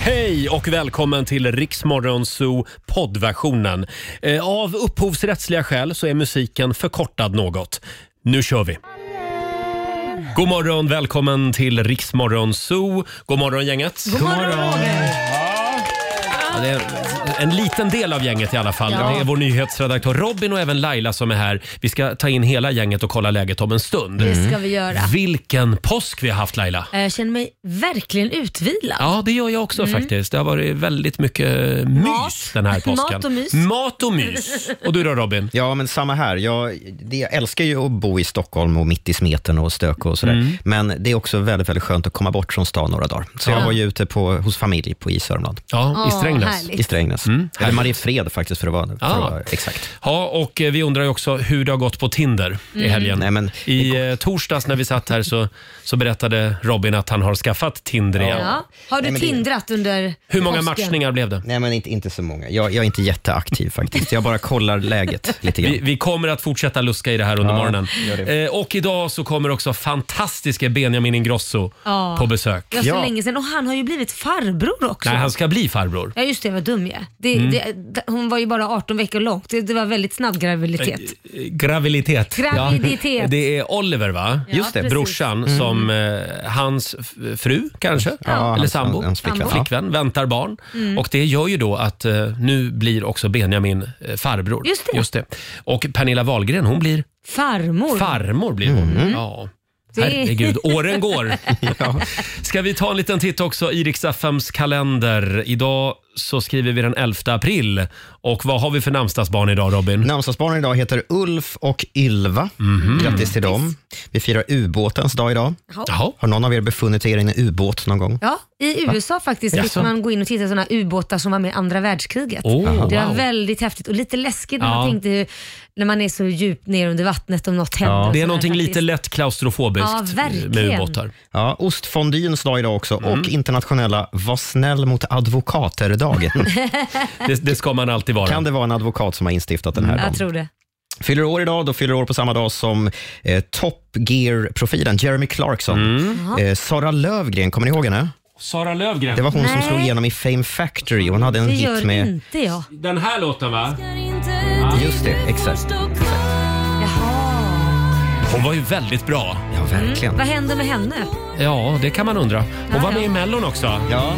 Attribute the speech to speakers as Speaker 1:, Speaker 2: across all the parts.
Speaker 1: Hej och välkommen till Riksmorgonzoo poddversionen. Eh, Av upphovsrättsliga skäl så är musiken förkortad något. Nu kör vi! God morgon, välkommen till Riksmorgonzoo. God morgon gänget! God morgon! Ja, det är en liten del av gänget i alla fall.
Speaker 2: Ja.
Speaker 1: Det är vår nyhetsredaktör Robin och även Laila som är här. Vi ska ta in hela gänget och kolla läget om en stund.
Speaker 2: Det ska vi göra.
Speaker 1: Vilken påsk vi har haft Laila!
Speaker 2: Jag Eh, känner mig verkligen utvilad.
Speaker 1: Ja, det gör jag också
Speaker 2: Mm.
Speaker 1: faktiskt. Det har varit väldigt mycket Eh, mys
Speaker 2: Mat.
Speaker 1: den här påsken.
Speaker 2: Mat och mys.
Speaker 1: Mat och mys. Och du då Robin?
Speaker 3: Ja, men samma här. Jag, det, jag älskar ju att bo i Stockholm och mitt i smeten och stök och sådär.
Speaker 1: Mm.
Speaker 3: Men det är också väldigt, väldigt skönt att komma bort från stan några dagar. Så jag
Speaker 1: Ja.
Speaker 3: var ju ute på, hos familj på i Sörmland,
Speaker 1: Ja, i
Speaker 2: Åh,
Speaker 1: Strängnäs. Mm,
Speaker 2: härligt.
Speaker 3: i Strängnäs. Eller Mariefred faktiskt, för att vara, för
Speaker 1: Ah.
Speaker 3: att vara exakt.
Speaker 1: Ja, och eh, vi undrar ju också hur det har gått på Tinder i
Speaker 2: Mm.
Speaker 1: helgen.
Speaker 3: Nej, men-
Speaker 1: I eh, torsdags när vi satt här så, så berättade Robin att han har skaffat Tinder igen.
Speaker 2: Ja. Har du
Speaker 3: Nej, men det-
Speaker 2: tindrat under
Speaker 1: Hur många
Speaker 2: påsken?
Speaker 1: matchningar blev det?
Speaker 3: Nej, men inte, inte så många. Jag, jag är inte jätteaktiv faktiskt. Jag bara kollar läget lite
Speaker 1: Vi,
Speaker 3: grann.
Speaker 1: vi kommer att fortsätta luska i det här under
Speaker 3: Ja,
Speaker 1: morgonen.
Speaker 3: gör det.
Speaker 1: Eh, och idag så kommer också fantastiske Benjamin Ingrosso
Speaker 2: Ja.
Speaker 1: på besök.
Speaker 2: Det var så
Speaker 3: Ja.
Speaker 2: länge sedan och han har ju blivit farbror också.
Speaker 1: Nej, han ska bli farbror.
Speaker 2: Ja just det, jag var dum jag. Det,
Speaker 1: Mm.
Speaker 2: det, hon var ju bara 18 veckor lång. Det, det var väldigt snabb graviditet.
Speaker 1: Eh, Graviditet.
Speaker 2: Graviditet.
Speaker 1: Ja. Det är Oliver va?
Speaker 2: Ja, Just det. precis. Mm.
Speaker 1: Brorsan som eh, hans f- fru kanske, eller
Speaker 3: hans-
Speaker 1: sambo,
Speaker 3: hans flickvän.
Speaker 1: Ja. flickvän väntar barn.
Speaker 2: Mm.
Speaker 1: Och det gör ju då att eh, nu blir också Benjamin eh, farbror.
Speaker 2: Just det.
Speaker 1: Och Pernilla Wahlgren hon blir
Speaker 2: Farmor.
Speaker 1: farmor. Blir hon.
Speaker 3: Mm.
Speaker 1: Ja.
Speaker 2: Det är-
Speaker 1: Herregud, åren går. ja. Ska vi ta en liten titt också i Rix FMs kalender. Idag så skriver vi den 11 april. Och vad har vi för namnsdagsbarn idag Robin?
Speaker 3: Namnsdagsbarnen idag heter Ulf och Ylva.
Speaker 1: Mhm.
Speaker 3: Grattis till dem. Vi firar ubåtens dag idag.
Speaker 1: Jaha.
Speaker 3: Har någon av er befunnit er i en ubåt någon gång?
Speaker 2: Ja, i USA faktiskt fick
Speaker 1: Jaså?
Speaker 2: man gå in och titta på sådana ubåtar som var med i andra världskriget.
Speaker 1: Oh,
Speaker 2: Det var
Speaker 1: wow.
Speaker 2: väldigt häftigt och lite läskigt när
Speaker 1: Ja.
Speaker 2: man tänkte hur- när man är så djupt ner under vattnet om något händer. och
Speaker 1: Det är
Speaker 2: sådär
Speaker 1: någonting
Speaker 2: faktiskt.
Speaker 1: lite lätt
Speaker 2: Ja,
Speaker 1: klaustrofobiskt med
Speaker 2: verkligen.
Speaker 1: ubåtar. Mm.
Speaker 3: Ja, ostfondyns dag idag också och internationella Var snäll mot advokater-dagen.
Speaker 1: Det, det ska man alltid vara.
Speaker 3: kan det vara en advokat som har instiftat den här dagen?
Speaker 2: Mm, Jag tror det.
Speaker 3: Fyller år idag, då fyller år på samma dag som eh, Top Gear-profilen Jeremy Clarkson.
Speaker 1: Mm.
Speaker 3: Eh, Sara Lövgren, kommer ni ihåg henne?
Speaker 1: Sara Lövgren.
Speaker 3: Det var hon som
Speaker 2: Nej.
Speaker 3: slog igenom i Fame Factory. Hon hade en
Speaker 2: Det
Speaker 3: hit
Speaker 2: gör
Speaker 3: med...
Speaker 2: inte jag.
Speaker 1: Den här låten va?
Speaker 3: Just det, exakt.
Speaker 2: Jaha.
Speaker 1: Hon var ju väldigt bra.
Speaker 3: Ja, verkligen.
Speaker 2: Vad händer med henne?
Speaker 1: Ja, det kan man undra. Hon var med i Mellon också.
Speaker 3: Ja.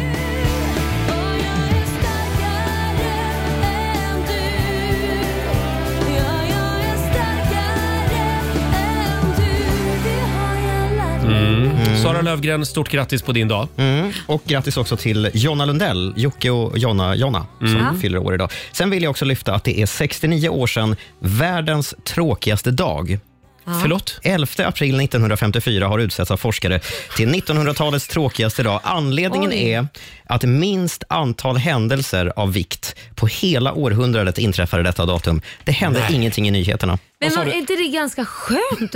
Speaker 1: Mm. Sara Lövgren, stort grattis på din dag.
Speaker 3: Mm. Och grattis också till Jonna Lundell, Jocke och Jonna, Jonna som
Speaker 1: Mm.
Speaker 3: fyller år idag. Sen vill jag också lyfta att det är 69 år sedan världens tråkigaste dag.
Speaker 1: Förlåt?
Speaker 3: 11 april 1954 har utsetts av forskare till 1900-talets tråkigaste dag. Anledningen
Speaker 2: Oj.
Speaker 3: är att minst antal händelser av vikt på hela århundradet inträffade detta datum. Det hände
Speaker 1: Nej.
Speaker 3: ingenting i nyheterna.
Speaker 2: Men var inte det ganska skönt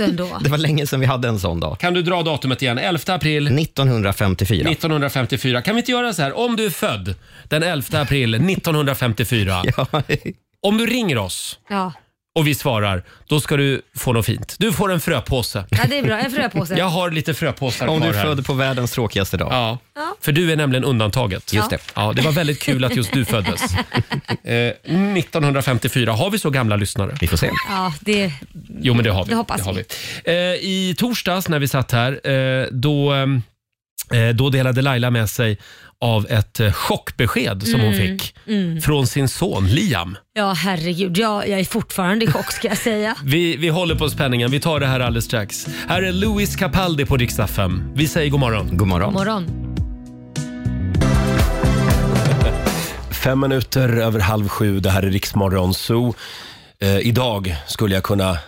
Speaker 2: ändå?
Speaker 3: Det var länge sedan vi hade en sån dag.
Speaker 1: Kan du dra datumet igen? 11 april
Speaker 3: 1954.
Speaker 1: 1954. Kan vi inte göra så här? Om du är född den 11 april 1954.
Speaker 3: Ja.
Speaker 1: Om du ringer oss
Speaker 2: Ja,
Speaker 1: och vi svarar, då ska du få något fint. Du får en fröpåse.
Speaker 2: ja det är bra. En fröpåse.
Speaker 1: Jag har lite fröpåsar
Speaker 3: Om du
Speaker 1: kvar
Speaker 3: är
Speaker 1: här.
Speaker 3: född på världens tråkigaste dag.
Speaker 1: Ja. För du är nämligen undantaget.
Speaker 3: Just det.
Speaker 1: Ja, det var väldigt kul att just du föddes. Eh, 1954. Har vi så gamla lyssnare?
Speaker 3: Vi får se.
Speaker 2: Ja, det...
Speaker 1: Jo, men det har vi.
Speaker 2: Det hoppas
Speaker 1: har vi. Eh, I torsdags när vi satt här, eh, då, eh, då delade Laila med sig av ett eh, chockbesked som hon fick från sin son Liam.
Speaker 2: mm, Ja, herregud. Jag, jag är fortfarande i chock ska jag säga.
Speaker 1: Vi, vi håller på spänningen. Vi tar det här alldeles strax. Här är Louis Capaldi på riksdag 5. Vi säger god morgon.
Speaker 3: God morgon.
Speaker 2: Morgon.
Speaker 4: Fem minuter över halv sju, det här är Riksmorgon Zoo. Eh, idag skulle jag kunna eh,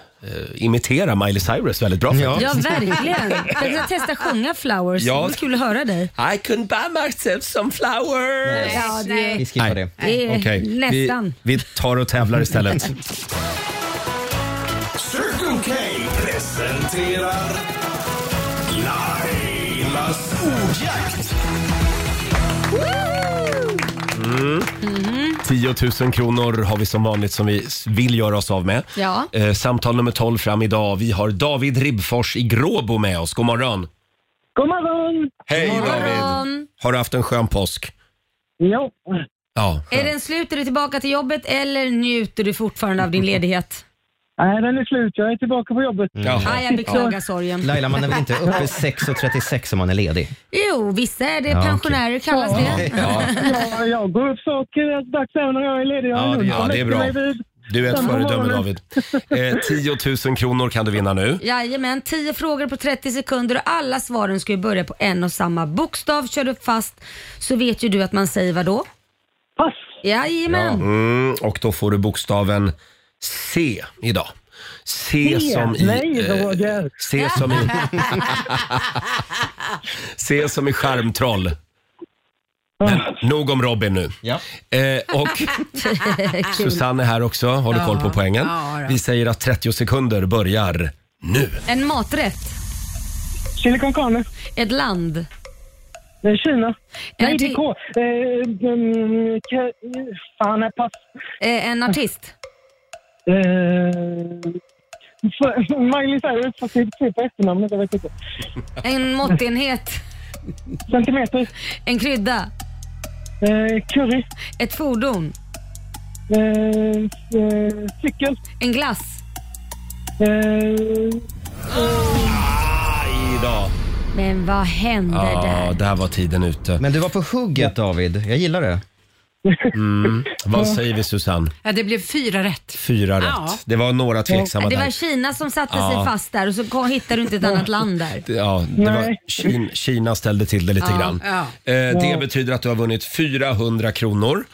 Speaker 4: imitera Miley Cyrus väldigt bra.
Speaker 3: Ja.
Speaker 2: Ja, verkligen. Jag ska testa sjunga Flowers.
Speaker 4: Ja.
Speaker 2: Det var kul att höra dig.
Speaker 4: I can buy myself some flowers.
Speaker 2: Ja, det,
Speaker 3: Vi skippar det.
Speaker 2: det är
Speaker 4: Okej,
Speaker 2: nästan.
Speaker 4: Vi, vi tar och tävlar istället.
Speaker 5: Circle K presenterar Lailas ordjakt.
Speaker 2: Mm.
Speaker 4: 10 000 Mm-hmm. kronor har vi som vanligt som vi s- vill göra oss av med.
Speaker 2: Ja.
Speaker 4: Eh, samtal nummer 12 fram idag. Vi har David Ribbfors i Gråbo med oss. God morgon.
Speaker 6: God morgon!
Speaker 4: Hej
Speaker 2: morgon.
Speaker 4: David. Har du haft en skön påsk?
Speaker 6: Jo.
Speaker 1: Ja,
Speaker 2: Är den slut, är du tillbaka till jobbet eller njuter du fortfarande av din ledighet?
Speaker 6: Nej, den är slut. Jag är tillbaka på jobbet.
Speaker 1: Jaha.
Speaker 2: Ah, jag beklagar sorgen.
Speaker 3: Mm. Laila, man är väl inte uppe 6.36 om man är ledig?
Speaker 2: Jo, vissa är det.
Speaker 3: Ja, okej.
Speaker 2: Pensionärer kallas det.
Speaker 1: Ja.
Speaker 6: Ja, jag går upp saker dags även när jag är ledig. Jag
Speaker 3: Ja, det-
Speaker 6: lunch
Speaker 1: ja,
Speaker 6: och
Speaker 1: det är
Speaker 6: lägger
Speaker 1: bra.
Speaker 6: mig vid-
Speaker 1: Du är ett
Speaker 6: Samma
Speaker 1: föredöme
Speaker 6: morgon.
Speaker 1: David. Eh, 10 000 kronor kan du vinna nu.
Speaker 2: Jajamän, 10 frågor på 30 sekunder och alla svaren ska ju börja på en och samma bokstav. Kör du fast så vet ju du att man säger vad då?
Speaker 6: Pass.
Speaker 2: Jajamän.
Speaker 1: Mm, och då får du bokstaven C idag. C som i...
Speaker 6: Nej,
Speaker 1: eh,
Speaker 6: Roger.
Speaker 1: C som i... C som i charmtroll. Men nog om Robin nu.
Speaker 3: Ja.
Speaker 1: Eh, och Susanne är här också. Har du koll på poängen?
Speaker 2: Ja, då.
Speaker 1: Vi säger att 30 sekunder börjar nu.
Speaker 2: En maträtt,
Speaker 6: Chili con carne.
Speaker 2: ett land,
Speaker 6: Eh, Kina. Nej,
Speaker 2: det-
Speaker 6: inte K. Eh, mm, K- Fan, nej, pass.
Speaker 2: eh, en artist,
Speaker 6: Eh, för- Miley Cyrus, fast det är fel på efternamnet. Jag vet inte.
Speaker 2: en måttenhet,
Speaker 6: Centimeter.
Speaker 2: en krydda,
Speaker 6: Eh, curry.
Speaker 2: ett fordon,
Speaker 6: Eh, eh, cykel.
Speaker 2: en glass,
Speaker 6: Eh,
Speaker 1: Aj då.
Speaker 2: Men vad hände
Speaker 1: Ja,
Speaker 2: där?
Speaker 1: där var tiden ute.
Speaker 3: Men du var på hugget David, jag gillar det.
Speaker 1: Mm. Vad säger vi Susanne?
Speaker 7: Ja, det blev fyra rätt.
Speaker 1: Fyra
Speaker 7: Ja.
Speaker 1: rätt. Det var några tveksamma
Speaker 2: Det var
Speaker 1: där.
Speaker 2: Kina som satte
Speaker 1: Ja.
Speaker 2: sig fast där och så kom- hittade du inte ett annat land där.
Speaker 1: Ja, det var
Speaker 6: Nej.
Speaker 1: Kina, Kina ställde till det lite
Speaker 7: Ja,
Speaker 1: grann.
Speaker 7: ja.
Speaker 1: Eh, det betyder att du har vunnit 400 kronor.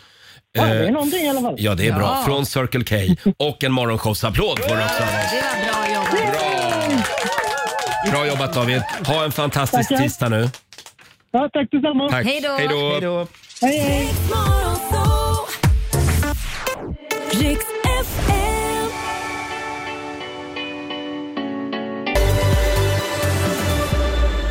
Speaker 6: ja, det är någonting i alla fall.
Speaker 1: Eh, Ja, det är bra.
Speaker 7: Ja.
Speaker 1: Från Circle K. Och en morgonshowsapplåd får du också av oss.
Speaker 2: Det var bra jobbat.
Speaker 1: Bra jobbat David. Ha en fantastisk
Speaker 6: Tackar.
Speaker 1: tisdag nu.
Speaker 6: Ja, tack detsamma.
Speaker 1: Tack.
Speaker 2: Hej då.
Speaker 3: Hej då.
Speaker 6: Hej, hej.
Speaker 5: Riks FM.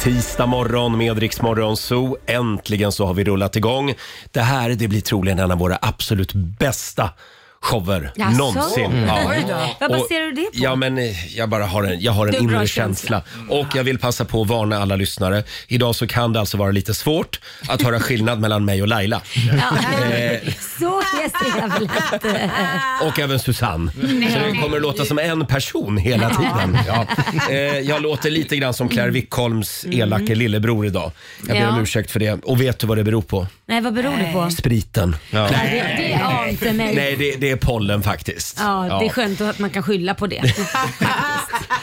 Speaker 1: Tisdag morgon med Rix Morgon Zoo. Äntligen så har vi rullat igång. Det här det blir troligen en av våra absolut bästa shower
Speaker 2: Jaså? Mm.
Speaker 1: någonsin.
Speaker 2: Oj då. Vad baserar du det på?
Speaker 1: Ja, men, eh, jag bara har en, jag har en
Speaker 2: Det är en bra
Speaker 1: inre känsla.
Speaker 2: känsla.
Speaker 1: Och jag vill passa på att varna alla lyssnare. Idag så kan det alltså vara lite svårt att höra skillnad mellan mig och Laila. Eh,
Speaker 2: Ja. Så hes är jag väl inte.
Speaker 1: Och även Susanne. Så det kommer att låta som en person hela tiden. Ja. Eh, jag låter lite grann som Claire Wickholms elake lillebror idag. Jag ber
Speaker 2: Mm. Ja.
Speaker 1: om ursäkt för det. Och vet du vad det beror på?
Speaker 2: Nej, vad beror det på?
Speaker 1: Spriten.
Speaker 2: Det, det ante mig.
Speaker 1: Nej, det, det är pollen faktiskt.
Speaker 2: Ja, det är skönt att man kan skylla på det.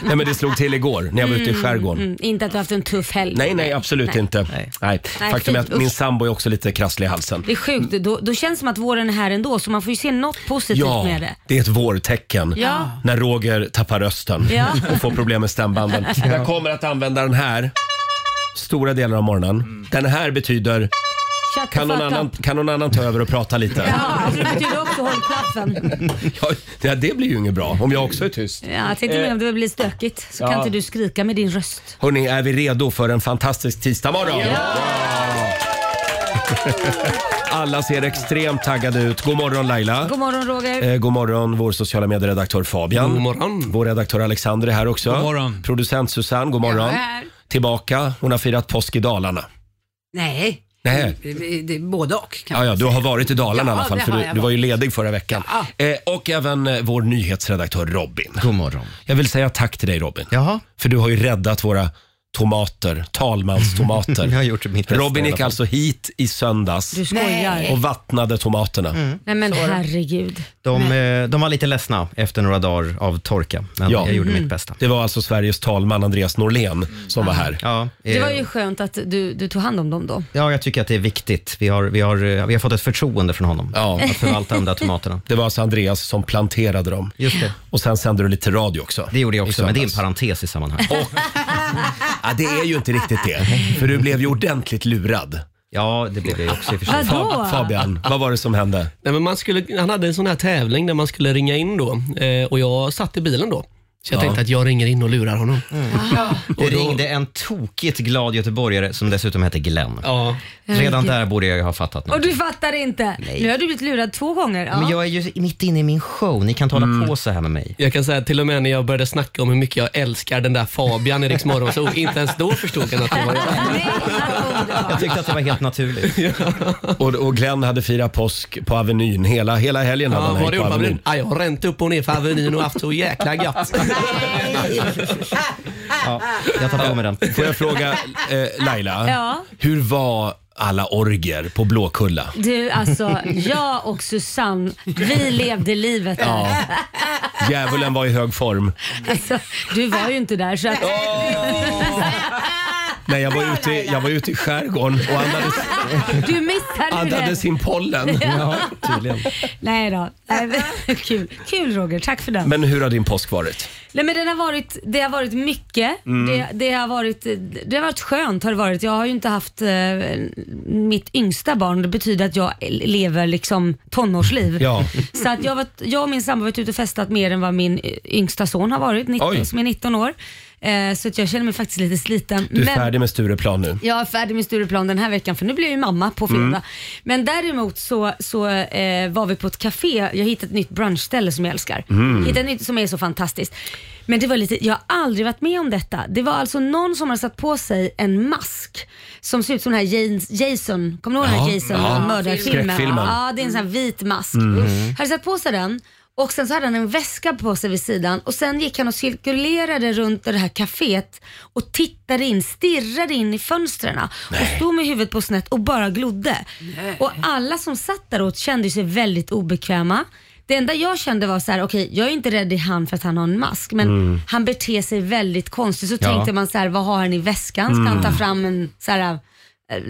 Speaker 1: Nej, men det slog till igår när jag var ute i skärgården.
Speaker 2: Mm, inte att du har haft en tuff helg.
Speaker 1: Nej, nej, absolut inte. Nej.
Speaker 3: Nej.
Speaker 1: Faktum är
Speaker 2: fy,
Speaker 1: att min
Speaker 2: usch.
Speaker 1: sambo är också lite krasslig i halsen.
Speaker 2: Det är sjukt, då, då känns det som att våren är här ändå så man får ju se något positivt
Speaker 1: Ja,
Speaker 2: med det.
Speaker 1: det är ett vårtecken.
Speaker 2: Ja.
Speaker 1: När Roger tappar rösten
Speaker 2: Ja.
Speaker 1: och får problem med stämbanden. Jag kommer att använda den här stora delar av
Speaker 2: Mm.
Speaker 1: morgonen. Den här betyder,
Speaker 2: Shut the
Speaker 1: kan någon,
Speaker 2: fuck
Speaker 1: annan,
Speaker 2: up.
Speaker 1: kan någon annan ta över och prata lite?
Speaker 2: Ja, alltså, det betyder också håll klaffen.
Speaker 1: Ja. Ja, det blir ju inget bra om jag också är tyst. Eh,
Speaker 2: Ja, jag tänkte med om det blir stökigt så kan inte du skrika med din röst.
Speaker 1: Hörni, är vi redo för en fantastisk tisdagmorgon? Alla ser extremt taggade ut. God morgon Laila.
Speaker 2: God morgon Roger.
Speaker 1: Eh, god morgon vår sociala medieredaktör Fabian.
Speaker 8: God morgon.
Speaker 1: Vår redaktör Alexander är här också.
Speaker 8: God morgon.
Speaker 1: Producent Susanne, god morgon.
Speaker 7: Jag är här.
Speaker 1: Tillbaka. Hon har firat påsk i Dalarna.
Speaker 7: Nej,
Speaker 1: Nej.
Speaker 7: det, det, det, både och. Kan
Speaker 1: Ja, ja, du har varit i Dalarna
Speaker 7: Ja,
Speaker 1: i alla fall,
Speaker 7: det
Speaker 1: för
Speaker 7: har
Speaker 1: du,
Speaker 7: jag
Speaker 1: du var ju ledig förra veckan.
Speaker 7: Ja.
Speaker 1: Eh, och även eh, vår nyhetsredaktör Robin.
Speaker 3: God morgon.
Speaker 1: Jag vill säga tack till dig Robin.
Speaker 3: Jaha,
Speaker 1: För du har ju räddat våra tomater, talmanstomater.
Speaker 3: jag har gjort mitt bästa
Speaker 1: Robin
Speaker 3: i alla
Speaker 1: gick
Speaker 3: fall.
Speaker 1: alltså hit i söndags
Speaker 2: Du skojar. Nej,
Speaker 1: och vattnade tomaterna.
Speaker 2: men herregud.
Speaker 3: Mm. De, eh, de var lite ledsna efter några dagar av torka, men
Speaker 1: Ja.
Speaker 3: jag gjorde
Speaker 2: Mm.
Speaker 3: mitt bästa.
Speaker 1: Det var alltså Sveriges talman Andreas Norlén som var här.
Speaker 3: Ja, eh,
Speaker 2: Ah. Det var ju skönt att du, du tog hand om dem då.
Speaker 3: ja, jag tycker att det är viktigt. Vi har, vi har, eh, vi har fått ett förtroende från honom
Speaker 1: Ja.
Speaker 3: att förvalta de där tomaterna.
Speaker 1: Det var alltså Andreas som planterade dem.
Speaker 3: Just det.
Speaker 1: Och sen sände du lite radio också.
Speaker 3: Det gjorde jag
Speaker 1: i
Speaker 3: också, men det är en
Speaker 1: söndags.
Speaker 3: parentes i sammanhanget.
Speaker 1: Ja, det är ju inte riktigt det. För du blev ju ordentligt lurad.
Speaker 3: Ja, det blev det ju också i och för sig.
Speaker 2: Vadå?
Speaker 1: Fab- Fabian, vad var det som hände?
Speaker 8: Nej, men man skulle, han hade en sån här tävling där man skulle ringa in då eh, och jag satt i bilen då. Så jag tänkte att jag ringer in och lurar honom.
Speaker 3: Mm. Det ringde en tokigt glad göteborgare som dessutom hette Glenn.
Speaker 8: Ja.
Speaker 3: Redan där borde jag ju ha fattat
Speaker 2: Och
Speaker 3: något.
Speaker 2: du fattar inte? Nu har du blivit lurad två gånger. Ja.
Speaker 3: Men jag är ju mitt inne i min show, ni kan inte
Speaker 1: Mm.
Speaker 3: hålla på så här med mig.
Speaker 8: Jag kan säga att till och med när jag började snacka om hur mycket jag älskar den där Fabian i Rix Morgon, så inte ens då förstod han att det var jag.
Speaker 2: Nej, vad god.
Speaker 3: Jag tyckte att det var helt naturligt.
Speaker 1: Och, och Glenn hade firat påsk på Avenyn. Hela, hela helgen hade
Speaker 8: Ja,
Speaker 1: han
Speaker 8: vad har
Speaker 1: hängt
Speaker 8: du
Speaker 1: på
Speaker 8: gjort på
Speaker 1: Avenyn.
Speaker 8: Avenyn? Ja, jag har ränt upp och ner för Avenyn och haft så jäkla gött.
Speaker 3: Ja, jag tar på mig den.
Speaker 1: Får jag fråga eh, Laila,
Speaker 2: Ja.
Speaker 1: hur var alla orger på Blåkulla?
Speaker 2: Du, alltså jag och Susanne, vi levde livet. Ja.
Speaker 1: Djävulen var i hög form.
Speaker 2: Alltså, du var ju inte där så att...
Speaker 1: Nej, jag var ute, jag var ute i skärgården och andades,
Speaker 2: Du missade ju det.
Speaker 1: andades in pollen.
Speaker 2: Nej då. Nej, men- Kul. Kul Roger, tack för den.
Speaker 1: Men hur har din påsk varit?
Speaker 2: Nej, men den har varit, det har varit mycket.
Speaker 1: Mm.
Speaker 2: Det, det, har varit, det har varit skönt. Har det varit. Jag har ju inte haft eh, mitt yngsta barn. Det betyder att jag lever liksom tonårsliv.
Speaker 1: Ja.
Speaker 2: Så att jag, har varit, jag och min sambo har varit ute och festat mer än vad min eh, yngsta son har varit, 19,
Speaker 1: Oj.
Speaker 2: som är 19 år. Eh, så att jag känner mig faktiskt lite sliten.
Speaker 1: Du är
Speaker 2: Men-
Speaker 1: färdig med Stureplan nu.
Speaker 2: Jag är färdig med Stureplan den här veckan för nu blir jag ju mamma på
Speaker 1: Mm.
Speaker 2: fredag. Men däremot så, så eh, var vi på ett café, jag hittade ett nytt brunchställe som jag älskar.
Speaker 1: Mm.
Speaker 2: Hittade ett nytt som är så fantastiskt. Men det var lite, jag har aldrig varit med om detta. Det var alltså någon som hade satt på sig en mask som ser ut som den här James, Jason, kommer du ihåg den här
Speaker 1: Ja,
Speaker 2: Jason,
Speaker 1: ja.
Speaker 2: ja, mördarfilmen?
Speaker 1: Skräckfilmen. Mm.
Speaker 2: Ja, det är en sån här vit mask.
Speaker 1: Mm-hmm.
Speaker 3: Mm.
Speaker 2: Hade satt på sig den och sen så hade han en väska på sig vid sidan och sen gick han och cirkulerade runt det här kaféet och tittade in, stirrade in i fönstren och stod med huvudet på snett och bara glodde. Och alla som satt däråt kände sig väldigt obekväma. Det enda jag kände var så här, okej jag är inte rädd i han för att han har en mask men
Speaker 3: Mm.
Speaker 2: han beter sig väldigt konstigt. Så tänkte man så här, vad har han i väskan? Ska
Speaker 3: Mm.
Speaker 2: han ta fram en så här, eh,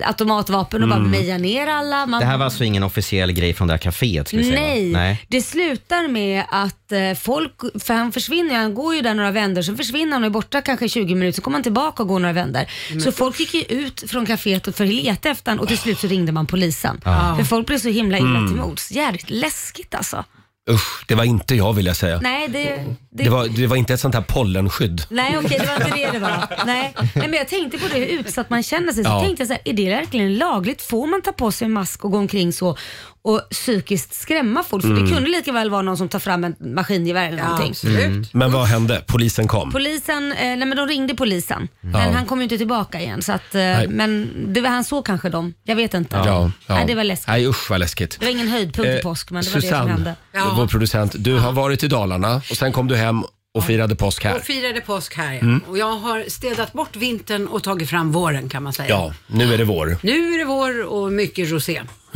Speaker 2: automatvapen och bara meja ner alla? Man,
Speaker 3: Det här var alltså ingen officiell grej från det här kaféet? Ska vi säga, va?
Speaker 2: Nej.
Speaker 3: Nej.
Speaker 2: det slutar med att eh, folk, för han försvinner ju, han går ju där några vändor, sen försvinner han och är borta kanske 20 minuter, så kommer han tillbaka och går några vändor. Så folk gick ju ut från kaféet och för att leta efter honom och till slut så ringde man polisen.
Speaker 3: Ah.
Speaker 2: För folk blev så himla illa
Speaker 3: Mm.
Speaker 2: till mods. Jävligt läskigt alltså.
Speaker 1: Usch, det var inte jag vill jag säga.
Speaker 2: Nej, det... det,
Speaker 1: Det var, det var inte ett sånt här pollenskydd.
Speaker 2: Nej okej, det var inte det det var. Nej. Nej, men jag tänkte på det, hur utsatt man känner sig. Så
Speaker 1: Ja.
Speaker 2: tänkte jag så här, är det verkligen lagligt? Får man ta på sig en mask och gå omkring så och psykiskt skrämma folk? För
Speaker 1: Mm.
Speaker 2: det kunde lika väl vara någon som tar fram en maskingevär eller någonting.
Speaker 7: Absolut.
Speaker 1: Men vad hände? Polisen kom.
Speaker 2: Polisen, eh, nej men de ringde polisen, men han kom ju inte tillbaka igen. Så att, eh, men det var han såg kanske dem, jag vet inte. Nej, det var läskigt.
Speaker 1: Nej, usch vad läskigt.
Speaker 2: Det var ingen höjdpunkt i
Speaker 1: Eh,
Speaker 2: påsk men det var det som
Speaker 1: Susanne,
Speaker 2: hände.
Speaker 7: Ja.
Speaker 1: vår producent, du har varit i Dalarna och sen kom du hem och firade påsk här.
Speaker 7: Och firade påsk här ja.
Speaker 1: Mm.
Speaker 7: Och jag har städat bort vintern och tagit fram våren kan man säga.
Speaker 1: Ja, nu är det vår.
Speaker 7: Nu är det vår och mycket rosé.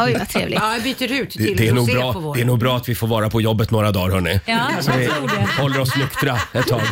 Speaker 2: Oj vad trevligt.
Speaker 7: Ja, jag byter ut till
Speaker 1: Det, det, är nog
Speaker 7: rosé på
Speaker 1: bra,
Speaker 7: våren.
Speaker 1: det är nog bra att vi får vara på jobbet några dagar hörni.
Speaker 2: Ja,
Speaker 1: Så vi håller oss nyktra ett tag.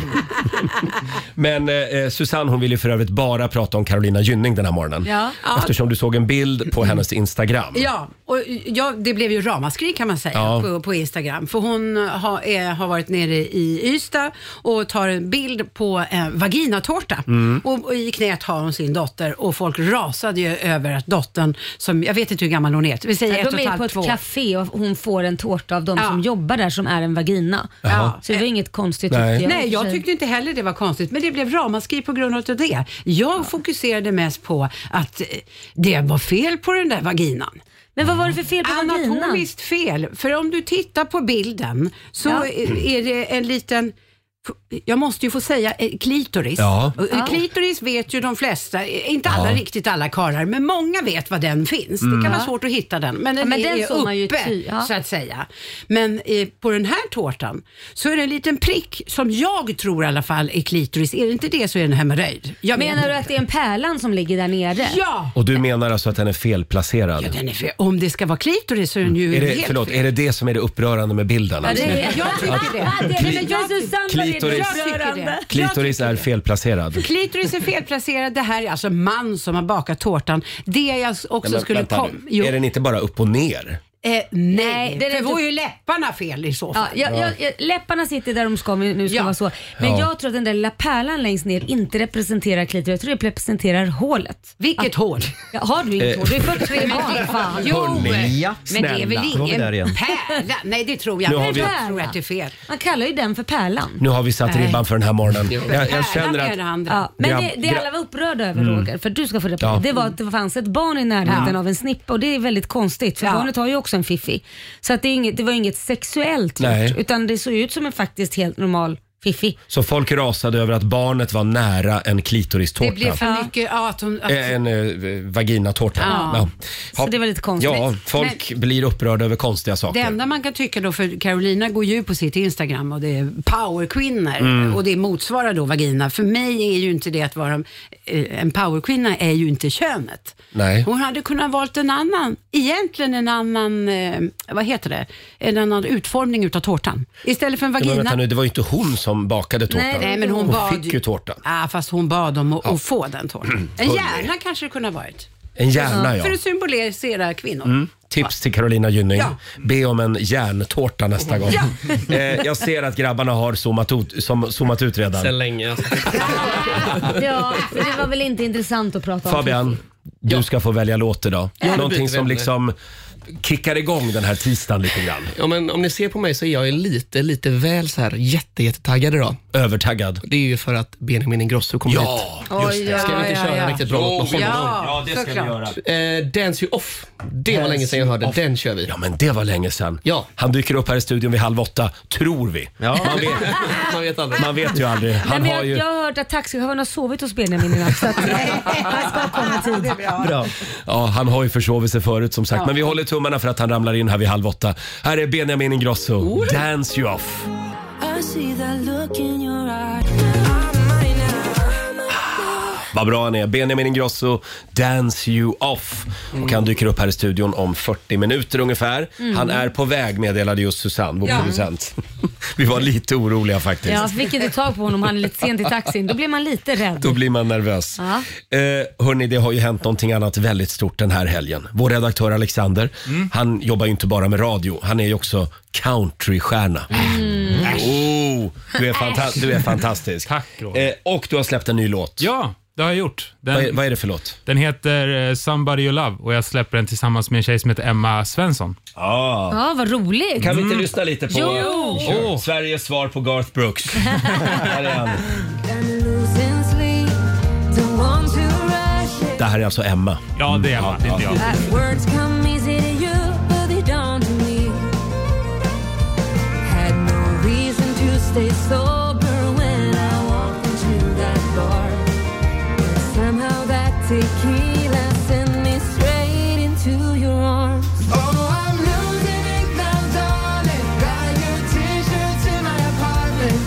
Speaker 1: Men eh, Susanne hon ville för övrigt bara prata om Carolina Gynning den här morgonen.
Speaker 2: Ja.
Speaker 1: Eftersom du såg en bild på hennes Instagram.
Speaker 7: Ja, och ja, det blev ju ramaskri kan man säga
Speaker 1: Ja.
Speaker 7: på, på Instagram. För hon har, är, har varit nere i Ystad och tar en bild på en vaginatårta.
Speaker 1: Mm.
Speaker 7: Och, och i knät har hon sin dotter och folk rasade ju över att dottern, som jag vet inte hur gammal hon är, vi säger ett och
Speaker 2: de
Speaker 7: ett
Speaker 2: är på
Speaker 7: halvt,
Speaker 2: ett
Speaker 7: två år.
Speaker 2: café och hon får en tårta av de
Speaker 7: Ja.
Speaker 2: som jobbar där som är en vagina.
Speaker 7: Ja.
Speaker 2: Så det var inget konstigt
Speaker 1: Nej.
Speaker 2: tyckte jag.
Speaker 7: Nej, jag tyckte inte heller det var konstigt, men det blev ramaskri på grund av det. Jag fokuserade mest på att eh, det var fel på den där vaginan. Mm.
Speaker 2: Men vad var det för fel på vaginan?
Speaker 7: Anatomiskt fel. För om du tittar på bilden så
Speaker 2: Ja.
Speaker 7: är det en liten jag måste ju få säga eh, klitoris.
Speaker 1: Ja.
Speaker 7: Och, eh, Klitoris vet ju de flesta, eh, inte alla riktigt alla karlar, men många vet var den finns.
Speaker 1: Mm.
Speaker 7: Det kan vara svårt att hitta den, men den,
Speaker 2: men den
Speaker 7: är
Speaker 2: såg man ju
Speaker 7: uppe
Speaker 2: ty- ja.
Speaker 7: så att säga. Men eh, på den här tårtan så är det en liten prick som jag tror i alla fall är klitoris. Är det inte det så är det en hemorrojd. Jag vet
Speaker 2: Menar du att det är en pärlan som ligger där nere?
Speaker 7: inte. Ja!
Speaker 1: Och du menar alltså att den är felplacerad?
Speaker 7: ja den är fel. Om det ska vara klitoris så är den ju
Speaker 1: Mm. är det,
Speaker 7: helt
Speaker 1: förlåt,
Speaker 7: fel.
Speaker 1: är det det som är det upprörande med bilden?
Speaker 2: Ja,
Speaker 1: Alltså,
Speaker 2: det är...
Speaker 7: Jag tycker det.
Speaker 2: Ah, det är men jag
Speaker 7: Kli-
Speaker 2: Susanne var det
Speaker 1: klitoris.
Speaker 7: Jag tycker det.
Speaker 2: upprörande.
Speaker 1: Klitoris är felplacerad.
Speaker 7: Klitoris är felplacerad. Det här är alltså man som har bakat tårtan. Det jag också
Speaker 1: Nej, men
Speaker 7: skulle
Speaker 1: vänta
Speaker 7: komma...
Speaker 1: nu.
Speaker 7: Jo.
Speaker 1: Är den inte bara upp och ner?
Speaker 7: Eh, nej,
Speaker 2: det är
Speaker 7: det,
Speaker 2: det
Speaker 7: var
Speaker 2: inte.
Speaker 7: ju läpparna fel i så fall.
Speaker 2: Ja, jag, jag, jag, läpparna sitter där de ska om vi nu ska
Speaker 7: Ja.
Speaker 2: vara så. Men
Speaker 1: Ja.
Speaker 2: jag tror att den där lilla pärlan längst ner inte representerar klitoris. Jag tror det representerar hålet.
Speaker 7: Vilket hål.
Speaker 2: Ja, har du inget hål? Du är fött tre barn. Fan.
Speaker 7: Jo,
Speaker 1: Hörni,
Speaker 3: Ja.
Speaker 7: men det är
Speaker 1: Eh, snälla.
Speaker 7: väl
Speaker 3: Då var vi
Speaker 7: ingen
Speaker 3: där igen.
Speaker 7: pärla? Nej, det tror
Speaker 1: Nu
Speaker 7: jag
Speaker 1: har
Speaker 7: inte.
Speaker 1: vi-
Speaker 7: Jag tror att det är fel.
Speaker 2: Man kallar ju den för pärlan.
Speaker 1: Nu har vi satt
Speaker 7: Nej.
Speaker 1: ribban för den här morgonen. Jag, jag
Speaker 7: Pärlan
Speaker 1: känner
Speaker 7: är det
Speaker 1: att...
Speaker 7: andra.
Speaker 2: Ja, men
Speaker 1: Grabb-
Speaker 2: det, det alla var upprörda över Roger, för du ska få det på,
Speaker 1: Ja.
Speaker 2: det var att det fanns ett barn i närheten av en snippa och det är väldigt konstigt för
Speaker 7: Ja.
Speaker 2: barnet har ju också en fiffi. Så att det, är inget, det var inget sexuellt
Speaker 1: Nej.
Speaker 2: gjort, utan det såg ut som en faktiskt helt normal Fiffi.
Speaker 1: Så folk rasade över att barnet var nära en klitoristårta.
Speaker 7: Det blev för mycket, ja, att hon, att,
Speaker 1: Eh, En eh, vaginatårta.
Speaker 7: Ja.
Speaker 2: Så det var lite konstigt.
Speaker 1: Ja, folk blir upprörda över konstiga
Speaker 7: Det
Speaker 1: saker.
Speaker 7: enda man kan tycka då, för Carolina går ju på sitt Instagram och det är powerkvinnor
Speaker 1: Mm.
Speaker 7: och det motsvarar då vagina. För mig är ju inte det att vara en- eh, en powerkvinna är ju inte könet.
Speaker 1: Nej.
Speaker 7: Hon hade kunnat valt en annan, egentligen en annan, eh, vad heter det, en annan utformning utav tårtan. Istället för en
Speaker 1: Ja,
Speaker 7: vagina.
Speaker 1: Men vänta nu, det var ju inte hon som bakade tårtan.
Speaker 7: Nej, nej, men hon bad
Speaker 1: fick
Speaker 7: ju-
Speaker 1: ju tårtan.
Speaker 7: Ah, fast hon bad om att, att få den tårtan. En
Speaker 1: Hörrni.
Speaker 7: hjärna kanske det kunde ha varit.
Speaker 1: En hjärna, ja.
Speaker 7: För att symbolisera kvinnor.
Speaker 1: Mm. Tips till Carolina Gynning.
Speaker 7: Ja.
Speaker 1: Be om en järntårta nästa gång.
Speaker 7: Ja.
Speaker 1: Eh, jag ser att grabbarna har zoomat ut, som, zoomat ut redan.
Speaker 8: Sen länge. alltså.
Speaker 2: Ja, för det var väl inte intressant att prata om.
Speaker 1: Fabian, du ska få välja låt idag.
Speaker 8: Ja, det
Speaker 1: Någonting
Speaker 8: byter vi
Speaker 1: som
Speaker 8: ämne.
Speaker 1: liksom kickar igång den här tisdagen lite grann.
Speaker 8: Ja, men om ni ser på mig så är jag lite, lite väl så här jätte, jättetaggad idag.
Speaker 1: Övertaggad.
Speaker 8: Det är ju för att Benjamin Ingrosso kommer
Speaker 1: Ja,
Speaker 8: hit.
Speaker 1: just det.
Speaker 8: Ska vi inte köra en riktigt bra låt med honom?
Speaker 7: Ja, det ska vi göra.
Speaker 8: Eh, Dance you off. Det var
Speaker 1: Dance
Speaker 8: länge sedan jag hörde.
Speaker 1: You Off.
Speaker 8: Den kör vi.
Speaker 1: Ja, men det var länge sedan.
Speaker 8: Ja.
Speaker 1: Han dyker upp här i studion vid halv åtta, tror vi. Man, vet,
Speaker 8: Man vet aldrig.
Speaker 1: man vet ju aldrig.
Speaker 2: Nej,
Speaker 1: Han
Speaker 2: men
Speaker 1: har
Speaker 2: jag,
Speaker 1: ju...
Speaker 2: jag har hört att taxichauffören har sovit hos Benjamin i natt så att eh, han ska komma i tid.
Speaker 1: Bra. Ja, han har ju försovit sig förut som sagt. Men vi håller tummarna för att han ramlar in här vid halv åtta. Här är Benjamin Ingrosso. Dance you off.
Speaker 5: I see that look in your eye.
Speaker 1: Vad bra han är. Benjamin Ingrosso, Dance you off. Och han dyker upp här i studion om 40 minuter ungefär.
Speaker 2: Mm.
Speaker 1: Han är på väg meddelade just Susanne, vår
Speaker 2: Ja.
Speaker 1: producent. Vi var lite oroliga faktiskt.
Speaker 2: Ja, fick inte tag på honom, han är lite sent i taxin. Då blir man lite rädd.
Speaker 1: Då blir man nervös.
Speaker 2: Ja.
Speaker 1: Eh, hörni, det har ju hänt någonting annat väldigt stort den här helgen. Vår redaktör Alexander,
Speaker 9: Mm.
Speaker 1: han jobbar ju inte bara med radio, han är ju också countrystjärna.
Speaker 9: Mm.
Speaker 2: Mm.
Speaker 1: Oh, du, är fanta- du är fantastisk. Tack
Speaker 9: Roger.
Speaker 1: eh, Och du har släppt en ny låt.
Speaker 9: Ja, det har jag gjort. Den,
Speaker 1: Vad, är, vad är det för låt?
Speaker 9: den heter eh, Somebody You Love och jag släpper den tillsammans med en tjej som heter Emma Svensson.
Speaker 1: Ah.
Speaker 2: Ja, vad roligt. Mm.
Speaker 1: Kan vi inte lyssna lite på
Speaker 2: Jo!
Speaker 1: Åh, Sveriges svar på Garth Brooks? här är han. Det här är alltså Emma.
Speaker 9: Ja, det är Emma. Det är inte jag.
Speaker 5: Words come easy to you, but they don't to me. Had no reason to stay sober when I walked into that bar. But somehow that tequila sent me straight into your arms. Oh, I'm losing it now, darling. Buy your t-shirts in my apartment.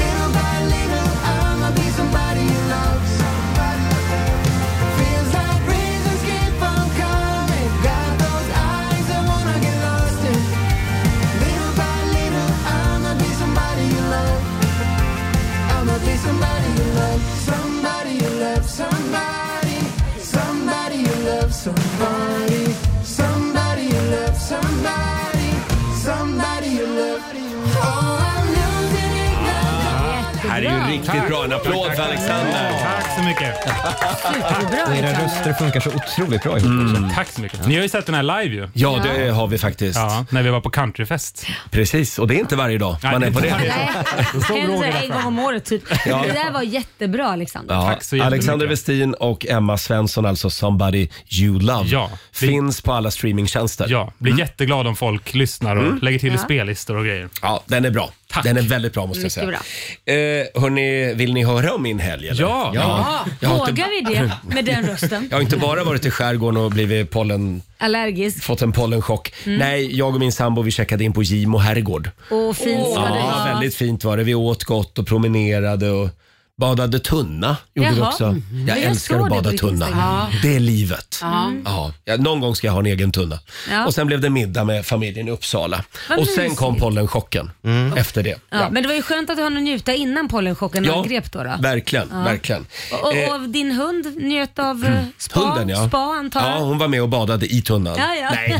Speaker 5: Little by little, I'ma be somebody you love. Somebody you love. Feels like reasons keep on coming. Got those eyes that wanna get lost in. Little by little, I'ma be somebody you love. I'ma be somebody you love. Somebody you love. Somebody. Somebody you love. Somebody. Somebody you love. Somebody. Somebody you love. Oh, I'm losing it now.
Speaker 1: Det här är ju riktigt bra. En applåd för Alexander.
Speaker 9: Tack så mycket.
Speaker 3: Och era röster funkar så otroligt bra ihop
Speaker 1: Mm.
Speaker 3: också.
Speaker 9: Tack så mycket. Ni har ju sett den här live ju.
Speaker 1: Ja, det har vi faktiskt.
Speaker 9: Ja, när vi var på countryfest.
Speaker 1: Precis, och det är inte varje dag man är på det.
Speaker 2: Nej, händer så
Speaker 9: Roger
Speaker 2: här en gång om året typ.
Speaker 1: Ja.
Speaker 2: Det där var jättebra liksom. Alexander.
Speaker 1: Ja,
Speaker 9: Tack så jättemycket.
Speaker 1: Alexander Westin och Emma Svensson, alltså Somebody You Love,
Speaker 9: Ja, det-
Speaker 1: finns på alla streamingtjänster. Mm.
Speaker 9: Ja, blir jätteglad om folk lyssnar och lägger till
Speaker 2: Ja.
Speaker 9: spellistor och grejer.
Speaker 1: Ja, den är bra. Den är väldigt bra måste jag
Speaker 2: Mycket
Speaker 1: säga.
Speaker 2: bra.
Speaker 1: Eh, hörni, vill ni höra om min helg? Eller?
Speaker 9: Ja.
Speaker 2: Ja,
Speaker 1: Jag, har inte,
Speaker 2: vågar vi det med den rösten?
Speaker 1: jag har inte bara varit i skärgården och blivit pollen,
Speaker 2: Allergisk.
Speaker 1: fått en pollenchock.
Speaker 2: Mm.
Speaker 1: Nej, jag och min sambo vi checkade in på Gimo herrgård.
Speaker 2: Och fint ska det
Speaker 1: Ja,
Speaker 2: vara.
Speaker 1: väldigt fint var det. Vi åt gott och promenerade och badade tunna. Gjorde vi
Speaker 2: Jaha. Mm.
Speaker 1: också. Jag
Speaker 2: jag
Speaker 1: älskar
Speaker 2: såg
Speaker 1: att
Speaker 2: det
Speaker 1: bada
Speaker 2: på ditt
Speaker 1: tunna.
Speaker 2: Instagram.
Speaker 1: Det är livet.
Speaker 7: Ja.
Speaker 1: Ja, ja, någon gång ska jag ha en egen tunna.
Speaker 2: Ja.
Speaker 1: Och sen blev det middag med familjen i Uppsala.
Speaker 2: Vad
Speaker 1: och sen
Speaker 2: mysigt. Mm.
Speaker 1: kom pollenchocken efter det.
Speaker 2: Ja, men det var ju skönt att du hann njuta innan pollenchocken
Speaker 1: Ja,
Speaker 2: angrep då. då.
Speaker 1: Verkligen, verkligen.
Speaker 2: Och, och,
Speaker 1: Eh, Mm.
Speaker 2: och din hund njöt av eh, spa,
Speaker 1: Hunden ja.
Speaker 2: spa antar
Speaker 1: ja,
Speaker 2: jag?
Speaker 1: hon var med och badade i tunnan.
Speaker 2: Ja, ja.
Speaker 1: Nej,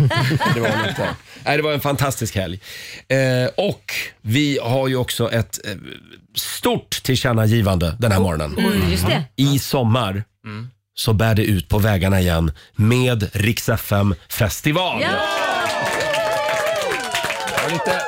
Speaker 1: det var hon inte. Nej, det var en fantastisk helg. Eh, och vi har ju också ett eh, stort tillkännagivande den här morgonen.
Speaker 2: Mm, just det.
Speaker 1: I sommar så bär det ut på vägarna igen med Rix FM festival.
Speaker 2: Ja!
Speaker 1: Jag har lite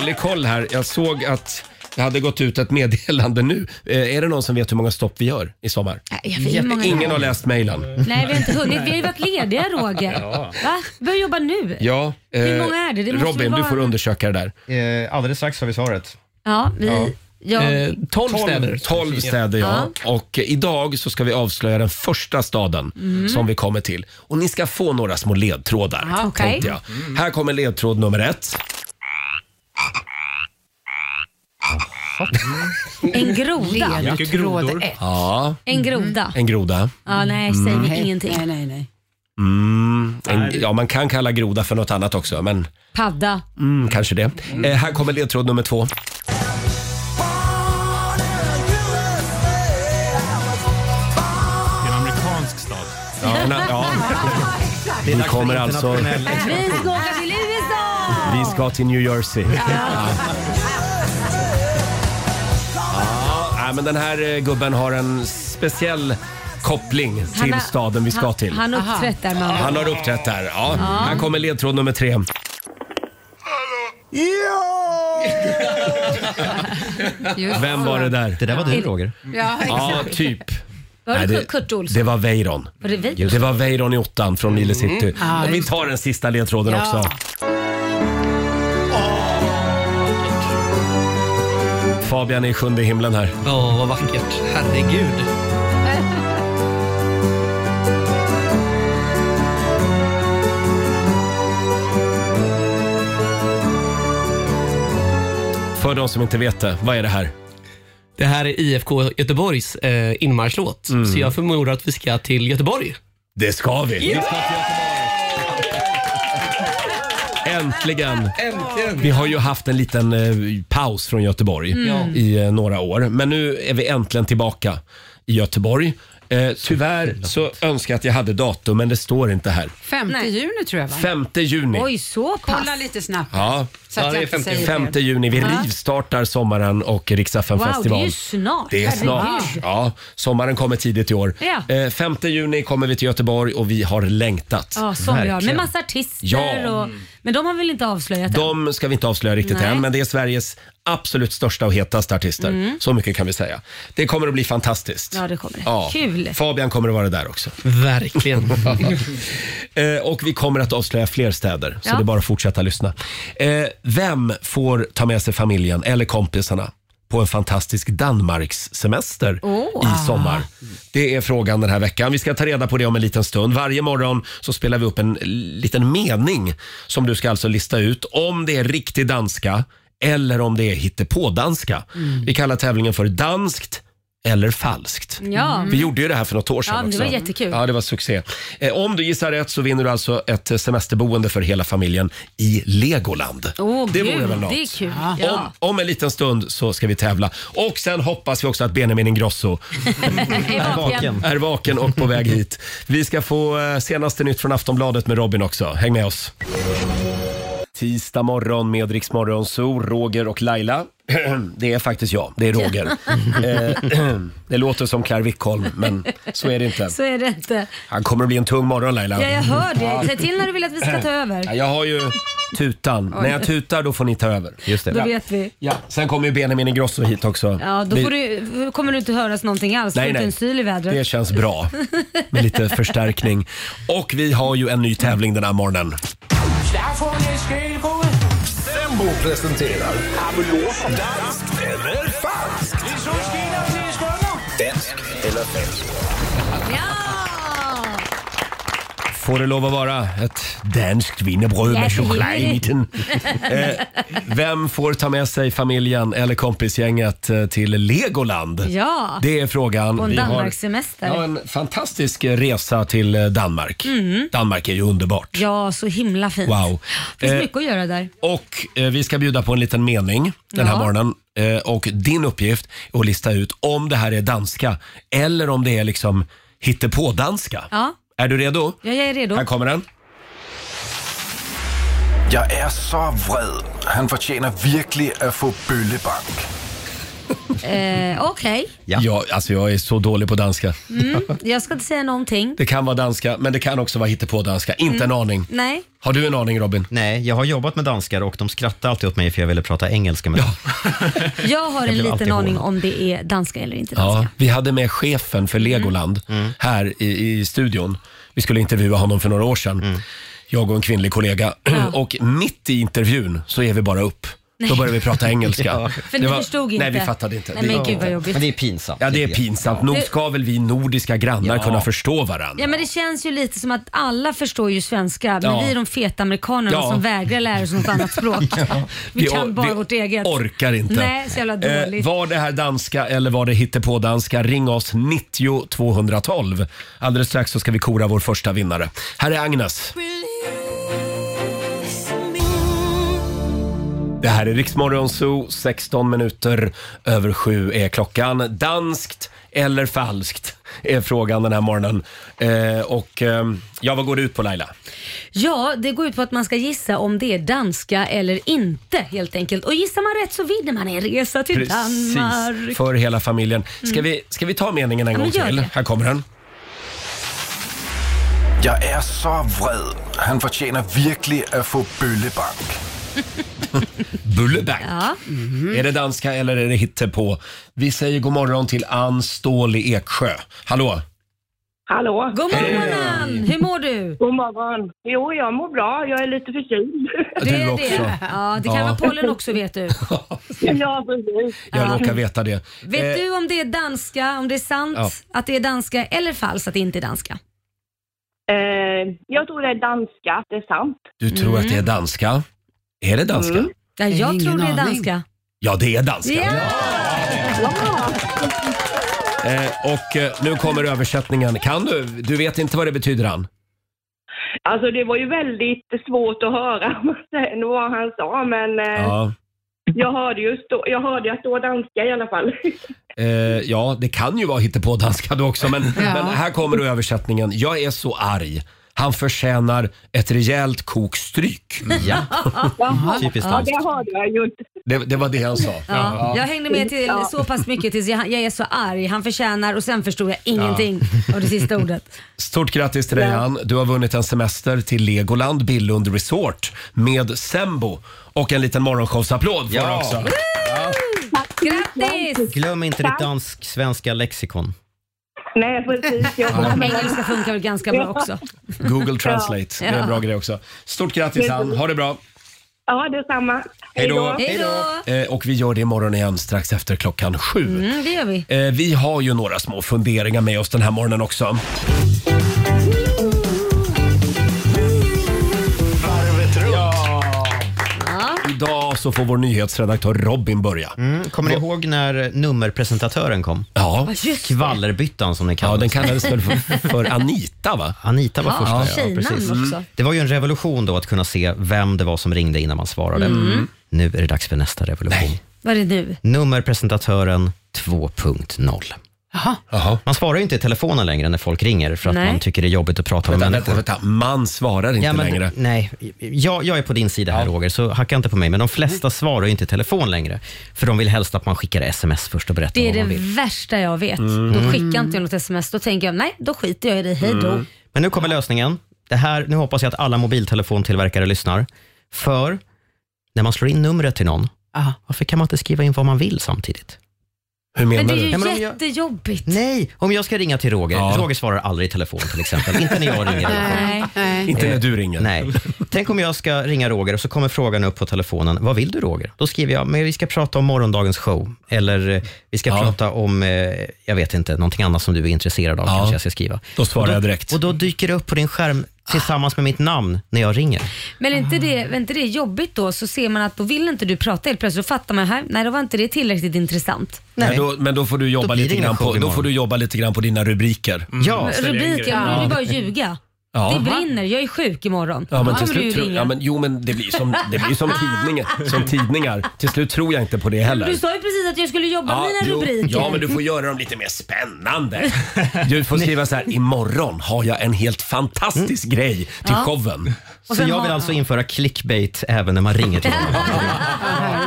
Speaker 1: dålig koll här. Jag såg att det hade gått ut ett meddelande nu. Eh, är det någon som vet hur många stopp vi gör i sommar?
Speaker 2: Nej, Jag vet inte hur många det
Speaker 1: Ingen
Speaker 2: var.
Speaker 1: har läst mejlen.
Speaker 2: Nej, vi har inte hunnit. Vi har ju varit lediga Roger. Va? Vi börjar jobba nu.
Speaker 1: Ja, eh,
Speaker 2: Hur många är det? Det måste
Speaker 1: Robin,
Speaker 2: väl
Speaker 1: du
Speaker 2: vara-
Speaker 1: får undersöka det där.
Speaker 3: Eh, alldeles strax har vi svaret.
Speaker 2: Ja, vi... Ja.
Speaker 8: Eh, tolv städer.
Speaker 1: Tolv städer, ja. Och eh, idag så ska vi avslöja den första staden
Speaker 2: Mm.
Speaker 1: som vi kommer till. Och ni ska få några små ledtrådar.
Speaker 2: Ja, okej.
Speaker 1: tänkte jag. Här kommer ledtråd nummer ett.
Speaker 2: En groda.
Speaker 1: Mycket grodor. Ja.
Speaker 2: En groda.
Speaker 1: En groda.
Speaker 2: Ja, nej, säg
Speaker 1: Mm.
Speaker 2: mig ingenting. Nej, nej, nej.
Speaker 1: Mm. En, ja, man kan kalla groda för något annat också, men
Speaker 2: Padda.
Speaker 1: mm, kanske det. Eh, här kommer ledtråd nummer två.
Speaker 9: Det är en amerikansk stad.
Speaker 1: Ja, na- ja. Vi kommer alltså...
Speaker 2: Vi ska åka till USA!
Speaker 1: Vi ska till New Jersey. Ja. Ja, nej, men den här eh, gubben har en speciell koppling
Speaker 2: Han
Speaker 1: till
Speaker 2: har-
Speaker 1: staden vi ska
Speaker 2: han-
Speaker 1: till.
Speaker 2: Han har uppträtt där med honom.
Speaker 1: Han har uppträtt där. Ja.
Speaker 2: Ja.
Speaker 1: Här kommer ledtråd nummer tre.
Speaker 2: Just
Speaker 1: Vem var det där? Det där var du Roger.
Speaker 2: Ja, exakt.
Speaker 1: Ja, typ.
Speaker 2: Var
Speaker 1: Nej,
Speaker 2: det,
Speaker 1: det-
Speaker 2: Kurt Olsson?
Speaker 1: Det var Weiron.
Speaker 2: Var det vi?
Speaker 1: Det var Weiron i åttan från Lille
Speaker 2: Mm.
Speaker 1: City.
Speaker 2: Ja,
Speaker 1: Och vi
Speaker 2: just
Speaker 1: tar den sista ledtråden
Speaker 2: Ja.
Speaker 1: också. Fabian är i sjunde himlen här.
Speaker 8: Ja, vad vackert. Herregud.
Speaker 1: För de som inte vet det, vad är det här?
Speaker 8: Det här är IFK Göteborgs eh, inmarschlåt,
Speaker 1: Mm.
Speaker 8: så jag förmodar att vi ska till Göteborg.
Speaker 1: Det ska vi! Äntligen!
Speaker 8: Äntligen!
Speaker 1: Vi har ju haft en liten eh, paus från Göteborg
Speaker 8: Mm.
Speaker 1: i eh, några år. Men nu är vi äntligen tillbaka i Göteborg. Eh, tyvärr så önskar jag att jag hade datum, men det står inte här.
Speaker 7: 5 juni tror jag va?
Speaker 1: 5 juni.
Speaker 7: Oj, så pass. Kolla lite snabbt.
Speaker 1: Ja,
Speaker 7: Så att Ja, det jag är inte 50. säger fel.
Speaker 1: 5 juni. Vi
Speaker 7: Ja.
Speaker 1: rivstartar sommaren och Riksdagen
Speaker 2: Wow,
Speaker 1: festival.
Speaker 2: det är ju snart.
Speaker 1: Det är
Speaker 2: Herregud.
Speaker 1: snart. Ja, sommaren kommer tidigt i år.
Speaker 2: Ja.
Speaker 1: Eh, 5 juni kommer vi till Göteborg och vi har längtat.
Speaker 2: Ja, som vi har. Med
Speaker 1: Verkligen.
Speaker 2: massa artister
Speaker 1: Ja.
Speaker 2: och... Men de har väl inte avslöjat än?
Speaker 1: De ska vi inte avslöja riktigt
Speaker 2: Nej.
Speaker 1: än, men det är Sveriges absolut största och hetaste artister.
Speaker 2: Mm.
Speaker 1: Så mycket kan vi säga. Det kommer att bli fantastiskt.
Speaker 2: Ja, det kommer det.
Speaker 1: Ja.
Speaker 2: Kul!
Speaker 1: Fabian kommer att vara där också.
Speaker 8: Verkligen.
Speaker 1: Eh, och vi kommer att avslöja fler städer, så
Speaker 2: Ja.
Speaker 1: det är bara att fortsätta lyssna. Eh, vem får ta med sig familjen eller kompisarna på en fantastisk Danmarkssemester
Speaker 2: Åh.
Speaker 1: i sommar? Det är frågan den här veckan. Vi ska ta reda på det om en liten stund. Varje morgon så spelar vi upp en liten mening som du ska alltså lista ut om det är riktig danska eller om det är hittepådanska.
Speaker 2: Mm.
Speaker 1: Vi kallar tävlingen för danskt eller falskt.
Speaker 2: Ja.
Speaker 1: Mm. Vi gjorde ju det här för något år sedan
Speaker 2: Ja, men det
Speaker 1: också.
Speaker 2: var jättekul.
Speaker 1: Ja, det var succé. Eh, Om du gissar rätt så vinner du alltså ett eh, semesterboende för hela familjen i Legoland.
Speaker 2: Åh,
Speaker 1: det
Speaker 2: gud,
Speaker 1: vore väl något.
Speaker 2: Det är kul.
Speaker 1: Om,
Speaker 2: Ja.
Speaker 1: om en liten stund så ska vi tävla. Och sen hoppas vi också att Benjamin Ingrosso
Speaker 2: Är vaken.
Speaker 1: är vaken och på väg hit. Vi ska få eh, senaste nytt från Aftonbladet med Robin också. Häng med oss. Tisdag morgon med Rix Morgon Zoo, Roger och Laila. Det är faktiskt jag, det är Roger. Eh, det låter som Claire Wickholm, men så är det inte.
Speaker 2: Så är det inte.
Speaker 1: Han kommer att bli en tung morgon Laila.
Speaker 2: Ja, jag hör
Speaker 1: Ja.
Speaker 2: det. Säg till när du vill att vi ska ta
Speaker 1: Ja,
Speaker 2: över.
Speaker 1: Jag har ju tutan.
Speaker 2: Oj.
Speaker 1: När jag tutar då får ni ta över. Just
Speaker 2: Då vet vi.
Speaker 1: Ja. Sen kommer ju Benjamin Ingrosso hit också.
Speaker 2: Ja, då
Speaker 1: Vi-
Speaker 2: får du, kommer du inte höras någonting alls.
Speaker 1: Nej,
Speaker 2: Nej, inte
Speaker 1: nej.
Speaker 2: en syl i vädret.
Speaker 1: Det känns bra med lite förstärkning. Och vi har ju en ny tävling den här morgonen.
Speaker 10: Där får ni skylgod. Sembo presenterar Danskt eller falskt? Danskt eller falskt?
Speaker 1: Får det lov att vara ett danskt wienerbröd
Speaker 10: Ja,
Speaker 1: med
Speaker 10: det
Speaker 1: choklad
Speaker 10: vill
Speaker 1: i
Speaker 10: vi.
Speaker 1: mitten? eh, vem får ta med sig familjen eller kompisgänget eh, till Legoland?
Speaker 2: Ja.
Speaker 1: Det är frågan.
Speaker 2: På en
Speaker 1: Vi har-
Speaker 2: Danmarkssemester.
Speaker 1: Ja, en fantastisk resa till eh, Danmark.
Speaker 2: Mm.
Speaker 1: Danmark är ju underbart.
Speaker 2: Ja, så himla fint.
Speaker 1: Wow.
Speaker 2: Det finns
Speaker 1: Eh,
Speaker 2: mycket att göra där.
Speaker 1: Och eh, vi ska bjuda på en liten mening den här
Speaker 2: Ja.
Speaker 1: morgonen. Eh, och din uppgift är att lista ut om det här är danska eller om det är liksom hittepådanska.
Speaker 2: Ja,
Speaker 1: Är du redo?
Speaker 2: jag är redo.
Speaker 1: Här kommer den.
Speaker 10: Jeg er så vred. Han fortjener virkelig at få bøllebank.
Speaker 2: Eh, Okej,
Speaker 1: Ja. alltså jag är så dålig på danska.
Speaker 2: mm, jag ska inte säga någonting.
Speaker 1: Det kan vara danska, men det kan också vara hittepådanska. Inte
Speaker 2: Mm.
Speaker 1: en aning.
Speaker 2: Nej.
Speaker 1: Har du en aning Robin?
Speaker 3: Nej, jag har jobbat med danskar och de skrattade alltid åt mig för jag ville prata engelska med dem.
Speaker 2: Jag har
Speaker 1: Jag
Speaker 2: en
Speaker 1: blev alltid
Speaker 2: liten aning
Speaker 1: hånad.
Speaker 2: om det är danska eller inte danska.
Speaker 1: Ja, vi hade med chefen för
Speaker 2: Mm.
Speaker 1: Legoland här i, i studion. Vi skulle intervjua honom för några
Speaker 2: Mm.
Speaker 1: år sedan. Jag och en kvinnlig kollega. Och mitt i intervjun så är vi bara upp. Då började vi prata engelska.
Speaker 2: Ja. För ni
Speaker 1: Det
Speaker 2: förstod inte.
Speaker 1: Nej, vi fattade inte.
Speaker 2: Nej, men gud, vad jobbigt. Men det är
Speaker 3: pinsamt.
Speaker 1: Ja, det är pinsamt. Nog ska väl vi nordiska grannar
Speaker 2: Ja.
Speaker 1: kunna förstå varandra?
Speaker 2: Ja men det känns ju lite som att alla förstår ju svenska men
Speaker 1: Ja.
Speaker 2: vi är de feta amerikanerna
Speaker 1: Ja.
Speaker 2: som vägrar lära oss något annat språk. Vi kan
Speaker 1: or-
Speaker 2: bara
Speaker 1: vi
Speaker 2: vårt eget.
Speaker 1: orkar inte. Eh,
Speaker 2: Nej, så jävla dåligt.
Speaker 1: var det här danska eller var det hittepådanska? Ring oss 90 212. Alldeles strax så ska vi kora vår första vinnare. Här är Agnes. Det här är Riksmorgon Zoo, 16 minuter över sju är klockan. Danskt eller falskt är frågan den här morgonen. Eh, och eh, ja, vad går det ut på Laila?
Speaker 2: Ja, det går ut på att man ska gissa om det är danska eller inte helt enkelt. Och gissar man rätt så vinner man en resa till Danmark.
Speaker 1: för hela familjen. Ska,
Speaker 2: Mm.
Speaker 1: vi, ska vi ta meningen en
Speaker 2: Ja, men
Speaker 1: gång
Speaker 2: gör
Speaker 1: till?
Speaker 2: det.
Speaker 1: Här kommer den.
Speaker 10: Jeg er så vred. Han fortjener virkelig at få bøllebank.
Speaker 1: Bullebank. Mm-hmm. Är det danska eller är det hittepå? Vi säger god morgon till Ann Ståhl i Eksjö. Hallå!
Speaker 11: Hallå!
Speaker 2: God morgon Ann! Hur mår du?
Speaker 11: God morgon! Jo, jag mår bra. Jag är lite förkyld.
Speaker 1: Du Det är också. det.
Speaker 2: Ja, det kan
Speaker 1: Ja.
Speaker 2: vara pollen också vet du.
Speaker 11: ja, precis.
Speaker 1: Jag
Speaker 2: Ja.
Speaker 1: råkar veta det.
Speaker 2: Vet
Speaker 1: Eh,
Speaker 2: du om det är danska, om det är sant
Speaker 1: Ja.
Speaker 2: att det är danska eller falskt att det inte är danska?
Speaker 11: Eh, jag tror det är danska, att det är sant. Mm.
Speaker 1: Du tror att det
Speaker 2: Mm.
Speaker 1: är danska? Är det danska?
Speaker 2: Ja,
Speaker 11: Jag har
Speaker 2: jag tror
Speaker 11: ingen
Speaker 2: det är
Speaker 11: aning.
Speaker 2: danska.
Speaker 1: Ja, det är danska.
Speaker 11: Ja!
Speaker 1: Eh, och eh, nu kommer översättningen. Kan du? Du vet inte vad det betyder, Ann?
Speaker 11: Alltså det var ju väldigt svårt att höra måste jag säga, vad han sa, men eh,
Speaker 1: Ja.
Speaker 11: jag hörde ju stå, jag hörde att det var danska i alla fall.
Speaker 1: Eh, ja, det kan ju vara hittepådanska då också, men, men här kommer då översättningen. Jag är så arg. Han förtjänar ett rejält kokstryk.
Speaker 11: Jaha.
Speaker 1: Typiskt
Speaker 11: ja,
Speaker 1: danskt.
Speaker 11: det hörde jag ju.
Speaker 1: Det, det var det han sa.
Speaker 2: Ja. Jag hängde med till
Speaker 11: Ja.
Speaker 2: så pass mycket tills jag, jag är så arg, han förtjänar och sen förstod jag ingenting av det sista ordet.
Speaker 1: Stort grattis till dig Ann. Du har vunnit en semester till Legoland Billund Resort med Sembo. Och en liten morgonshowsapplåd får
Speaker 3: Ja.
Speaker 1: du också.
Speaker 2: Grattis!
Speaker 3: Glöm inte ditt dansk-svenska lexikon.
Speaker 11: Nej, precis. Jag
Speaker 1: Ja.
Speaker 2: Engelska funkar väl ganska bra också.
Speaker 1: Google Translate, det är en bra grej också. Stort grattis Ann, ha det bra.
Speaker 11: Ja, detsamma.
Speaker 1: Hej då.
Speaker 2: Hej då!
Speaker 1: Eh, och vi gör det imorgon igen strax efter klockan sju.
Speaker 2: Mm, det gör vi.
Speaker 1: Eh, vi har ju några små funderingar med oss den här morgonen också.
Speaker 2: Ja.
Speaker 1: Idag så får vår nyhetsredaktör Robin börja.
Speaker 3: Mm, Kommer ni ihåg när nummerpresentatören kom?
Speaker 1: Ja.
Speaker 3: Skvallerbyttan som den kallades.
Speaker 1: Ja, den kallades väl för- för Anita va? Mm.
Speaker 3: Anita var
Speaker 1: Ja,
Speaker 3: första.
Speaker 1: tjejnamn också.
Speaker 3: Det var ju en revolution då att kunna se vem det var som ringde innan man svarade.
Speaker 2: Mm.
Speaker 3: Nu är det dags för nästa revolution.
Speaker 2: Vad är det nu?
Speaker 3: Nummerpresentatören 2.0. Man svarar ju inte i telefonen längre när folk ringer för att
Speaker 2: Nej.
Speaker 3: man tycker det är jobbigt att prata
Speaker 1: Vänta,
Speaker 3: med
Speaker 1: vänta,
Speaker 3: människor.
Speaker 1: vänta. Man svarar inte
Speaker 3: Ja, men-
Speaker 1: längre.
Speaker 3: Nej, jag, jag är på din sida här Roger, så hacka inte på mig. Men de flesta svarar ju inte i telefon längre. För de vill helst att man skickar sms först och berättar
Speaker 2: Det är
Speaker 3: vad
Speaker 2: det
Speaker 3: man vill.
Speaker 2: värsta jag vet.
Speaker 3: Mm.
Speaker 2: Då skickar inte jag något sms. Då tänker jag, nej, då skiter jag i dig. Hej då.
Speaker 3: Mm. Men nu kommer lösningen. Det här, nu hoppas jag att alla mobiltelefontillverkare lyssnar. För när man slår in numret till någon, varför kan man inte skriva in vad man vill samtidigt?
Speaker 1: Hur
Speaker 2: Men det är ju
Speaker 3: Ja, men om, jag,
Speaker 2: jättejobbigt.
Speaker 3: nej, om jag ska ringa till Roger,
Speaker 1: Ja.
Speaker 3: Roger svarar aldrig i telefon till exempel. inte när jag ringer. i alla fall.
Speaker 2: Nej.
Speaker 1: Inte
Speaker 3: Eh,
Speaker 1: när du ringer.
Speaker 3: Nej. Tänk om jag ska ringa Roger och så kommer frågan upp på telefonen. Vad vill du Roger? Då skriver jag, men vi ska prata om morgondagens show. Eller eh, vi ska prata om, eh, jag vet inte, någonting annat som du är intresserad av
Speaker 1: Ja.
Speaker 3: kanske jag ska skriva.
Speaker 1: Då svarar
Speaker 3: Och
Speaker 1: jag direkt.
Speaker 3: Och då dyker det upp på din skärm tillsammans med mitt namn när jag ringer.
Speaker 2: Men är inte det,
Speaker 1: Ah.
Speaker 2: är inte det jobbigt då så ser man att då vill inte du prata helt plötsligt. Då fattar man, här, nej då var inte det tillräckligt intressant.
Speaker 1: Men, då, men då, får du jobba
Speaker 3: Då blir
Speaker 1: lite
Speaker 3: det ingen
Speaker 1: grann på,
Speaker 3: show
Speaker 1: då
Speaker 3: imorgon.
Speaker 1: får du jobba lite grann på dina rubriker.
Speaker 3: Ja.
Speaker 2: Mm. Rubriken, men det är bara att ljuga.
Speaker 1: Ja.
Speaker 2: Det brinner, jag är sjuk imorgon.
Speaker 1: Ja, men
Speaker 2: Då
Speaker 1: till
Speaker 2: kommer du
Speaker 1: slut
Speaker 2: ju
Speaker 1: tror,
Speaker 2: ringa.
Speaker 1: ja, men, jo, men det blir som, det blir som, tidningar, som tidningar. Till slut tror jag inte på det heller.
Speaker 2: Du sa ju precis att jag skulle jobba med mina
Speaker 1: jo,
Speaker 2: rubriker.
Speaker 1: ja, men du får göra dem lite mer spännande. Du får skriva så här, imorgon har jag en helt fantastisk grej till
Speaker 2: Ja.
Speaker 1: showen.
Speaker 3: Så jag vill alltså införa clickbait även när man ringer till honom.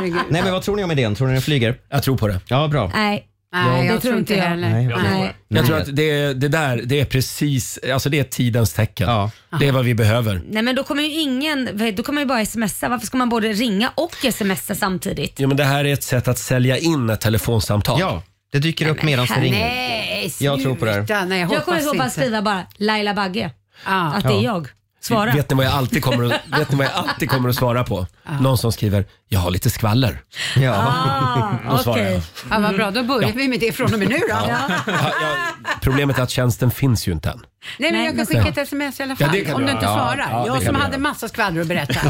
Speaker 3: Nej men vad tror ni om idén? Tror ni den flyger?
Speaker 1: Jag tror på det.
Speaker 3: Ja, bra.
Speaker 2: Nej.
Speaker 7: Nej,
Speaker 2: det
Speaker 7: jag tror inte heller.
Speaker 3: Nej,
Speaker 7: jag tror
Speaker 2: Nej.
Speaker 1: Jag tror att det, det där, det är precis, alltså det är tidens tecken. Det är vad vi behöver.
Speaker 2: Nej men då kommer ju ingen, då kommer ju bara smsa. Varför ska man både ringa och smsa samtidigt?
Speaker 1: Ja, men det här är ett sätt att sälja in ett telefonsamtal.
Speaker 3: Ja, det dyker upp medan du ringer.
Speaker 2: Nej,
Speaker 3: Jag tror på det här.
Speaker 7: sluta. Nej, jag
Speaker 2: Jag kommer
Speaker 7: hoppas
Speaker 2: ihåg att
Speaker 7: inte. Ah.
Speaker 2: skriva bara Laila Bagge. Att det
Speaker 3: Ja.
Speaker 2: är jag. Svara.
Speaker 1: Vet ni vad jag alltid kommer att, vet ni vad jag alltid kommer att svara på? Någon som skriver “Jag har lite skvaller”.
Speaker 2: Ah,
Speaker 1: Ja. Då svarar jag.
Speaker 7: Ja, vad bra, då börjar
Speaker 1: Ja.
Speaker 7: vi med det från och med nu då.
Speaker 1: Ja, ja, problemet är att tjänsten finns ju inte än.
Speaker 7: Nej, men jag kan skicka ett sms i alla
Speaker 1: Ja,
Speaker 7: fall
Speaker 1: det kan
Speaker 7: om
Speaker 1: du
Speaker 7: du
Speaker 1: göra.
Speaker 7: inte
Speaker 1: Ja,
Speaker 7: svarar.
Speaker 1: ja, det
Speaker 7: jag
Speaker 1: kan
Speaker 7: som
Speaker 1: du
Speaker 7: hade
Speaker 1: göra.
Speaker 7: massa skvaller att berätta.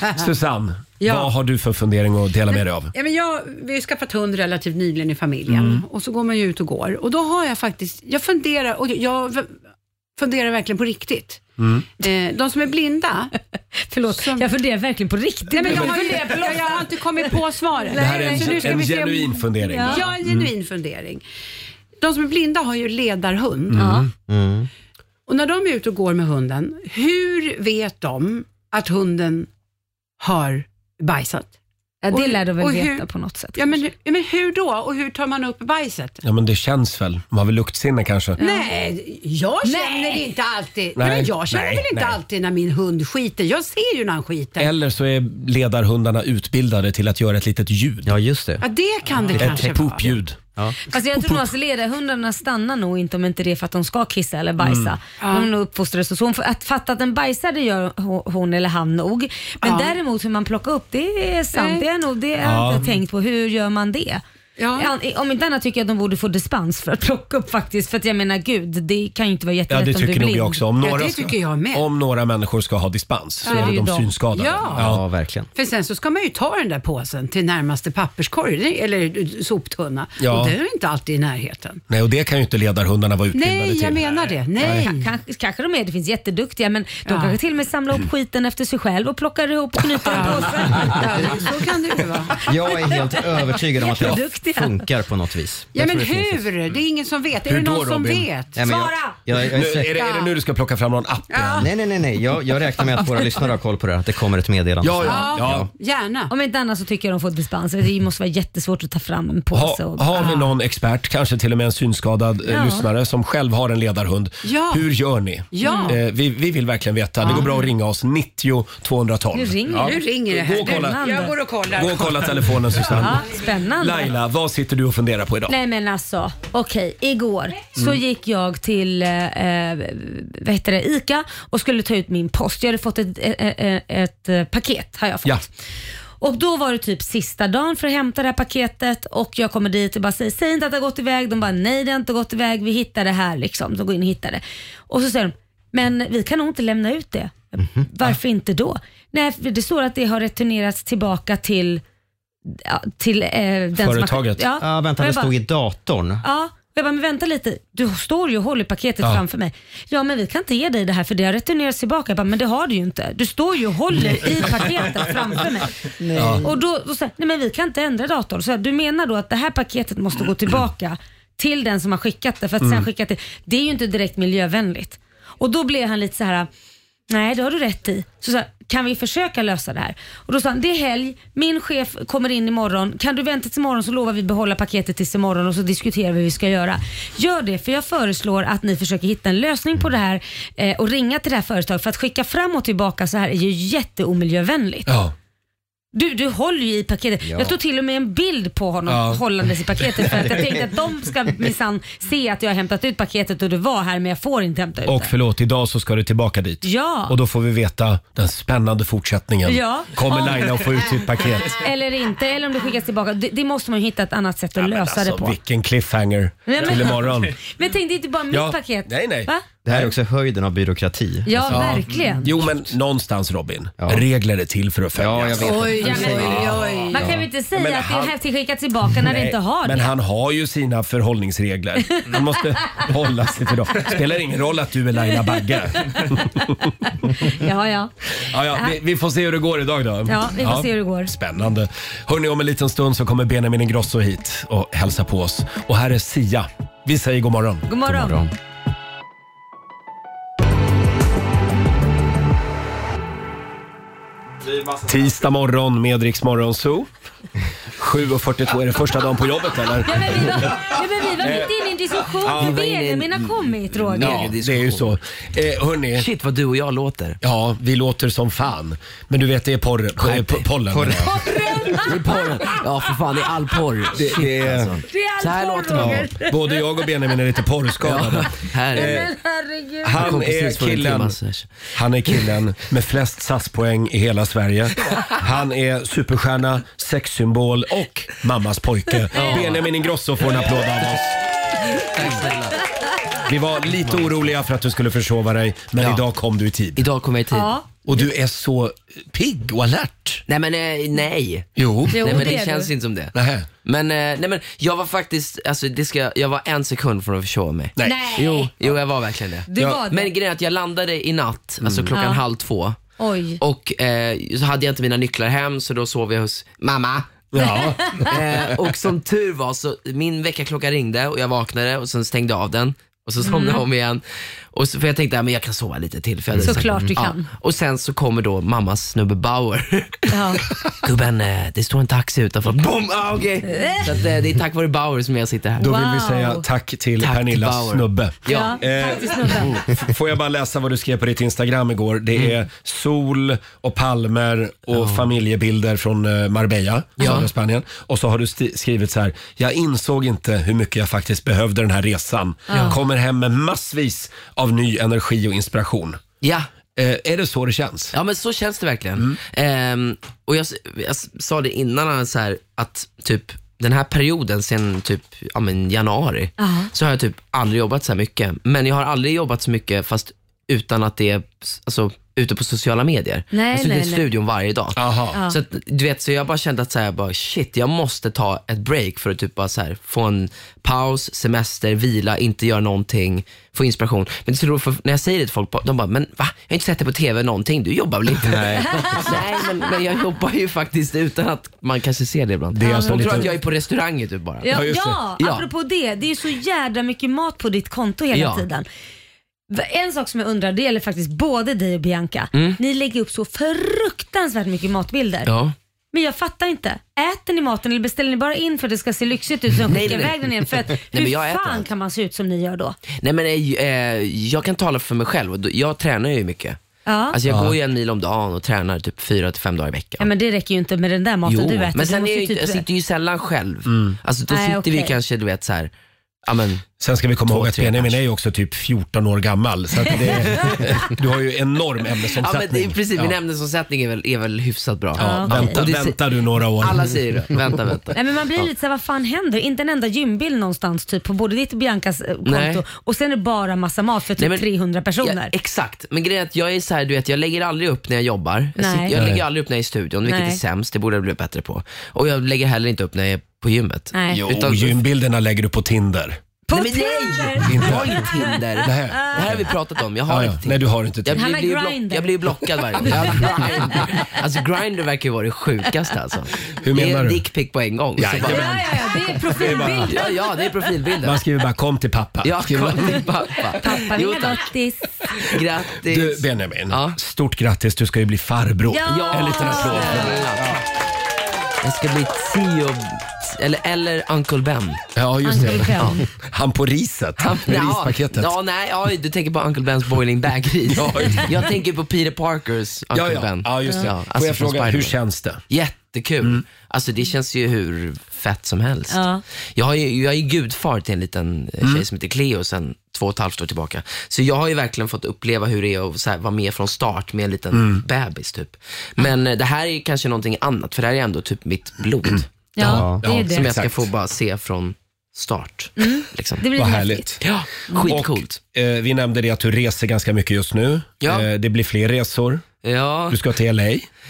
Speaker 7: ja.
Speaker 1: Susanne,
Speaker 7: Ja.
Speaker 1: vad har du för fundering att dela med dig av?
Speaker 7: Ja, men jag, vi har skaffat hund relativt nyligen i familjen
Speaker 1: Mm.
Speaker 7: och så går man ju ut och går och då har jag faktiskt, jag funderar och jag v- funderar verkligen på riktigt.
Speaker 1: Mm.
Speaker 7: Eh, de som är blinda.
Speaker 2: Förlåt, jag funderar verkligen på riktigt.
Speaker 7: Nej, men jag,
Speaker 2: Jag
Speaker 7: har ju,
Speaker 2: funderar på-
Speaker 7: jag, jag har inte kommit på svaret.
Speaker 1: Det här är
Speaker 7: Så nu
Speaker 1: en,
Speaker 7: ska
Speaker 1: en
Speaker 7: vi se om-
Speaker 1: genuin fundering. Mm.
Speaker 7: Ja, en genuin fundering. De som är blinda har ju ledarhund.
Speaker 2: Mm.
Speaker 1: Mm.
Speaker 3: Mm.
Speaker 7: Och när de är ute och går med hunden, hur vet de att hunden har bajsat?
Speaker 2: Ja, det
Speaker 7: Och-
Speaker 2: lär de väl
Speaker 7: och
Speaker 2: veta på något sätt.
Speaker 7: Ja men, ja, men hur då? Och hur tar man upp bajset?
Speaker 1: Ja, men det känns väl. De har väl luktsinne kanske.
Speaker 7: Nej, jag känner
Speaker 2: Nej.
Speaker 7: inte alltid. Nej.
Speaker 1: Nej,
Speaker 7: men jag känner
Speaker 1: nej,
Speaker 7: väl inte
Speaker 1: nej.
Speaker 7: alltid när min hund skiter. Jag ser ju när han skiter.
Speaker 1: Eller så är ledarhundarna utbildade till att göra ett litet ljud. Ja, just
Speaker 7: Ja, det kan det kanske
Speaker 1: Ett
Speaker 7: vara.
Speaker 1: popljud.
Speaker 2: Alltså jag tror nog att ledarhundarna stannar nog inte om inte det är för att de ska kissa eller
Speaker 1: Mm.
Speaker 2: bajsa.
Speaker 7: Ja.
Speaker 2: Hon är uppfostrad så. så hon får, att fatta att den bajsar det gör ho- hon eller han nog. Men
Speaker 7: Ja.
Speaker 2: däremot hur man plockar upp det är sant.
Speaker 7: Nej.
Speaker 2: Det är nog det jag har
Speaker 7: Ja.
Speaker 2: inte tänkt på. Hur gör man det?
Speaker 7: Ja.
Speaker 2: Ja, Om inte annat tycker jag att de borde få dispens för att plocka upp faktiskt. För att jag menar gud, det kan ju inte vara
Speaker 1: Ja,
Speaker 2: jättelätt
Speaker 1: det
Speaker 2: om du är
Speaker 1: tycker nog
Speaker 2: blind.
Speaker 1: jag också. Om
Speaker 7: Ja,
Speaker 1: några,
Speaker 7: det tycker jag med.
Speaker 1: om några människor ska ha dispens så
Speaker 7: Ja,
Speaker 1: är
Speaker 7: det är
Speaker 1: det de,
Speaker 7: de.
Speaker 1: synskadade.
Speaker 7: Ja.
Speaker 1: ja, verkligen.
Speaker 7: För sen så ska man ju ta den där påsen till närmaste papperskorg eller soptunna.
Speaker 1: Ja.
Speaker 7: Och den är inte alltid i närheten.
Speaker 1: Nej, och det kan ju inte ledarhundarna vara utbildade
Speaker 7: Nej, jag
Speaker 1: till.
Speaker 7: menar det. Nej.
Speaker 2: Ka- Kanske, kanske de är, det finns jätteduktiga men de kanske till och med samlar upp skiten efter sig själv och plockar ihop och knyter en påse.
Speaker 7: Ja, så kan det ju vara.
Speaker 3: Jag är helt övertygad om att det
Speaker 2: Jätteduktiga.
Speaker 3: funkar på något vis.
Speaker 7: Ja,
Speaker 3: Jag
Speaker 7: men
Speaker 3: tror det finns ett-
Speaker 7: hur? Det är ingen som vet. är
Speaker 3: Hur
Speaker 7: det någon
Speaker 3: då,
Speaker 7: som
Speaker 3: Robin?
Speaker 7: vet?
Speaker 3: Nej, men jag-
Speaker 7: Svara!
Speaker 3: jag- jag är
Speaker 1: Nu,
Speaker 3: säker-
Speaker 1: är, det, är det nu du ska plocka fram någon app? Ja.
Speaker 3: Nej, nej, nej. nej. Jag, jag räknar med att våra lyssnare har koll på det här, att det kommer ett meddelande.
Speaker 1: Ja,
Speaker 7: Ja,
Speaker 1: ja.
Speaker 7: gärna.
Speaker 2: Om inte annat så tycker jag de får dispens. Det måste vara jättesvårt att ta fram en påse.
Speaker 1: Ha,
Speaker 2: och,
Speaker 1: har vi någon expert, kanske till och med en synskadad eh,
Speaker 2: Ah. Ja.
Speaker 1: lyssnare som själv har en ledarhund.
Speaker 7: Ja.
Speaker 1: Hur gör ni?
Speaker 7: Ja.
Speaker 1: Eh, vi, vi vill verkligen veta. Det går bra att ringa oss 90 212.
Speaker 2: Nu ringer
Speaker 1: Ja.
Speaker 7: Nu ringer det
Speaker 1: Gå och kolla,
Speaker 7: här. Jag går och kollar.
Speaker 1: gå och kolla telefonen Susanne.
Speaker 2: Ja, spännande.
Speaker 1: Laila, vad sitter du och funderar på idag?
Speaker 2: Nej men alltså, okej. Igår så
Speaker 1: Mm.
Speaker 2: gick jag till eh, eh, vad heter det, ICA och skulle ta ut min post. Jag hade fått ett, eh, eh, ett, eh, paket. Har jag fått.
Speaker 1: Ja.
Speaker 2: Och då var det typ sista dagen för att hämta det här paketet och jag kommer dit och bara säger, säg inte att det har gått iväg. De bara, nej det har inte gått iväg, vi hittar det här liksom. De går in och hittar det. Och så säger de, men vi kan nog inte lämna ut det.
Speaker 3: Mhm.
Speaker 2: Varför inte då? Nej, för det står att det har returnerats tillbaka till, ja, till eh, den
Speaker 1: Företaget.
Speaker 2: Som har,
Speaker 3: Ja, vänta,
Speaker 2: Och
Speaker 3: det
Speaker 2: jag bara,
Speaker 3: stod i datorn.
Speaker 2: Ja, och jag bara, men vänta lite. Du står ju och håller paketet
Speaker 3: Ja.
Speaker 2: framför mig. Ja, men vi kan inte ge dig det här för det har returnerats tillbaka. Jag bara, men det har du ju inte. Du står ju och håller i paketet framför mig. Och då, då säger nej men vi kan inte ändra datorn. Så här, du menar då att det här paketet måste gå tillbaka till den som har skickat det för att sen skicka det. Det är ju inte direkt miljövänligt. Och då blev han lite så här. Nej, det har du rätt i. Så sa jag, kan vi försöka lösa det här? Och då sa han, det är helg, min chef kommer in imorgon. Kan du vänta till imorgon så lovar vi behålla paketet tills imorgon och så diskuterar vi hur vi ska göra. Gör det, för jag föreslår att ni försöker hitta en lösning på det här eh, och ringa till det här företaget. För att skicka fram och tillbaka så här är ju jätteomiljövänligt.
Speaker 1: Ja.
Speaker 2: Du, du håller ju i paketet.
Speaker 3: Ja.
Speaker 2: Jag tog till och med en bild på honom
Speaker 1: Ja.
Speaker 2: hållandes i paketet för att jag tänkte att de ska minsann se att jag har hämtat ut paketet och det var här men jag får inte hämta ut
Speaker 1: Och
Speaker 2: det.
Speaker 1: förlåt, idag så ska du tillbaka dit.
Speaker 2: Ja.
Speaker 1: Och då får vi veta den spännande fortsättningen.
Speaker 2: Ja.
Speaker 1: Kommer
Speaker 2: Om-
Speaker 1: Laila att få ut sitt paket?
Speaker 2: Eller inte, eller om det skickas tillbaka. Det, det måste man ju hitta ett annat sätt att lösa det på.
Speaker 1: Alltså, vilken cliffhanger
Speaker 2: Nej, men-
Speaker 1: till imorgon.
Speaker 2: Men tänk, det är inte bara mitt
Speaker 1: Ja,
Speaker 2: paket.
Speaker 1: nej, nej.
Speaker 2: Va?
Speaker 3: Det här är också höjden av byråkrati. Alltså-
Speaker 2: Ja, verkligen.
Speaker 1: Jo, men någonstans Robin. Regler är till för att följas.
Speaker 3: Ja, jag vet.
Speaker 7: Oj,
Speaker 2: Ja, men-
Speaker 7: oj,
Speaker 2: Man kan väl inte säga
Speaker 1: Men
Speaker 2: att
Speaker 1: han-
Speaker 2: det är skickat tillbaka när det inte har
Speaker 1: men
Speaker 2: det?
Speaker 1: han har ju sina förhållningsregler. Han måste hålla sig till dem. Spelar ingen roll att du är Laila Bagge.
Speaker 2: Ja, ja.
Speaker 1: Ja, ja, vi, vi får se hur det går idag då.
Speaker 2: Ja, vi får se hur det går.
Speaker 1: Spännande. Hörni, om en liten stund så kommer Benjamin Ingrosso hit och hälsa på oss. Och här är Sia. Vi säger god morgon.
Speaker 2: God morgon.
Speaker 1: Tisdag morgon med Rix Morgon Zoo. 7.42, är det första dagen på jobbet eller?
Speaker 2: Ja, men vi var, ja, men vi var mitt inne i en diskussion
Speaker 1: Ja,
Speaker 2: hur
Speaker 1: vi var inne i en-
Speaker 2: Benjamin har kommit Roger.
Speaker 1: Ja, det är ju så. Eh, hörni. Shit vad du och jag låter. Ja, vi låter som fan. Men du vet, det är porr, eh, po- pollen.
Speaker 12: Porr.
Speaker 2: Det
Speaker 12: är porren. Ja, för fan, det är all porr.
Speaker 1: Det-
Speaker 12: Shit,
Speaker 1: det är-
Speaker 12: alltså.
Speaker 2: Det är
Speaker 12: Så här
Speaker 2: all
Speaker 12: låter
Speaker 2: porr,
Speaker 12: man.
Speaker 2: Roger.
Speaker 1: Ja, både jag och Benjamin är lite porrskadade.
Speaker 2: Nej,
Speaker 1: Eh,
Speaker 2: men herregud.
Speaker 1: han är killen,
Speaker 3: alltså.
Speaker 1: han är killen med flest SAS-poäng i hela Sverige. Han är superstjärna, sexsymbol och mammas pojke.
Speaker 12: Ja.
Speaker 1: Benjamin Ingrosso får en applåd av oss. Vi var lite oroliga för att du skulle försova dig, men idag kom du i tid.
Speaker 12: Idag kom jag i tid.
Speaker 2: Ja.
Speaker 1: Och du är så pigg och alert.
Speaker 12: Nej men eh, nej.
Speaker 1: Jo.
Speaker 12: nej, men det,
Speaker 1: är
Speaker 12: känns
Speaker 1: du.
Speaker 12: inte som det.
Speaker 1: Nähä.
Speaker 12: Men, eh, nej, men jag var faktiskt, alltså, det ska, jag var en sekund från att förstå mig.
Speaker 1: Nej.
Speaker 2: Nej.
Speaker 12: Jo, jo, jag var verkligen det.
Speaker 2: Du
Speaker 12: Ja.
Speaker 2: var det.
Speaker 12: Men grejen är att jag landade i natt, alltså
Speaker 2: Mm.
Speaker 12: klockan
Speaker 2: Ja.
Speaker 12: halv två.
Speaker 2: Oj.
Speaker 12: Och eh, så hade jag inte mina nycklar hem så då sov jag hos mamma.
Speaker 1: Ja.
Speaker 12: eh, och som tur var så min väckarklocka ringde och jag vaknade och sen stängde jag av den. Och så somnade jag
Speaker 2: Mm.
Speaker 12: om igen. Och så, för jag tänkte att jag kan sova lite till. För jag hade
Speaker 2: Såklart
Speaker 12: sagt-
Speaker 2: du kan.
Speaker 12: Och sen så kommer då mammas snubbe Bauer.
Speaker 2: Ja.
Speaker 12: Gubben, eh, det står en taxi utanför. Boom! Ah, okej. Så att, eh, det är tack vare Bauer som jag sitter här.
Speaker 1: Då vill vi säga tack till
Speaker 12: Tack till
Speaker 1: Pernillas
Speaker 12: Bauer.
Speaker 1: snubbe.
Speaker 12: Ja.
Speaker 1: Eh,
Speaker 2: Tack till snubben.
Speaker 1: F- Mm. Får jag bara läsa vad du skrev på ditt Instagram igår? Det
Speaker 12: Mm.
Speaker 1: är sol och palmer och familjebilder från eh, Marbella, södra Spanien. Och så har du sti- skrivit så här. Jag insåg inte hur mycket jag faktiskt behövde den här resan.
Speaker 12: Ja.
Speaker 1: Kommer hem med massvis av ny energi och inspiration.
Speaker 12: Ja.
Speaker 1: Eh, är det så det känns?
Speaker 12: Ja, men så känns det verkligen. Ehm, och jag, s- jag s- sa det innan, eh, så här, att typ den här perioden sen typ ja, men januari,
Speaker 5: Ja.
Speaker 12: så har jag typ aldrig jobbat så här mycket. Men jag har aldrig jobbat så mycket fast utan att det är s- alltså, ute på sociala medier.
Speaker 5: Nej,
Speaker 12: jag sitter
Speaker 5: nej,
Speaker 12: i
Speaker 5: nej.
Speaker 12: studion varje dag.
Speaker 5: Ja.
Speaker 12: Så, att, du vet, så jag bara kände att så här, bara, shit, jag måste ta ett break för att typ bara så här, få en paus, semester, vila, inte göra någonting, få inspiration. Men det är så roligt, för när jag säger det till folk, de bara, men va? Jag har inte sett dig på TV någonting, du jobbar väl inte?
Speaker 5: Nej.
Speaker 12: Nej, men, men jag jobbar ju faktiskt utan att man kanske ser det ibland.
Speaker 1: Det är alltså
Speaker 12: de tror
Speaker 1: lite-
Speaker 12: att jag är på restauranger typ bara.
Speaker 2: Ja, ja, apropå det. Det är så jävla mycket mat på ditt konto hela
Speaker 12: Ja.
Speaker 2: tiden. En sak som jag undrar, det gäller faktiskt både dig och Bianca.
Speaker 12: Mm.
Speaker 2: Ni lägger upp så fruktansvärt mycket matbilder.
Speaker 1: Eh,
Speaker 12: Ja.
Speaker 2: Men jag fattar inte. Äter ni maten eller beställer ni bara in för att det ska se lyxigt ut sen
Speaker 12: Nej,
Speaker 2: skickar
Speaker 12: nej.
Speaker 2: iväg den igen? För att,
Speaker 12: Nej,
Speaker 2: hur
Speaker 12: men jag äter
Speaker 2: fan kan man se ut som ni gör då?
Speaker 12: Nej men eh, eh, jag kan tala för mig själv, och då- jag tränar ju mycket.
Speaker 2: Ja.
Speaker 12: Alltså jag går ju en mil om dagen och tränar typ fyra till fem dagar i veckan.
Speaker 2: Ja, men det räcker ju inte med den där maten
Speaker 12: Jo,
Speaker 2: du äter.
Speaker 12: men
Speaker 2: Du
Speaker 12: sen
Speaker 2: måste
Speaker 12: är jag,
Speaker 2: ju
Speaker 12: ju-
Speaker 2: typ-
Speaker 12: jag sitter ju sällan själv.
Speaker 1: Mm.
Speaker 12: Alltså då
Speaker 2: Nej,
Speaker 12: sitter vi
Speaker 2: okej.
Speaker 12: kanske, du vet så här, ja men
Speaker 1: Sen ska vi komma
Speaker 12: Två,
Speaker 1: ihåg att
Speaker 12: tre
Speaker 1: Benjamin är ju också typ 14 år gammal. Så att det, du har ju enorm
Speaker 12: Ja,
Speaker 1: ämnesomsättning.
Speaker 12: men det är precis, min
Speaker 1: Ja.
Speaker 12: ämnesomsättning är väl, är väl hyfsat bra.
Speaker 1: Ja, vänta,
Speaker 12: Och det-
Speaker 1: vänta du några år.
Speaker 12: Alla säger det. Vänta, vänta.
Speaker 2: Nej, men man blir
Speaker 12: Ja.
Speaker 2: lite såhär, vad fan händer? Inte en enda gymbild någonstans typ på både ditt och Biancas eh, konto
Speaker 12: Nej.
Speaker 2: och sen är det bara massa mat för typ
Speaker 12: Nej, men-
Speaker 2: 300 personer.
Speaker 12: Ja, exakt, men grejen är att jag är så här, du vet, jag lägger aldrig upp när jag jobbar. Jag,
Speaker 2: Nej.
Speaker 12: sitter, jag
Speaker 2: Nej.
Speaker 12: lägger aldrig upp när jag är i studion, vilket
Speaker 2: Nej.
Speaker 12: är sämst. Det borde jag bli bättre på. Och jag lägger heller inte upp när jag är på gymmet.
Speaker 2: Nej.
Speaker 1: Jo, gymbilderna lägger du på Tinder.
Speaker 12: På nej, men nej!
Speaker 1: Inte.
Speaker 12: Jag har inget Tinder.
Speaker 1: Nej.
Speaker 12: Det här har vi pratat om. Jag har
Speaker 1: Ja, ja.
Speaker 12: inte Tinder.
Speaker 1: Nej, du har inte
Speaker 12: Jag
Speaker 1: Tinder.
Speaker 12: blir,
Speaker 2: Han har
Speaker 12: blir ju block,
Speaker 2: Grindr.
Speaker 12: jag blir ju blockad varje gång. Jag har Grindr. alltså Grindr verkar ju vara det sjukaste alltså.
Speaker 1: Hur
Speaker 12: det
Speaker 1: menar
Speaker 12: är
Speaker 1: du?
Speaker 12: dickpick på en gång. Så
Speaker 1: Jajamän.
Speaker 12: bara-
Speaker 2: Ja, ja, ja, det är
Speaker 12: Ja,
Speaker 2: profilbilden.
Speaker 12: ja, det är profilbilden.
Speaker 1: Man skriver bara kom till pappa.
Speaker 12: Ja,
Speaker 1: Skriver man.
Speaker 12: kom till pappa.
Speaker 2: Pappa,
Speaker 12: Jo,
Speaker 2: mina
Speaker 12: tack.
Speaker 2: gottis.
Speaker 12: Grattis.
Speaker 1: Du Benjamin, stort grattis. Du ska ju bli farbror.
Speaker 2: Ja!
Speaker 1: En liten applåd.
Speaker 12: Jag ska bli Tio, eller, eller Uncle Ben.
Speaker 1: Ja, just det.
Speaker 12: Uncle Ben.
Speaker 1: Ja. Han på riset. med rispaketet.
Speaker 12: Ja, nej, oj, du tänker på Uncle Bens boiling bag-ris.
Speaker 1: Ja, just det.
Speaker 12: jag tänker på Peter Parkers Uncle
Speaker 1: Ja, ja.
Speaker 12: Ben. alltså,
Speaker 1: Ja, just det. Får jag
Speaker 12: från
Speaker 1: fråga, hur
Speaker 12: Spider-Man.
Speaker 1: känns det? Mm.
Speaker 12: Jättekul. Alltså det känns ju hur fett som helst.
Speaker 2: Ja.
Speaker 12: Jag, har ju, jag är ju gudfar till en liten eh,
Speaker 1: Mm.
Speaker 12: tjej som heter Cleo sen två och ett halvt år tillbaka. Så jag har ju verkligen fått uppleva hur det är att så här, vara med från start med en liten
Speaker 5: Mm.
Speaker 12: bebis typ. Men eh, det här är ju kanske någonting annat för det här är ändå typ mitt blod.
Speaker 2: Ja, det är det.
Speaker 12: Som jag ska
Speaker 2: Exakt.
Speaker 12: få bara se från start. Liksom.
Speaker 2: Mm. Det blir
Speaker 1: Vad
Speaker 2: lite
Speaker 1: härligt.
Speaker 12: Ja, skitcoolt.
Speaker 1: Och, eh, vi nämnde det att du reser ganska mycket just nu.
Speaker 12: Ja.
Speaker 1: Eh, det blir fler resor.
Speaker 12: Ja.
Speaker 1: Du ska till LA.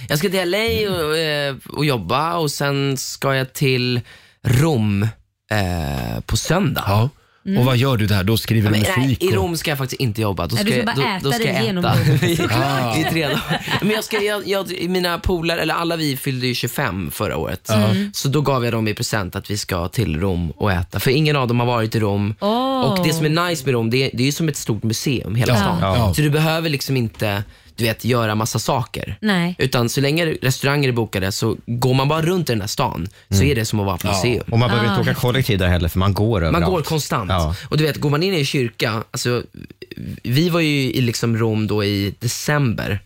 Speaker 12: Jag ska till LA och, eh, och jobba och sen ska jag till Rom eh, på söndag.
Speaker 1: Ja. Mm. Och vad gör du där? Då skriver du
Speaker 12: men, nej,
Speaker 1: musik?
Speaker 12: I
Speaker 1: och-
Speaker 12: Rom ska jag faktiskt inte jobba. Då
Speaker 2: Nej,
Speaker 12: ska,
Speaker 2: du ska
Speaker 12: jag-
Speaker 2: bara äta
Speaker 12: då, då ska
Speaker 2: dig
Speaker 12: jag
Speaker 2: igenom
Speaker 12: äta.
Speaker 2: Rom.
Speaker 1: Såklart.
Speaker 12: I tre dagar. Men jag ska, jag, jag, mina polare, eller alla vi fyllde ju 25 förra året.
Speaker 2: Ja. Mm.
Speaker 12: Så då gav jag dem i present att vi ska till Rom och äta. För ingen av dem har varit i Rom.
Speaker 2: Åh.
Speaker 12: Och det som är nice med Rom, det, är- det är ju som ett stort museum hela
Speaker 2: Ja.
Speaker 12: stan.
Speaker 2: Ja.
Speaker 12: Så du behöver liksom inte du vet, göra massa saker.
Speaker 2: Nej.
Speaker 12: Utan så länge restauranger är bokade så går man bara runt i den där stan så
Speaker 3: Mm.
Speaker 12: är det som att vara på museum.
Speaker 3: Och man behöver inte åka kollektiv där heller, för man går
Speaker 12: Man
Speaker 3: överallt.
Speaker 12: går konstant.
Speaker 3: Ja.
Speaker 12: Och du vet, går man in i en kyrka, alltså, vi var ju i liksom Rom då i december.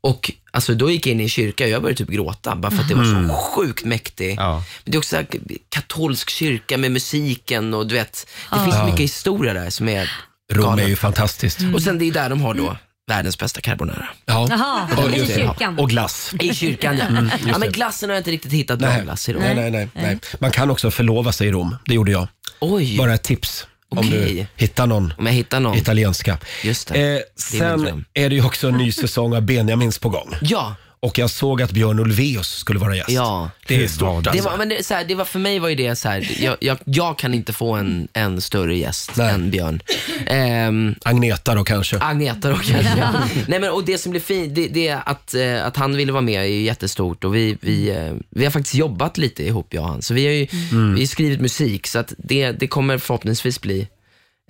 Speaker 12: Och alltså, då gick jag in i en kyrka och jag började typ gråta, bara för att det var
Speaker 3: Mm.
Speaker 12: så sjukt mäktig. Men det är också så här, katolsk kyrka med musiken och du vet, det
Speaker 1: Ja.
Speaker 12: finns så
Speaker 1: Ja.
Speaker 12: mycket historia där som är
Speaker 1: Rom
Speaker 12: galet.
Speaker 1: är ju fantastiskt.
Speaker 12: Mm. Och sen det är där de har då världens bästa carbonara.
Speaker 1: Ja.
Speaker 2: Jaha, i
Speaker 12: just det.
Speaker 2: kyrkan.
Speaker 1: Och glass.
Speaker 12: I kyrkan ja.
Speaker 1: Mm, just
Speaker 12: ja
Speaker 1: det.
Speaker 12: men glassen har jag inte riktigt hittat bra glass i Rom.
Speaker 1: Nej, nej, nej, nej. Man kan också förlova sig i Rom. Det gjorde jag.
Speaker 12: Oj.
Speaker 1: Bara ett tips. Om du
Speaker 12: Okej.
Speaker 1: hittar någon,
Speaker 12: Om jag hittar någon.
Speaker 1: italienska.
Speaker 12: Just det.
Speaker 1: Eh,
Speaker 12: det är min
Speaker 1: sen
Speaker 12: dröm.
Speaker 1: är, det ju också en ny säsong av Benjamins på gång.
Speaker 12: Ja.
Speaker 1: Och jag såg att Björn Ulvaeus skulle vara gäst.
Speaker 12: Ja.
Speaker 1: Det är stort
Speaker 12: Det
Speaker 1: alltså.
Speaker 12: var, men det, så här, det var, för mig var ju det så här, jag, jag, jag kan inte få en, en större gäst än Björn. Ehm,
Speaker 1: Agneta då kanske?
Speaker 12: Agneta då kanske.
Speaker 1: Ja.
Speaker 12: Nej, men, och det som blev fint, det, det är att, eh, att han ville vara med är ju jättestort och vi, vi, eh, vi har faktiskt jobbat lite ihop jag och han. Så vi har ju vi har skrivit musik så att det, det kommer förhoppningsvis bli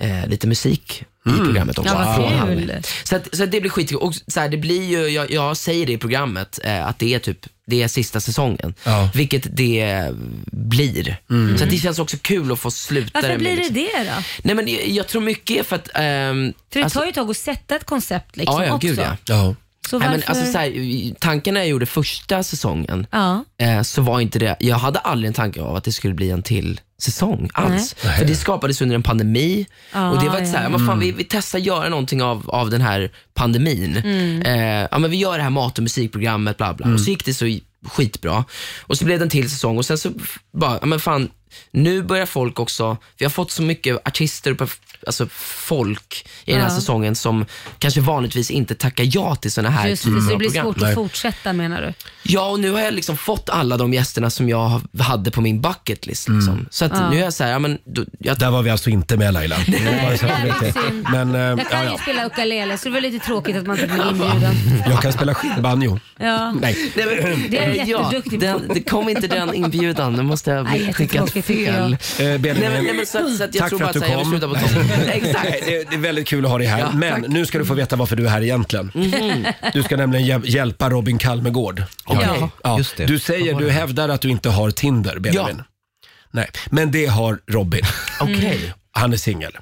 Speaker 12: eh, lite musik i
Speaker 13: Mm.
Speaker 12: programmet också.
Speaker 13: Ja, vad
Speaker 12: från
Speaker 13: kul.
Speaker 12: han. Så, att, så att det blir skitkul. Och så här, det blir ju, jag, jag säger det i programmet, eh, att det är typ det är sista säsongen. Vilket det blir.
Speaker 13: Mm.
Speaker 12: Så att det känns också kul att få sluta
Speaker 2: Varför
Speaker 12: med
Speaker 2: blir det
Speaker 12: liksom-
Speaker 2: det då?
Speaker 12: Nej men jag, jag tror mycket är för att... ehm,
Speaker 2: För det
Speaker 12: alltså-
Speaker 2: tar ju ett tag att sätta ett koncept liksom
Speaker 12: ja, ja,
Speaker 2: också.
Speaker 12: Gud, ja.
Speaker 2: Så
Speaker 12: Nej, men
Speaker 2: varför-
Speaker 12: alltså, så här, tanken när jag gjorde första säsongen,
Speaker 2: Ja.
Speaker 12: eh, så var inte det, jag hade aldrig en tanke av att det skulle bli en till säsong alls.
Speaker 13: Nej.
Speaker 12: För det skapades under en pandemi
Speaker 2: Ah,
Speaker 13: Ja,
Speaker 12: och det var ett så här,
Speaker 13: ja.
Speaker 12: vad fan,
Speaker 13: Mm.
Speaker 12: vi, vi testar göra någonting av, av den här pandemin.
Speaker 13: Mm.
Speaker 12: Eh, ja, men vi gör det här mat och musikprogrammet, bla bla. Och
Speaker 2: Mm.
Speaker 12: så gick det så skitbra. Och så blev det en till säsong och sen så f- bara, ja, men fan, nu börjar folk också, vi har fått så mycket artister och perf- alltså folk i den här
Speaker 2: Ja.
Speaker 12: säsongen som kanske vanligtvis inte tackar ja till såna här Mm.
Speaker 2: Just
Speaker 12: typer
Speaker 2: det, så det
Speaker 12: av
Speaker 2: blir
Speaker 12: program.
Speaker 2: svårt att fortsätta menar du?
Speaker 12: Ja, och nu har jag liksom fått alla de gästerna som jag hade på min bucket list. Liksom. Så att
Speaker 2: Ja.
Speaker 12: nu är jag så här, ja, men, då, jag...
Speaker 1: Mm. Där var vi alltså inte med Laila. Bara så att du vet det.
Speaker 2: synd.
Speaker 1: Men, eh,
Speaker 2: Jag kan
Speaker 1: ja,
Speaker 2: ju
Speaker 1: ja.
Speaker 2: spela ukulele så det var lite tråkigt att man inte blev inbjuden.
Speaker 1: Jag kan spela skivbanjo.
Speaker 2: Ja.
Speaker 1: Nej.
Speaker 2: Det är jag
Speaker 12: Ja,
Speaker 2: jätteduktig på.
Speaker 12: den, det kom inte den inbjudan, nu måste jag
Speaker 2: Nej,
Speaker 12: ha skickat
Speaker 2: jättetråkigt tycker jag.
Speaker 12: fel.
Speaker 1: Eh, Benjamin,
Speaker 12: Nej, men- nej, men så att- så att jag
Speaker 1: tack
Speaker 12: tror
Speaker 1: för
Speaker 12: bara
Speaker 1: att du
Speaker 12: att jag vill
Speaker 1: kom.
Speaker 12: sluta på topp. Exakt.
Speaker 1: Nej, det, det är väldigt kul att ha dig här. men nu ska du få veta varför du är här egentligen.
Speaker 12: Mhm.
Speaker 1: Du ska nämligen hjäl- hjälpa Robin Kalmegård.
Speaker 12: Okej.
Speaker 1: Ja.
Speaker 12: Just det.
Speaker 1: Du säger, du hävdar att du inte har Tinder, Benjamin. Nej, men det har Robin. Mm.
Speaker 12: Okej.
Speaker 1: Han är singel.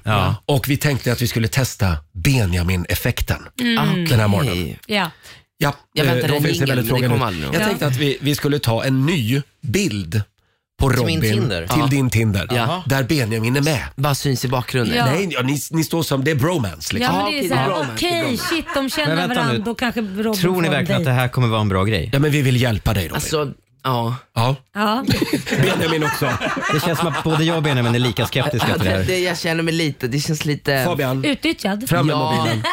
Speaker 1: Och vi tänkte att vi skulle testa Benjamin-effekten
Speaker 12: Ah,
Speaker 2: Mm.
Speaker 1: den här morgonen.
Speaker 2: Ja.
Speaker 1: Ja,
Speaker 2: Jag
Speaker 1: eh,
Speaker 2: väntar en
Speaker 1: Robin ser
Speaker 2: jingel,
Speaker 1: väldigt
Speaker 2: men det
Speaker 1: frågande
Speaker 2: kommer
Speaker 1: ut.
Speaker 2: aldrig.
Speaker 1: Jag
Speaker 2: Ja.
Speaker 1: tänkte att vi, vi skulle ta en ny bild på
Speaker 12: Till
Speaker 1: Robin
Speaker 12: min Tinder.
Speaker 1: till
Speaker 12: Ja.
Speaker 1: din Tinder.
Speaker 12: Ja.
Speaker 1: Där Benjamin är med.
Speaker 12: Bara syns i bakgrunden.
Speaker 2: Ja.
Speaker 1: Nej, ja, ni, ni står som, det är bromance liksom.
Speaker 2: Ja, men det är så
Speaker 1: Ja.
Speaker 2: här, okej, shit, de känner
Speaker 1: Men vänta
Speaker 2: varandra,
Speaker 1: nu.
Speaker 2: då kanske Robin
Speaker 1: Tror ni
Speaker 2: får en
Speaker 1: verkligen att
Speaker 2: dejt.
Speaker 1: det
Speaker 3: här kommer vara en bra grej.
Speaker 1: Ja, men vi vill hjälpa dig Robin.
Speaker 12: Alltså, ja.
Speaker 1: Ja.
Speaker 2: Ja.
Speaker 1: Benjamin också.
Speaker 3: Det känns som att både jag och Benjamin är lika skeptiska till det
Speaker 12: Det,
Speaker 3: här.
Speaker 12: det, jag känner mig lite, det känns lite...
Speaker 1: Fabian.
Speaker 2: Utnyttjad.
Speaker 1: Fram med
Speaker 12: Ja.
Speaker 1: mobilen.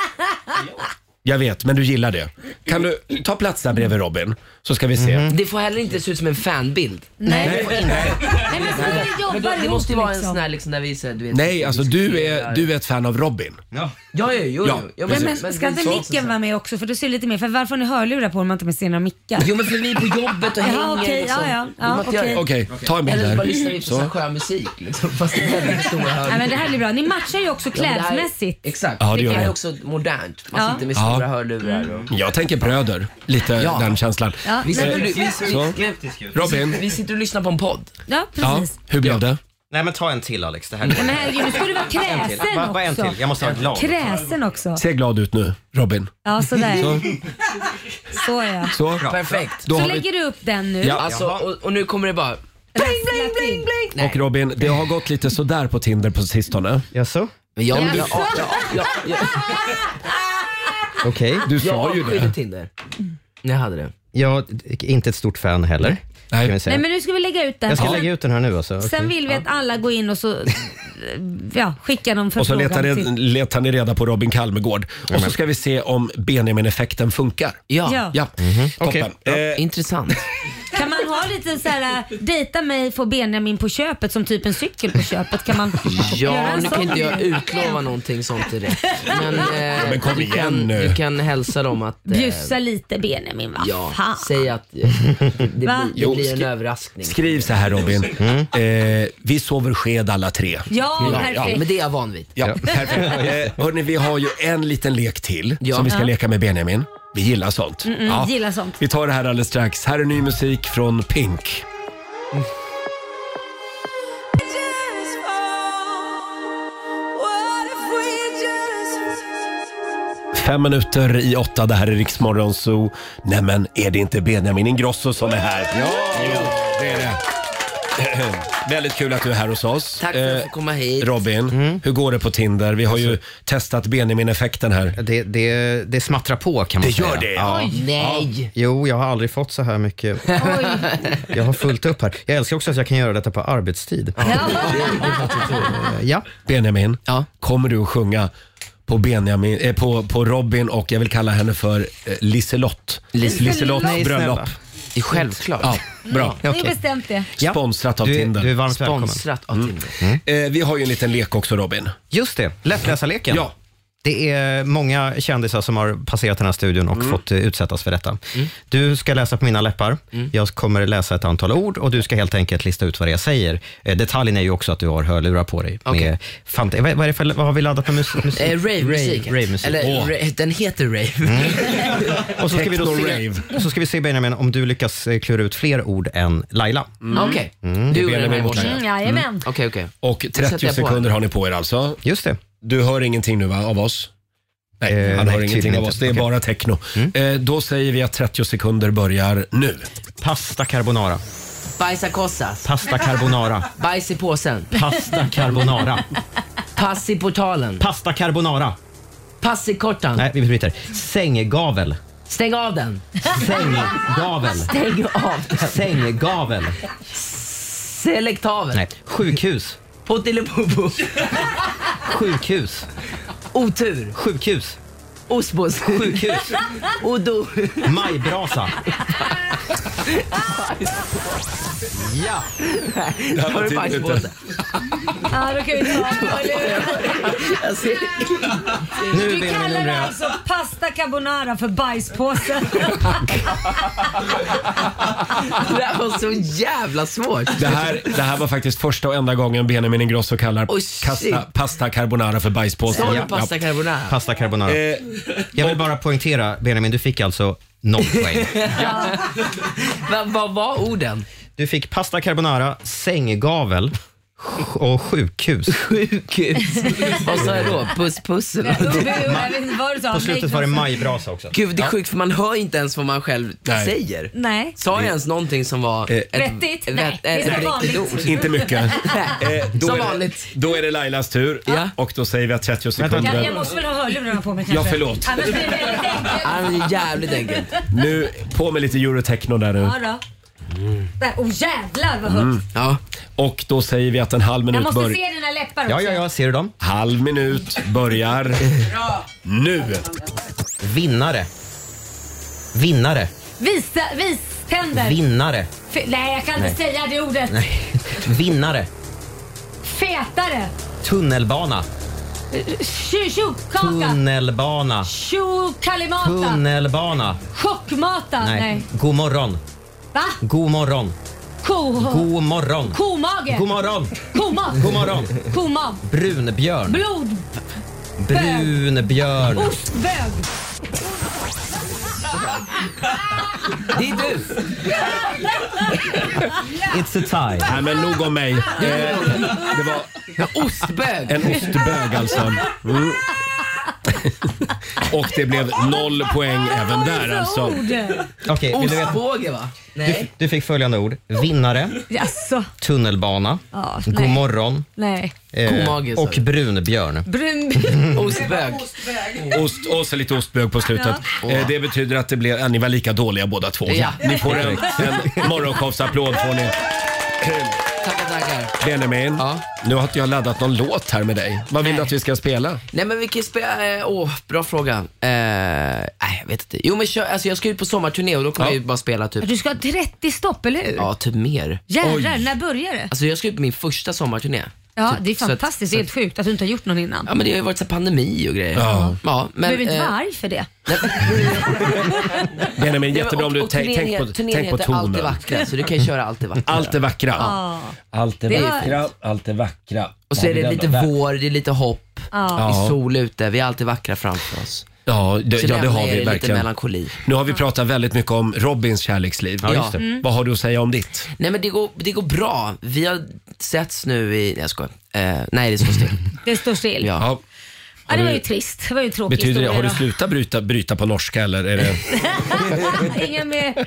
Speaker 1: Jag vet, men du gillar det. Kan du ta plats där bredvid Robin? Så ska vi se.
Speaker 2: Mhm.
Speaker 12: Det får heller inte se ut som en fanbild.
Speaker 2: Nej.
Speaker 12: det får inte.
Speaker 2: Nej, men så får vi jobba
Speaker 12: Men då- det
Speaker 2: ihop,
Speaker 12: måste ju vara en
Speaker 2: liksom.
Speaker 12: sån här liksom, där vi säger, du vet.
Speaker 1: Nej, alltså du är, du är ett fan av Robin.
Speaker 3: Ja,
Speaker 12: ja, ja, jo,
Speaker 1: Ja,
Speaker 12: jo. ja,
Speaker 2: men, ska inte micken vara med också? För då ser det lite mer, för varför har ni hörlurar på om man inte med sina mickar?
Speaker 12: Jo men för vi är på jobbet och hänger
Speaker 2: Jaha, okej,
Speaker 12: liksom.
Speaker 2: ja,
Speaker 12: Vi
Speaker 2: ja, ja,
Speaker 12: måste
Speaker 2: okej.
Speaker 12: göra-
Speaker 1: Okej, ta en bild
Speaker 12: Eller så
Speaker 1: där.
Speaker 12: bara lyssnar vi på
Speaker 1: Så.
Speaker 12: så. här skön musik liksom, fast det är väldigt stora högtalare.
Speaker 2: Nej, men det här blir bra. Ni matchar ju också
Speaker 12: Ja, men det här-
Speaker 2: klädmässigt.
Speaker 12: Exakt.
Speaker 1: Ja, det gör
Speaker 12: det här
Speaker 1: vi.
Speaker 12: är också modernt. Man
Speaker 2: Ja.
Speaker 12: sitter med
Speaker 1: Ja.
Speaker 12: stora hörlurar. Och...
Speaker 1: Jag tänker bröder. Lite den känslan.
Speaker 2: Ja,
Speaker 12: Vi,
Speaker 1: Eh,
Speaker 12: sitter, vi, vi,
Speaker 1: så. Robin.
Speaker 12: Vi sitter och lyssnar på en podd.
Speaker 2: Ja, precis.
Speaker 1: hur blev det?
Speaker 3: Nej men ta en till Alex, det här
Speaker 2: Nej, men herregud, nu ska du vara
Speaker 3: En till.
Speaker 2: kräsen
Speaker 3: Va- va- en
Speaker 2: också.
Speaker 3: till. Jag måste ha ett lag.
Speaker 2: Kräsen också.
Speaker 1: Se glad ut nu, Robin.
Speaker 2: Ja, sådär.
Speaker 1: Så.
Speaker 2: Så ja.
Speaker 1: Så.
Speaker 12: Perfekt.
Speaker 1: Då
Speaker 2: så
Speaker 1: har vi-
Speaker 2: lägger du upp den nu.
Speaker 1: Ja.
Speaker 12: Alltså, och, och nu kommer det bara...
Speaker 2: Bling, bling, bling, bling.
Speaker 1: Och Robin, det har gått lite sådär på Tinder på sistone.
Speaker 3: Jaså?
Speaker 12: Ja, men
Speaker 1: du,
Speaker 12: jag, jag, jag, jag,
Speaker 3: Okej.
Speaker 1: du
Speaker 12: jag
Speaker 1: sa ju
Speaker 12: avskydde
Speaker 1: det.
Speaker 12: Tinder. Jag hade det.
Speaker 3: Jag är inte ett stort fan heller. Nej. Kan vi säga.
Speaker 2: Nej, men nu ska vi lägga ut den.
Speaker 3: Jag ska
Speaker 2: Sen-
Speaker 3: lägga ut den här nu alltså.
Speaker 2: Sen
Speaker 3: Okej.
Speaker 2: vill vi att alla går in och så ja, skickar någon
Speaker 1: Och så
Speaker 2: förfrågan
Speaker 1: letar,
Speaker 2: till...
Speaker 1: red- letar ni reda på Robin Kalmegård. Och så ska vi se om Benjamin-effekten funkar.
Speaker 12: Ja.
Speaker 2: Ja.
Speaker 1: ja. Toppen. Eh,
Speaker 12: Intressant.
Speaker 2: Kan man ha lite så här, äh, dejta mig, få Benjamin på köpet som typ en cykel på köpet? Kan man göra
Speaker 12: Ja,
Speaker 2: en
Speaker 12: nu
Speaker 2: sån
Speaker 12: kan inte jag
Speaker 2: grej?
Speaker 12: utlova någonting sånt direkt. Men, eh,
Speaker 1: Men kom
Speaker 12: du
Speaker 1: igen
Speaker 12: kan,
Speaker 1: nu.
Speaker 12: Du kan hälsa dem att... eh,
Speaker 2: Bjussa lite Benjamin, va?
Speaker 12: Ja,
Speaker 2: Fan.
Speaker 12: säg att eh, det,
Speaker 2: Va?
Speaker 12: blir,
Speaker 1: Jo,
Speaker 12: det blir en
Speaker 1: skri-
Speaker 12: överraskning. Mm.
Speaker 1: Skriv så här Robin. Eh, vi sover sked alla tre.
Speaker 2: Ja, perfekt.
Speaker 12: Men det är jag van vid.
Speaker 1: Ja, perfekt. Eh, hörni, vi har ju en liten lek till
Speaker 12: Ja.
Speaker 1: som vi ska
Speaker 12: Ja.
Speaker 1: leka med Benjamin. Vi gillar sånt.
Speaker 2: Mm, mm, gillar sånt.
Speaker 1: Vi tar det här alldeles strax. Här är ny musik från Pink. Fem minuter i åtta, det här är Riksmorgon Zoo. Nej men, är det inte Benjamin Ingrosso som är här? Jo, det är det. Väldigt kul att du är här hos oss. Tack för att jag fick komma hit. Robin, hur går det på Tinder? Vi har ju testat Benjamin-effekten här.
Speaker 3: Det, det, det smattrar på kan man
Speaker 1: Det
Speaker 3: säga.
Speaker 1: gör det? Oj. Nej.
Speaker 3: Jo, jag har aldrig fått så här mycket. Jag har fullt upp här. Jag älskar också att jag kan göra detta på arbetstid. Ja.
Speaker 1: Benjamin, kommer du att sjunga på, Benjamin, eh, på, på Robin och jag vill kalla henne för eh, Liselott.
Speaker 2: Liselott.
Speaker 1: Liselotts
Speaker 2: Nej, snälla.
Speaker 1: bröllop.
Speaker 12: Det är självklart.
Speaker 1: Ja, bra.
Speaker 2: Ni har bestämt det.
Speaker 3: Ja.
Speaker 1: Sponsrat av
Speaker 3: Du är-
Speaker 1: Tinder.
Speaker 3: du är varmt välkommen. Sponsrat
Speaker 12: av Tinder.
Speaker 1: Eh, vi har ju en liten lek också Robin.
Speaker 3: Just det, lättläsarleken.
Speaker 1: Ja.
Speaker 3: Det är många kändisar som har passerat den här studion och
Speaker 1: Mm.
Speaker 3: fått eh, utsättas för detta. Du ska läsa på mina läppar. Jag kommer läsa ett antal ord och du ska helt enkelt lista ut vad det är jag säger. Eh, Detaljen är ju också att du har hörlurar på dig.
Speaker 12: Okej.
Speaker 3: Med fant- vad, vad, är det för, vad har vi laddat för musik? musik?
Speaker 12: Eh, Rave-musik.
Speaker 3: Rave- Rave-musik.
Speaker 12: Eller
Speaker 3: Åh.
Speaker 12: ra- den heter rave.
Speaker 1: Mm.
Speaker 3: Och så ska, vi då se,
Speaker 12: Techno-rave.
Speaker 3: så ska vi se Benjamin om du lyckas eh, klura ut fler ord än Laila.
Speaker 12: Mm. Okej. Du och den här borta. Mm, jajamän. Okej, okej.
Speaker 1: Och 30 sekunder har ni på er alltså.
Speaker 3: Just det.
Speaker 1: Du hör ingenting nu va, av oss? Nej, han hör
Speaker 3: Eh, nej,
Speaker 1: ingenting
Speaker 3: tydligen
Speaker 1: av
Speaker 3: inte.
Speaker 1: oss. Det är
Speaker 3: Okej. Mm.
Speaker 1: bara techno. Eh, då säger vi att 30 sekunder börjar nu.
Speaker 3: Pasta carbonara.
Speaker 12: Bajsa kossas.
Speaker 3: Pasta carbonara.
Speaker 12: Bajs i påsen.
Speaker 3: Pasta carbonara.
Speaker 12: Pass i portalen.
Speaker 3: Pasta carbonara.
Speaker 12: Pass i kortan.
Speaker 3: Nej, vi bryter. Sänggavel.
Speaker 12: Stäng av den.
Speaker 3: Sänggavel.
Speaker 12: Stäng av den.
Speaker 3: Sänggavel.
Speaker 12: Selektavel.
Speaker 3: Nej, sjukhus.
Speaker 12: Pottilipopo.
Speaker 3: Sjukhus.
Speaker 12: Otur.
Speaker 3: Sjukhus.
Speaker 12: Osbos.
Speaker 3: Sjukhus.
Speaker 12: Odo.
Speaker 3: Majbrasa. Ja.
Speaker 12: Där var bajspåsen.
Speaker 2: Ja, då kan vi ta
Speaker 12: Jag ser
Speaker 3: Nu,
Speaker 2: Du
Speaker 3: Benjamin,
Speaker 2: kallar
Speaker 3: undrar jag-
Speaker 2: alltså pasta carbonara för bajspåse.
Speaker 12: Det där var så jävla svårt.
Speaker 1: Det här, det här var faktiskt första och enda gången Benjamin Ingrosso kallar kasta, pasta carbonara för bajspåse.
Speaker 12: Sa du
Speaker 1: Ja,
Speaker 12: pasta
Speaker 1: ja.
Speaker 12: carbonara?
Speaker 3: Pasta
Speaker 1: Eh,
Speaker 3: carbonara. Jag vill bara poängtera, Benjamin, du fick alltså noll poäng.
Speaker 12: Va- Vad var orden?
Speaker 3: Du fick pasta carbonara, sänggavel sj- och sjukhus.
Speaker 12: Sjukhus. Vad sa jag då? Puss puss eller
Speaker 2: Du,
Speaker 12: någonting?
Speaker 2: jag vet inte vad du sa.
Speaker 3: På slutet var det majbrasa också.
Speaker 12: Gud, det är
Speaker 3: Ja.
Speaker 12: sjukt för man hör inte ens vad man själv
Speaker 3: Nej.
Speaker 12: säger.
Speaker 2: Nej.
Speaker 12: Sa jag ens någonting som var ett,
Speaker 2: Vettigt?
Speaker 12: ett-
Speaker 2: Nej, det är
Speaker 12: ett
Speaker 2: som
Speaker 12: riktigt
Speaker 2: vanligt.
Speaker 12: ord?
Speaker 1: Inte mycket.
Speaker 12: Nej.
Speaker 1: Eh, då
Speaker 12: Som
Speaker 1: är det-
Speaker 12: vanligt.
Speaker 1: Då är det Lailas tur och då säger vi att 30 sekunder.
Speaker 2: Jag, jag måste väl ha hörlurarna på mig kanske?
Speaker 1: Ja, förlåt.
Speaker 2: Annars blir det väldigt enkelt.
Speaker 12: Han är jävligt enkel.
Speaker 1: Nu, på med lite eurotechno där nu.
Speaker 2: Ja, då. Där. Oh jävlar vad högt.
Speaker 12: Ja.
Speaker 1: Och då säger vi att en halv
Speaker 2: Jag
Speaker 1: Mm. minut
Speaker 2: måste
Speaker 1: börjar.
Speaker 2: se dina läppar också.
Speaker 3: ser du dem?
Speaker 1: Halv minut börjar
Speaker 2: Bra.
Speaker 1: nu.
Speaker 3: Vinnare. Vinnare.
Speaker 2: Visa, vis tänder.
Speaker 3: Vinnare.
Speaker 2: Fe- Nej, jag kan inte
Speaker 3: Nej.
Speaker 2: säga det ordet.
Speaker 3: Nej. Vinnare.
Speaker 2: Fetare.
Speaker 3: Tunnelbana.
Speaker 2: Tjo- Tjogkaka.
Speaker 3: Tunnelbana.
Speaker 2: Tjokalimata.
Speaker 3: Tunnelbana.
Speaker 2: Chockmata. Nej.
Speaker 3: Nej. God morgon.
Speaker 2: Va?
Speaker 3: God morgon.
Speaker 2: Ko...
Speaker 3: God morgon.
Speaker 2: Komage.
Speaker 3: God morgon.
Speaker 2: Koma.
Speaker 3: God morgon.
Speaker 2: Koma.
Speaker 3: Brunbjörn.
Speaker 2: Blod.
Speaker 1: Typ.
Speaker 3: Brunbjörn.
Speaker 2: Ostbög.
Speaker 12: Det är du!
Speaker 3: It's a tie.
Speaker 1: Nej men nog om mig. Eh, det var
Speaker 12: En ostbög!
Speaker 1: en ostbög alltså. Mm. Och det blev noll poäng även där alltså.
Speaker 3: Okej, vill du veta?
Speaker 12: Ostbåge va?
Speaker 3: Du,
Speaker 12: Nej.
Speaker 3: du fick följande ord. Vinnare.
Speaker 2: Jaså?
Speaker 3: Tunnelbana.
Speaker 2: Ja, nej.
Speaker 3: God morgon. eh,
Speaker 2: Nej.
Speaker 12: Komage, sa
Speaker 3: och
Speaker 12: du.
Speaker 3: brunbjörn.
Speaker 2: Brun...
Speaker 12: Ostbög.
Speaker 1: Ost, och så lite ostbög på slutet. Eh, det betyder att det blev, ja, ni var lika dåliga båda två.
Speaker 12: Ja.
Speaker 1: Ni får en, en morgonshowsapplåd får ni.
Speaker 12: Tackar, tackar.
Speaker 1: Benjamin, nu har inte jag laddat någon låt här med dig. Vad vill du att vi ska spela?
Speaker 12: Nej men vi kan ju spela, eh, åh bra fråga. Eh, nej jag vet inte. Jo men kör, alltså jag ska ut på sommarturné och då kommer jag ju bara spela typ,
Speaker 2: Du ska ha 30 stopp, eller hur?
Speaker 12: ja typ mer.
Speaker 2: Jävlar, när börjar det?
Speaker 12: Alltså jag ska ut på min första sommarturné.
Speaker 2: Ja,
Speaker 12: Typ,
Speaker 2: det är
Speaker 12: så att-
Speaker 2: fantastiskt. det
Speaker 12: så
Speaker 2: är
Speaker 12: att-
Speaker 2: helt sjukt att du inte har gjort någon innan.
Speaker 12: Ja men det har ju varit så här pandemi och grejer.
Speaker 1: Ja.
Speaker 12: ja
Speaker 2: du
Speaker 12: men,
Speaker 2: behöver inte
Speaker 12: eh,
Speaker 2: vara arg för det.
Speaker 1: Benjamin,
Speaker 12: nej, men
Speaker 1: jättebra om
Speaker 12: och-
Speaker 1: du
Speaker 12: och
Speaker 1: tänk-
Speaker 12: turnén
Speaker 1: tänk på,
Speaker 12: heter- turnén
Speaker 1: tänk på
Speaker 12: heter Allt det
Speaker 1: tonen.
Speaker 12: vackra, så du kan ju köra allt det vackra.
Speaker 1: Allt det vackra.
Speaker 2: Ja.
Speaker 1: Allt det
Speaker 2: Det var-
Speaker 1: vackra, allt det vackra.
Speaker 12: Och så är det lite vår, det är lite hopp,
Speaker 2: Ja.
Speaker 12: det är
Speaker 1: Ja.
Speaker 12: sol ute, vi har allt det vackra framför oss.
Speaker 1: Ja, det,
Speaker 12: Så
Speaker 1: ja, det
Speaker 12: lämnar
Speaker 1: har
Speaker 12: jag er
Speaker 1: vi
Speaker 12: lite
Speaker 1: verkligen.
Speaker 12: melankoli.
Speaker 1: Nu har vi pratat väldigt mycket om Robins kärleksliv.
Speaker 12: Ja, just det. Mm.
Speaker 1: Vad har du att säga om ditt?
Speaker 12: Nej men det går, det går bra. Vi har setts nu i... Nej jag skojar. Eh, nej det står still.
Speaker 2: Det står still. Ja.
Speaker 1: Ja.
Speaker 2: det
Speaker 1: Har
Speaker 2: var
Speaker 1: du-
Speaker 2: ju trist. Det var ju en tråkig
Speaker 1: Betyder det,
Speaker 2: historia
Speaker 1: har du
Speaker 2: då.
Speaker 1: slutat bryta, bryta på norska eller? Är det...
Speaker 2: Inga mer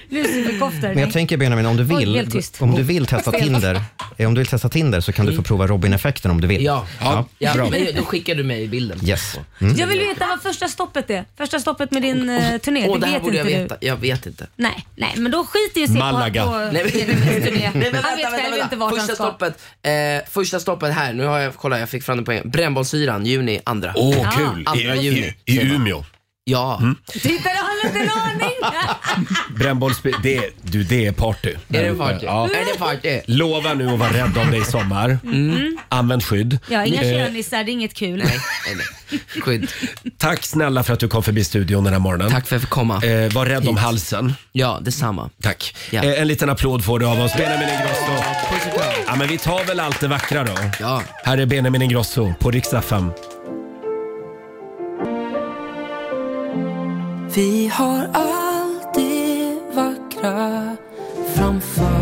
Speaker 2: luciferkoftor.
Speaker 3: Men jag tänker Benjamin, om du
Speaker 2: Oj,
Speaker 3: vill,
Speaker 2: helt tyst.
Speaker 3: om du vill testa
Speaker 2: Fel.
Speaker 3: Tinder, eh, om du vill testa Tinder så kan du få prova Robin-effekten om du vill.
Speaker 12: Ja.
Speaker 3: ja.
Speaker 12: Ja,
Speaker 3: bra.
Speaker 12: men då skickar du mig bilden.
Speaker 3: Yes. Mm.
Speaker 2: Jag vill veta vad första stoppet är. Första stoppet med din eh, turné.
Speaker 12: Åh,
Speaker 2: det
Speaker 12: det här
Speaker 2: vet
Speaker 12: borde
Speaker 2: inte
Speaker 12: jag
Speaker 2: du.
Speaker 12: veta. Jag vet inte.
Speaker 2: Nej, nej, men då skiter ju sig
Speaker 12: Malaga.
Speaker 2: på... på
Speaker 12: Nej, men-
Speaker 2: turné.
Speaker 12: Nej, men
Speaker 2: Han vet
Speaker 12: vänta,
Speaker 2: själv
Speaker 12: vänta.
Speaker 2: inte vart han
Speaker 12: Första
Speaker 2: ska.
Speaker 12: stoppet, eh, första stoppet här, nu har jag, kolla jag fick fram det på en. Brännbollsyran, juni, andra. Ah,
Speaker 1: Åh, Ja. kul.
Speaker 12: Andra
Speaker 1: I- i-
Speaker 12: juni.
Speaker 1: i Umeå.
Speaker 12: Ja.
Speaker 2: Titta, det har inte en aning!
Speaker 1: Brännbolls... Det, du, det är party.
Speaker 12: Är det party? Mm.
Speaker 1: Ja.
Speaker 12: Är det party?
Speaker 1: Lova nu att vara rädd om dig i sommar.
Speaker 2: Mm.
Speaker 1: Använd skydd.
Speaker 2: Ja, inga
Speaker 1: Eh,
Speaker 2: könisar, det är inget kul.
Speaker 12: Skydd.
Speaker 1: Tack snälla för att du kom förbi studion den här morgonen. Tack
Speaker 12: för att jag fick komma.
Speaker 1: Eh, var rädd om halsen.
Speaker 12: Ja, detsamma.
Speaker 1: Tack. Eh, en liten applåd får du av oss. Benjamin Ingrosso. Ja, men vi tar väl allt det vackra då.
Speaker 12: Ja.
Speaker 1: Här är Benjamin Ingrosso på riksdag 5.
Speaker 5: Vi har allt det vackra framför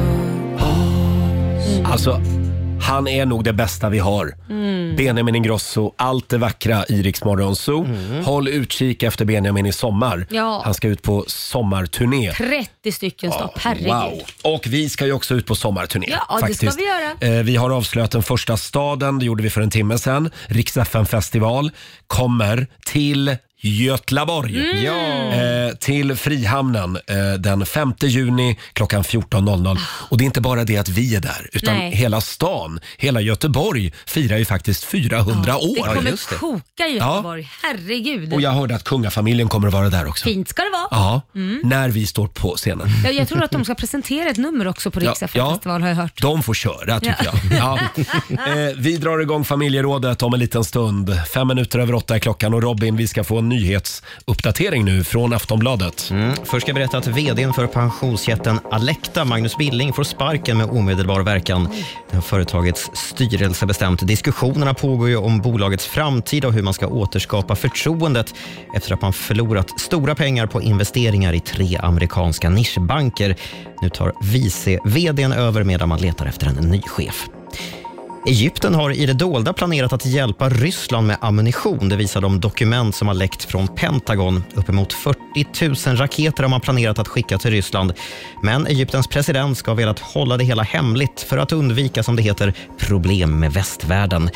Speaker 12: Mm.
Speaker 1: Alltså, han är nog det bästa vi har.
Speaker 5: Mm.
Speaker 1: Benjamin Ingrosso, allt det vackra i Rix Morgon Zoo.
Speaker 12: Mm.
Speaker 1: Håll utkik efter Benjamin i sommar.
Speaker 2: Ja.
Speaker 1: Han ska ut på sommarturné.
Speaker 2: 30 stycken stopp, herregud.
Speaker 1: Wow. Och vi ska ju också ut på sommarturné.
Speaker 2: Ja, det ska
Speaker 1: faktiskt.
Speaker 2: vi göra.
Speaker 1: Eh, Vi har avslöjat den första staden, det gjorde vi för en timme sedan. Rix FM festival kommer till Götlaborg.
Speaker 5: Mm. Ja.
Speaker 1: Eh, till Frihamnen eh, den 5 juni klockan 14.00. Och det är inte bara det att vi är där, utan
Speaker 2: Ah. Nej.
Speaker 1: hela stan, hela Göteborg firar ju faktiskt 400 år.
Speaker 2: Det kommer koka i
Speaker 1: Ja.
Speaker 2: Göteborg, herregud.
Speaker 1: Och jag hörde att kungafamiljen kommer att vara där också.
Speaker 2: Fint ska det vara.
Speaker 1: Ja,
Speaker 2: Mm.
Speaker 1: när vi står på scenen.
Speaker 2: Ja, jag tror att de ska presentera ett nummer också på
Speaker 1: Ja,
Speaker 2: Riksdag
Speaker 1: ja.
Speaker 2: festival har jag hört.
Speaker 1: De får köra tycker
Speaker 2: Ja.
Speaker 1: jag. Ja. Eh, vi drar igång familjerådet om en liten stund. Fem minuter över åtta är klockan och Robin, vi ska få en nyhetsuppdatering nu från Aftonbladet.
Speaker 3: Mm. Först ska jag berätta att vdn för pensionsjätten Alecta, Magnus Billing, får sparken med omedelbar verkan. Det har företagets styrelse bestämt. Diskussionerna pågår ju om bolagets framtid och hur man ska återskapa förtroendet efter att man förlorat stora pengar på investeringar i tre amerikanska nischbanker. Nu tar vice vdn över medan man letar efter en ny chef. Egypten har i det dolda planerat att hjälpa Ryssland med ammunition. Det visar de dokument som har läckt från Pentagon. Uppemot 40 000 raketer har man planerat att skicka till Ryssland. Men Egyptens president ska ha velat hålla det hela hemligt för att undvika, som det heter, problem med västvärlden.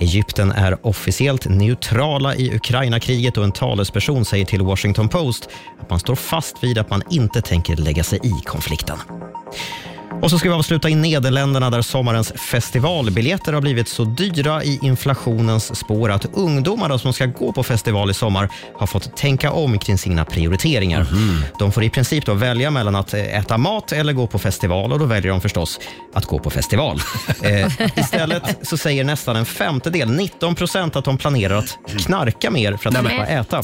Speaker 3: Egypten är officiellt neutrala i Ukraina-kriget och en talesperson säger till Washington Post att man står fast vid att man inte tänker lägga sig i konflikten. Och så ska vi avsluta i Nederländerna där sommarens festivalbiljetter har blivit så dyra i inflationens spår att ungdomarna som ska gå på festival i sommar har fått tänka om kring sina prioriteringar.
Speaker 5: Mhm.
Speaker 3: De får i princip då välja mellan att eh, äta mat eller gå på festival och då väljer de förstås att gå på festival. Eh, istället så säger nästan en femtedel, 19 procent, att de planerar att knarka mer för att
Speaker 5: Nej, men-
Speaker 3: slippa äta.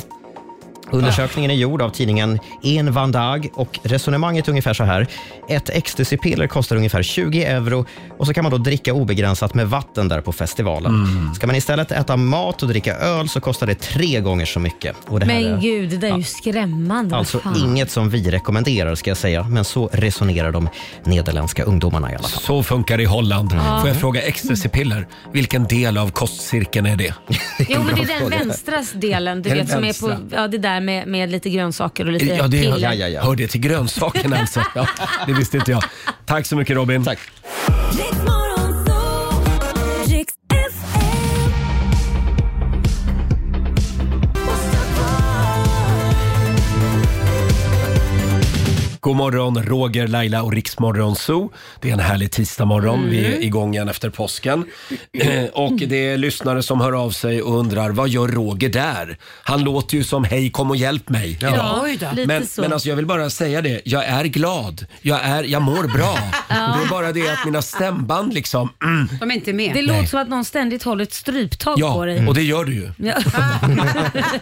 Speaker 3: Undersökningen är gjord av tidningen En Vandag och resonemanget är ungefär så här. Ett ecstasy-piller kostar ungefär 20 euro och så kan man då dricka obegränsat med vatten där på festivalen.
Speaker 1: Mm.
Speaker 3: Ska man istället äta mat och dricka öl så kostar det tre gånger så mycket. Och det här
Speaker 2: Men
Speaker 3: är
Speaker 2: gud, det där är ju skrämmande. vad
Speaker 3: alltså
Speaker 2: fan.
Speaker 3: inget som vi rekommenderar ska jag säga, men så resonerar de nederländska ungdomarna i alla fall.
Speaker 1: Så funkar det i Holland.
Speaker 3: Ja.
Speaker 1: Får jag fråga, ecstasy-piller, vilken del av kostcirkeln är det?
Speaker 2: Jo men det är den vänstra delen du
Speaker 1: Är det
Speaker 2: vet som är på,
Speaker 1: vänstra?
Speaker 2: ja det där med, med lite grönsaker och lite
Speaker 1: Ja, det
Speaker 2: piller.
Speaker 1: hör, hör det till grönsakerna alltså. Ja, det visste inte jag. Tack så mycket Robin. Tack.
Speaker 5: Riks
Speaker 1: God morgon, Roger, Laila och Riksmorgon Zoo. Det är en härlig tisdagmorgon.
Speaker 14: Mm.
Speaker 1: Vi är igång igen efter påsken. Eh, och det är lyssnare som hör av sig och undrar, vad gör Roger där? Han låter ju som, hej kom och hjälp mig.
Speaker 5: Ja,
Speaker 1: idag.
Speaker 5: oj då. lite
Speaker 1: men,
Speaker 5: så.
Speaker 1: men alltså jag vill bara säga det, jag är glad. Jag, är, jag mår bra. Det är bara det att mina stämband liksom... Mm,
Speaker 15: De är inte med.
Speaker 2: Det låter som att någon ständigt håller ett stryptag
Speaker 1: ja,
Speaker 2: på dig.
Speaker 1: och det gör du ju.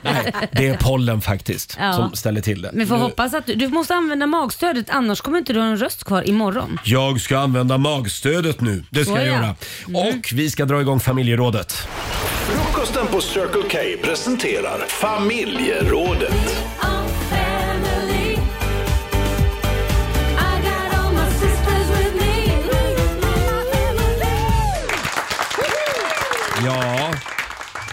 Speaker 2: Ja.
Speaker 1: Det är pollen faktiskt
Speaker 2: Ja.
Speaker 1: som ställer till det. Mm.
Speaker 2: Men får
Speaker 1: Nu-
Speaker 2: hoppas att du, du måste använda magstödet annars kommer inte du ha en röst kvar imorgon.
Speaker 1: Jag ska använda magstödet nu. Det ska
Speaker 2: Så
Speaker 1: jag
Speaker 2: ja. Mm.
Speaker 1: göra. Och vi ska dra igång familjerådet.
Speaker 10: Frukosten på Circle K presenterar Familjerådet.
Speaker 1: Ja,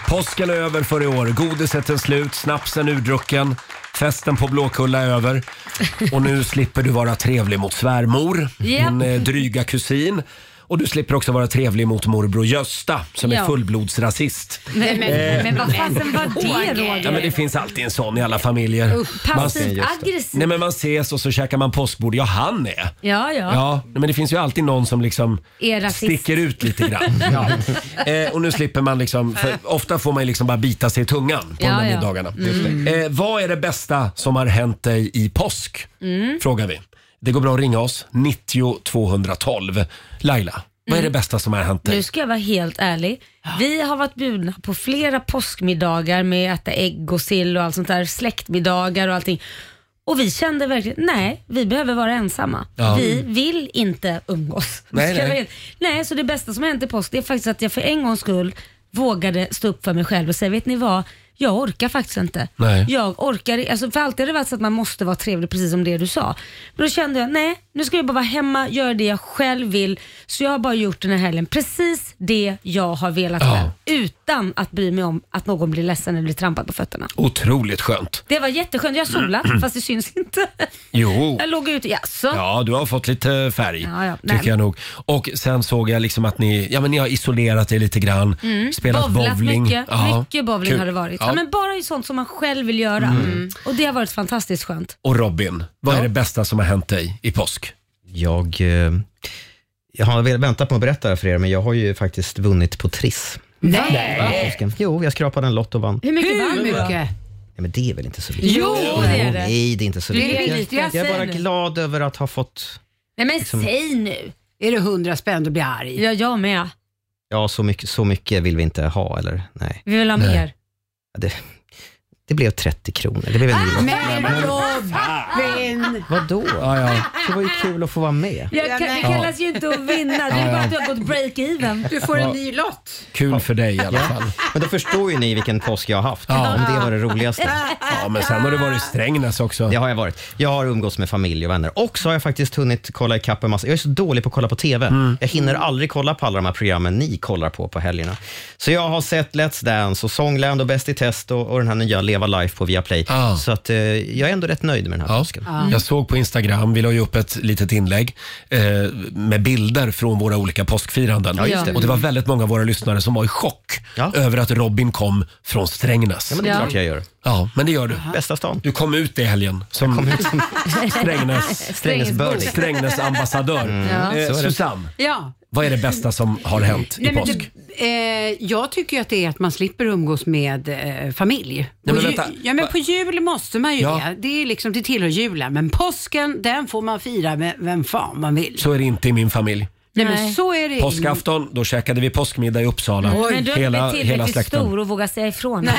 Speaker 1: påsken är över för i år. Godiset är slut, snapsen urdrucken, festen på Blåkulla är över. Och nu slipper du vara trevlig mot svärmor,
Speaker 2: Japp.
Speaker 1: din eh, dryga kusin. Och du slipper också vara trevlig mot morbror Gösta som är
Speaker 2: Ja.
Speaker 1: fullblodsrasist.
Speaker 2: Men, men,
Speaker 1: Eh,
Speaker 2: men vad fasen var det
Speaker 1: Ja, men det
Speaker 2: Roger?
Speaker 1: finns alltid en sån i alla familjer.
Speaker 2: Usch, passivt
Speaker 1: Man-
Speaker 2: aggressiv.
Speaker 1: Nej, men man ses och så käkar man påskbord. Ja, han är. Ja,
Speaker 2: Ja, ja.
Speaker 1: nej, men det finns ju alltid någon som liksom
Speaker 2: Är rasist.
Speaker 1: sticker ut lite grann. eh, och nu slipper man liksom, för ofta får man ju liksom bara bita sig i tungan på
Speaker 2: Ja,
Speaker 1: de här
Speaker 2: ja. Mm.
Speaker 1: middagarna.
Speaker 2: Just
Speaker 1: Eh, vad är det bästa som har hänt dig i påsk?
Speaker 2: Mm.
Speaker 1: Frågar vi. Det går bra att ringa oss, 90 212. Laila, vad är det
Speaker 2: Mm.
Speaker 1: bästa som har hänt dig?
Speaker 2: Nu ska jag vara helt ärlig. Vi har varit bjudna på flera påskmiddagar med att äta ägg och sill och allt sånt där. Släktmiddagar och allting. Och vi kände verkligen, nej, vi behöver vara ensamma.
Speaker 5: Ja.
Speaker 2: Vi vill inte umgås.
Speaker 5: Nej,
Speaker 2: Ska jag
Speaker 5: nej.
Speaker 2: vara helt- nej, så det bästa som har hänt i påsk det är faktiskt att jag för en gångs skull vågade stå upp för mig själv och säga, vet ni vad? Jag orkar faktiskt inte.
Speaker 5: Nej.
Speaker 2: Jag orkar alltså för alltid har det varit så att man måste vara trevlig, precis som det du sa. Men då kände jag, nej, nu ska jag bara vara hemma, göra det jag själv vill. Så jag har bara gjort den här helgen precis det jag har velat
Speaker 1: Ja.
Speaker 2: göra, utan att bry mig om att någon blir ledsen eller blir trampad på fötterna.
Speaker 1: Otroligt skönt.
Speaker 2: Det var jätteskönt. Jag har solat, fast det syns inte.
Speaker 1: Jo.
Speaker 2: Jag låg ute, jaså?
Speaker 1: Mm. Oh. Ja, du har fått lite färg.
Speaker 2: Ja, ja. Nej.
Speaker 1: Tycker jag nog. Och sen såg jag liksom att ni, ja, men ni har isolerat er lite grann.
Speaker 2: Mm.
Speaker 1: Spelat
Speaker 2: Bowlat
Speaker 1: bowling.
Speaker 2: Mycket,
Speaker 1: Ja,
Speaker 2: mycket bowling
Speaker 1: kul.
Speaker 2: har det varit.
Speaker 1: Ja.
Speaker 2: Ja. men bara i sånt som man själv vill göra.
Speaker 1: Mm.
Speaker 2: Mm. Och det har varit fantastiskt skönt.
Speaker 1: Och Robin, vad är det bästa som har hänt dig i påsk?
Speaker 3: Jag, eh, jag har väl väntat på att berätta det här för er, men jag har ju faktiskt vunnit på Triss.
Speaker 5: Nej.
Speaker 3: Den här påsken. Jo, jag skrapade en lott och vann.
Speaker 2: Hur mycket vann du då?
Speaker 7: mycket?
Speaker 3: Nej, men det är väl inte så viktigt?
Speaker 2: Jo, det är det.
Speaker 3: Nej, det är inte så
Speaker 7: Det är
Speaker 3: viktigt.
Speaker 7: viktigt.
Speaker 3: Jag, jag är
Speaker 7: Jag
Speaker 3: bara
Speaker 7: säger det.
Speaker 3: glad över att ha fått
Speaker 2: Nej men
Speaker 3: Liksom-
Speaker 2: säg nu.
Speaker 7: Är det hundra spänn då blir jag arg.
Speaker 2: Ja, jag med.
Speaker 3: Ja, så mycket, så mycket vill vi inte ha, eller? Nej.
Speaker 2: Vi vill ha
Speaker 3: Nej.
Speaker 2: mer.
Speaker 3: Ja, Det, det blev 30 kronor. Det blev
Speaker 2: Ah,
Speaker 3: en ny lott.
Speaker 7: Men Robin!
Speaker 3: Vadå? Det var ju kul att få vara med.
Speaker 2: Jag kan, det
Speaker 3: Ja.
Speaker 2: kallas ju inte att vinna, det
Speaker 3: Ja, ja.
Speaker 2: är bara att du har gått break-even.
Speaker 7: Du får en ny lott.
Speaker 1: Kul för dig i alla fall.
Speaker 3: Men då förstår ju ni vilken påsk jag har haft.
Speaker 1: Ja.
Speaker 3: Om det var det roligaste.
Speaker 1: Ja, men sen har du varit i Strängnäs också.
Speaker 3: Det har jag varit. Jag har umgåtts med familj och vänner. Och så har jag faktiskt hunnit kolla ikapp en massa. Jag är så dålig på att kolla på TV.
Speaker 1: Mm.
Speaker 3: Jag hinner aldrig kolla på alla de här programmen ni kollar på på helgerna. Så jag har sett Let's Dance och Songland och Bäst i test och, och den här nya Leva Life på Viaplay. Så att, eh, jag är ändå rätt nöjd med den här påsken.
Speaker 1: Ja. Jag såg på Instagram, vi la ju upp ett litet inlägg eh, med bilder från våra olika påskfiranden.
Speaker 3: Ja, just det.
Speaker 1: Och det var väldigt många av våra lyssnare som var i chock över att Robin kom från Strängnäs.
Speaker 3: Ja, men det är Ja. klart jag gör.
Speaker 1: Ja, men det gör du.
Speaker 3: Bästa stan.
Speaker 1: Du kom ut i helgen som, Strängnäs,
Speaker 7: Strängnäsbo.
Speaker 1: Strängnäs ambassadör.
Speaker 3: Mm.
Speaker 7: Ja.
Speaker 1: Eh,
Speaker 7: Så är det.
Speaker 1: Susanne,
Speaker 7: Ja.
Speaker 1: vad är det bästa som har hänt i
Speaker 7: Nej, men
Speaker 1: påsk?
Speaker 7: det, eh, jag tycker ju att det är att man slipper umgås med eh, familj.
Speaker 1: men
Speaker 7: På ju-
Speaker 1: vänta.
Speaker 7: ja, men på jul måste man ju
Speaker 1: Ja.
Speaker 7: det. Det, är liksom, det tillhör julen. Men påsken, den får man fira med vem fan man vill.
Speaker 1: Så är det inte i min familj.
Speaker 7: Nej, men så är det ju.
Speaker 1: Påskafton, då käkade vi påskmiddag i Uppsala.
Speaker 2: Men du har inte blivit tillräckligt stor och vågar säga ifrån.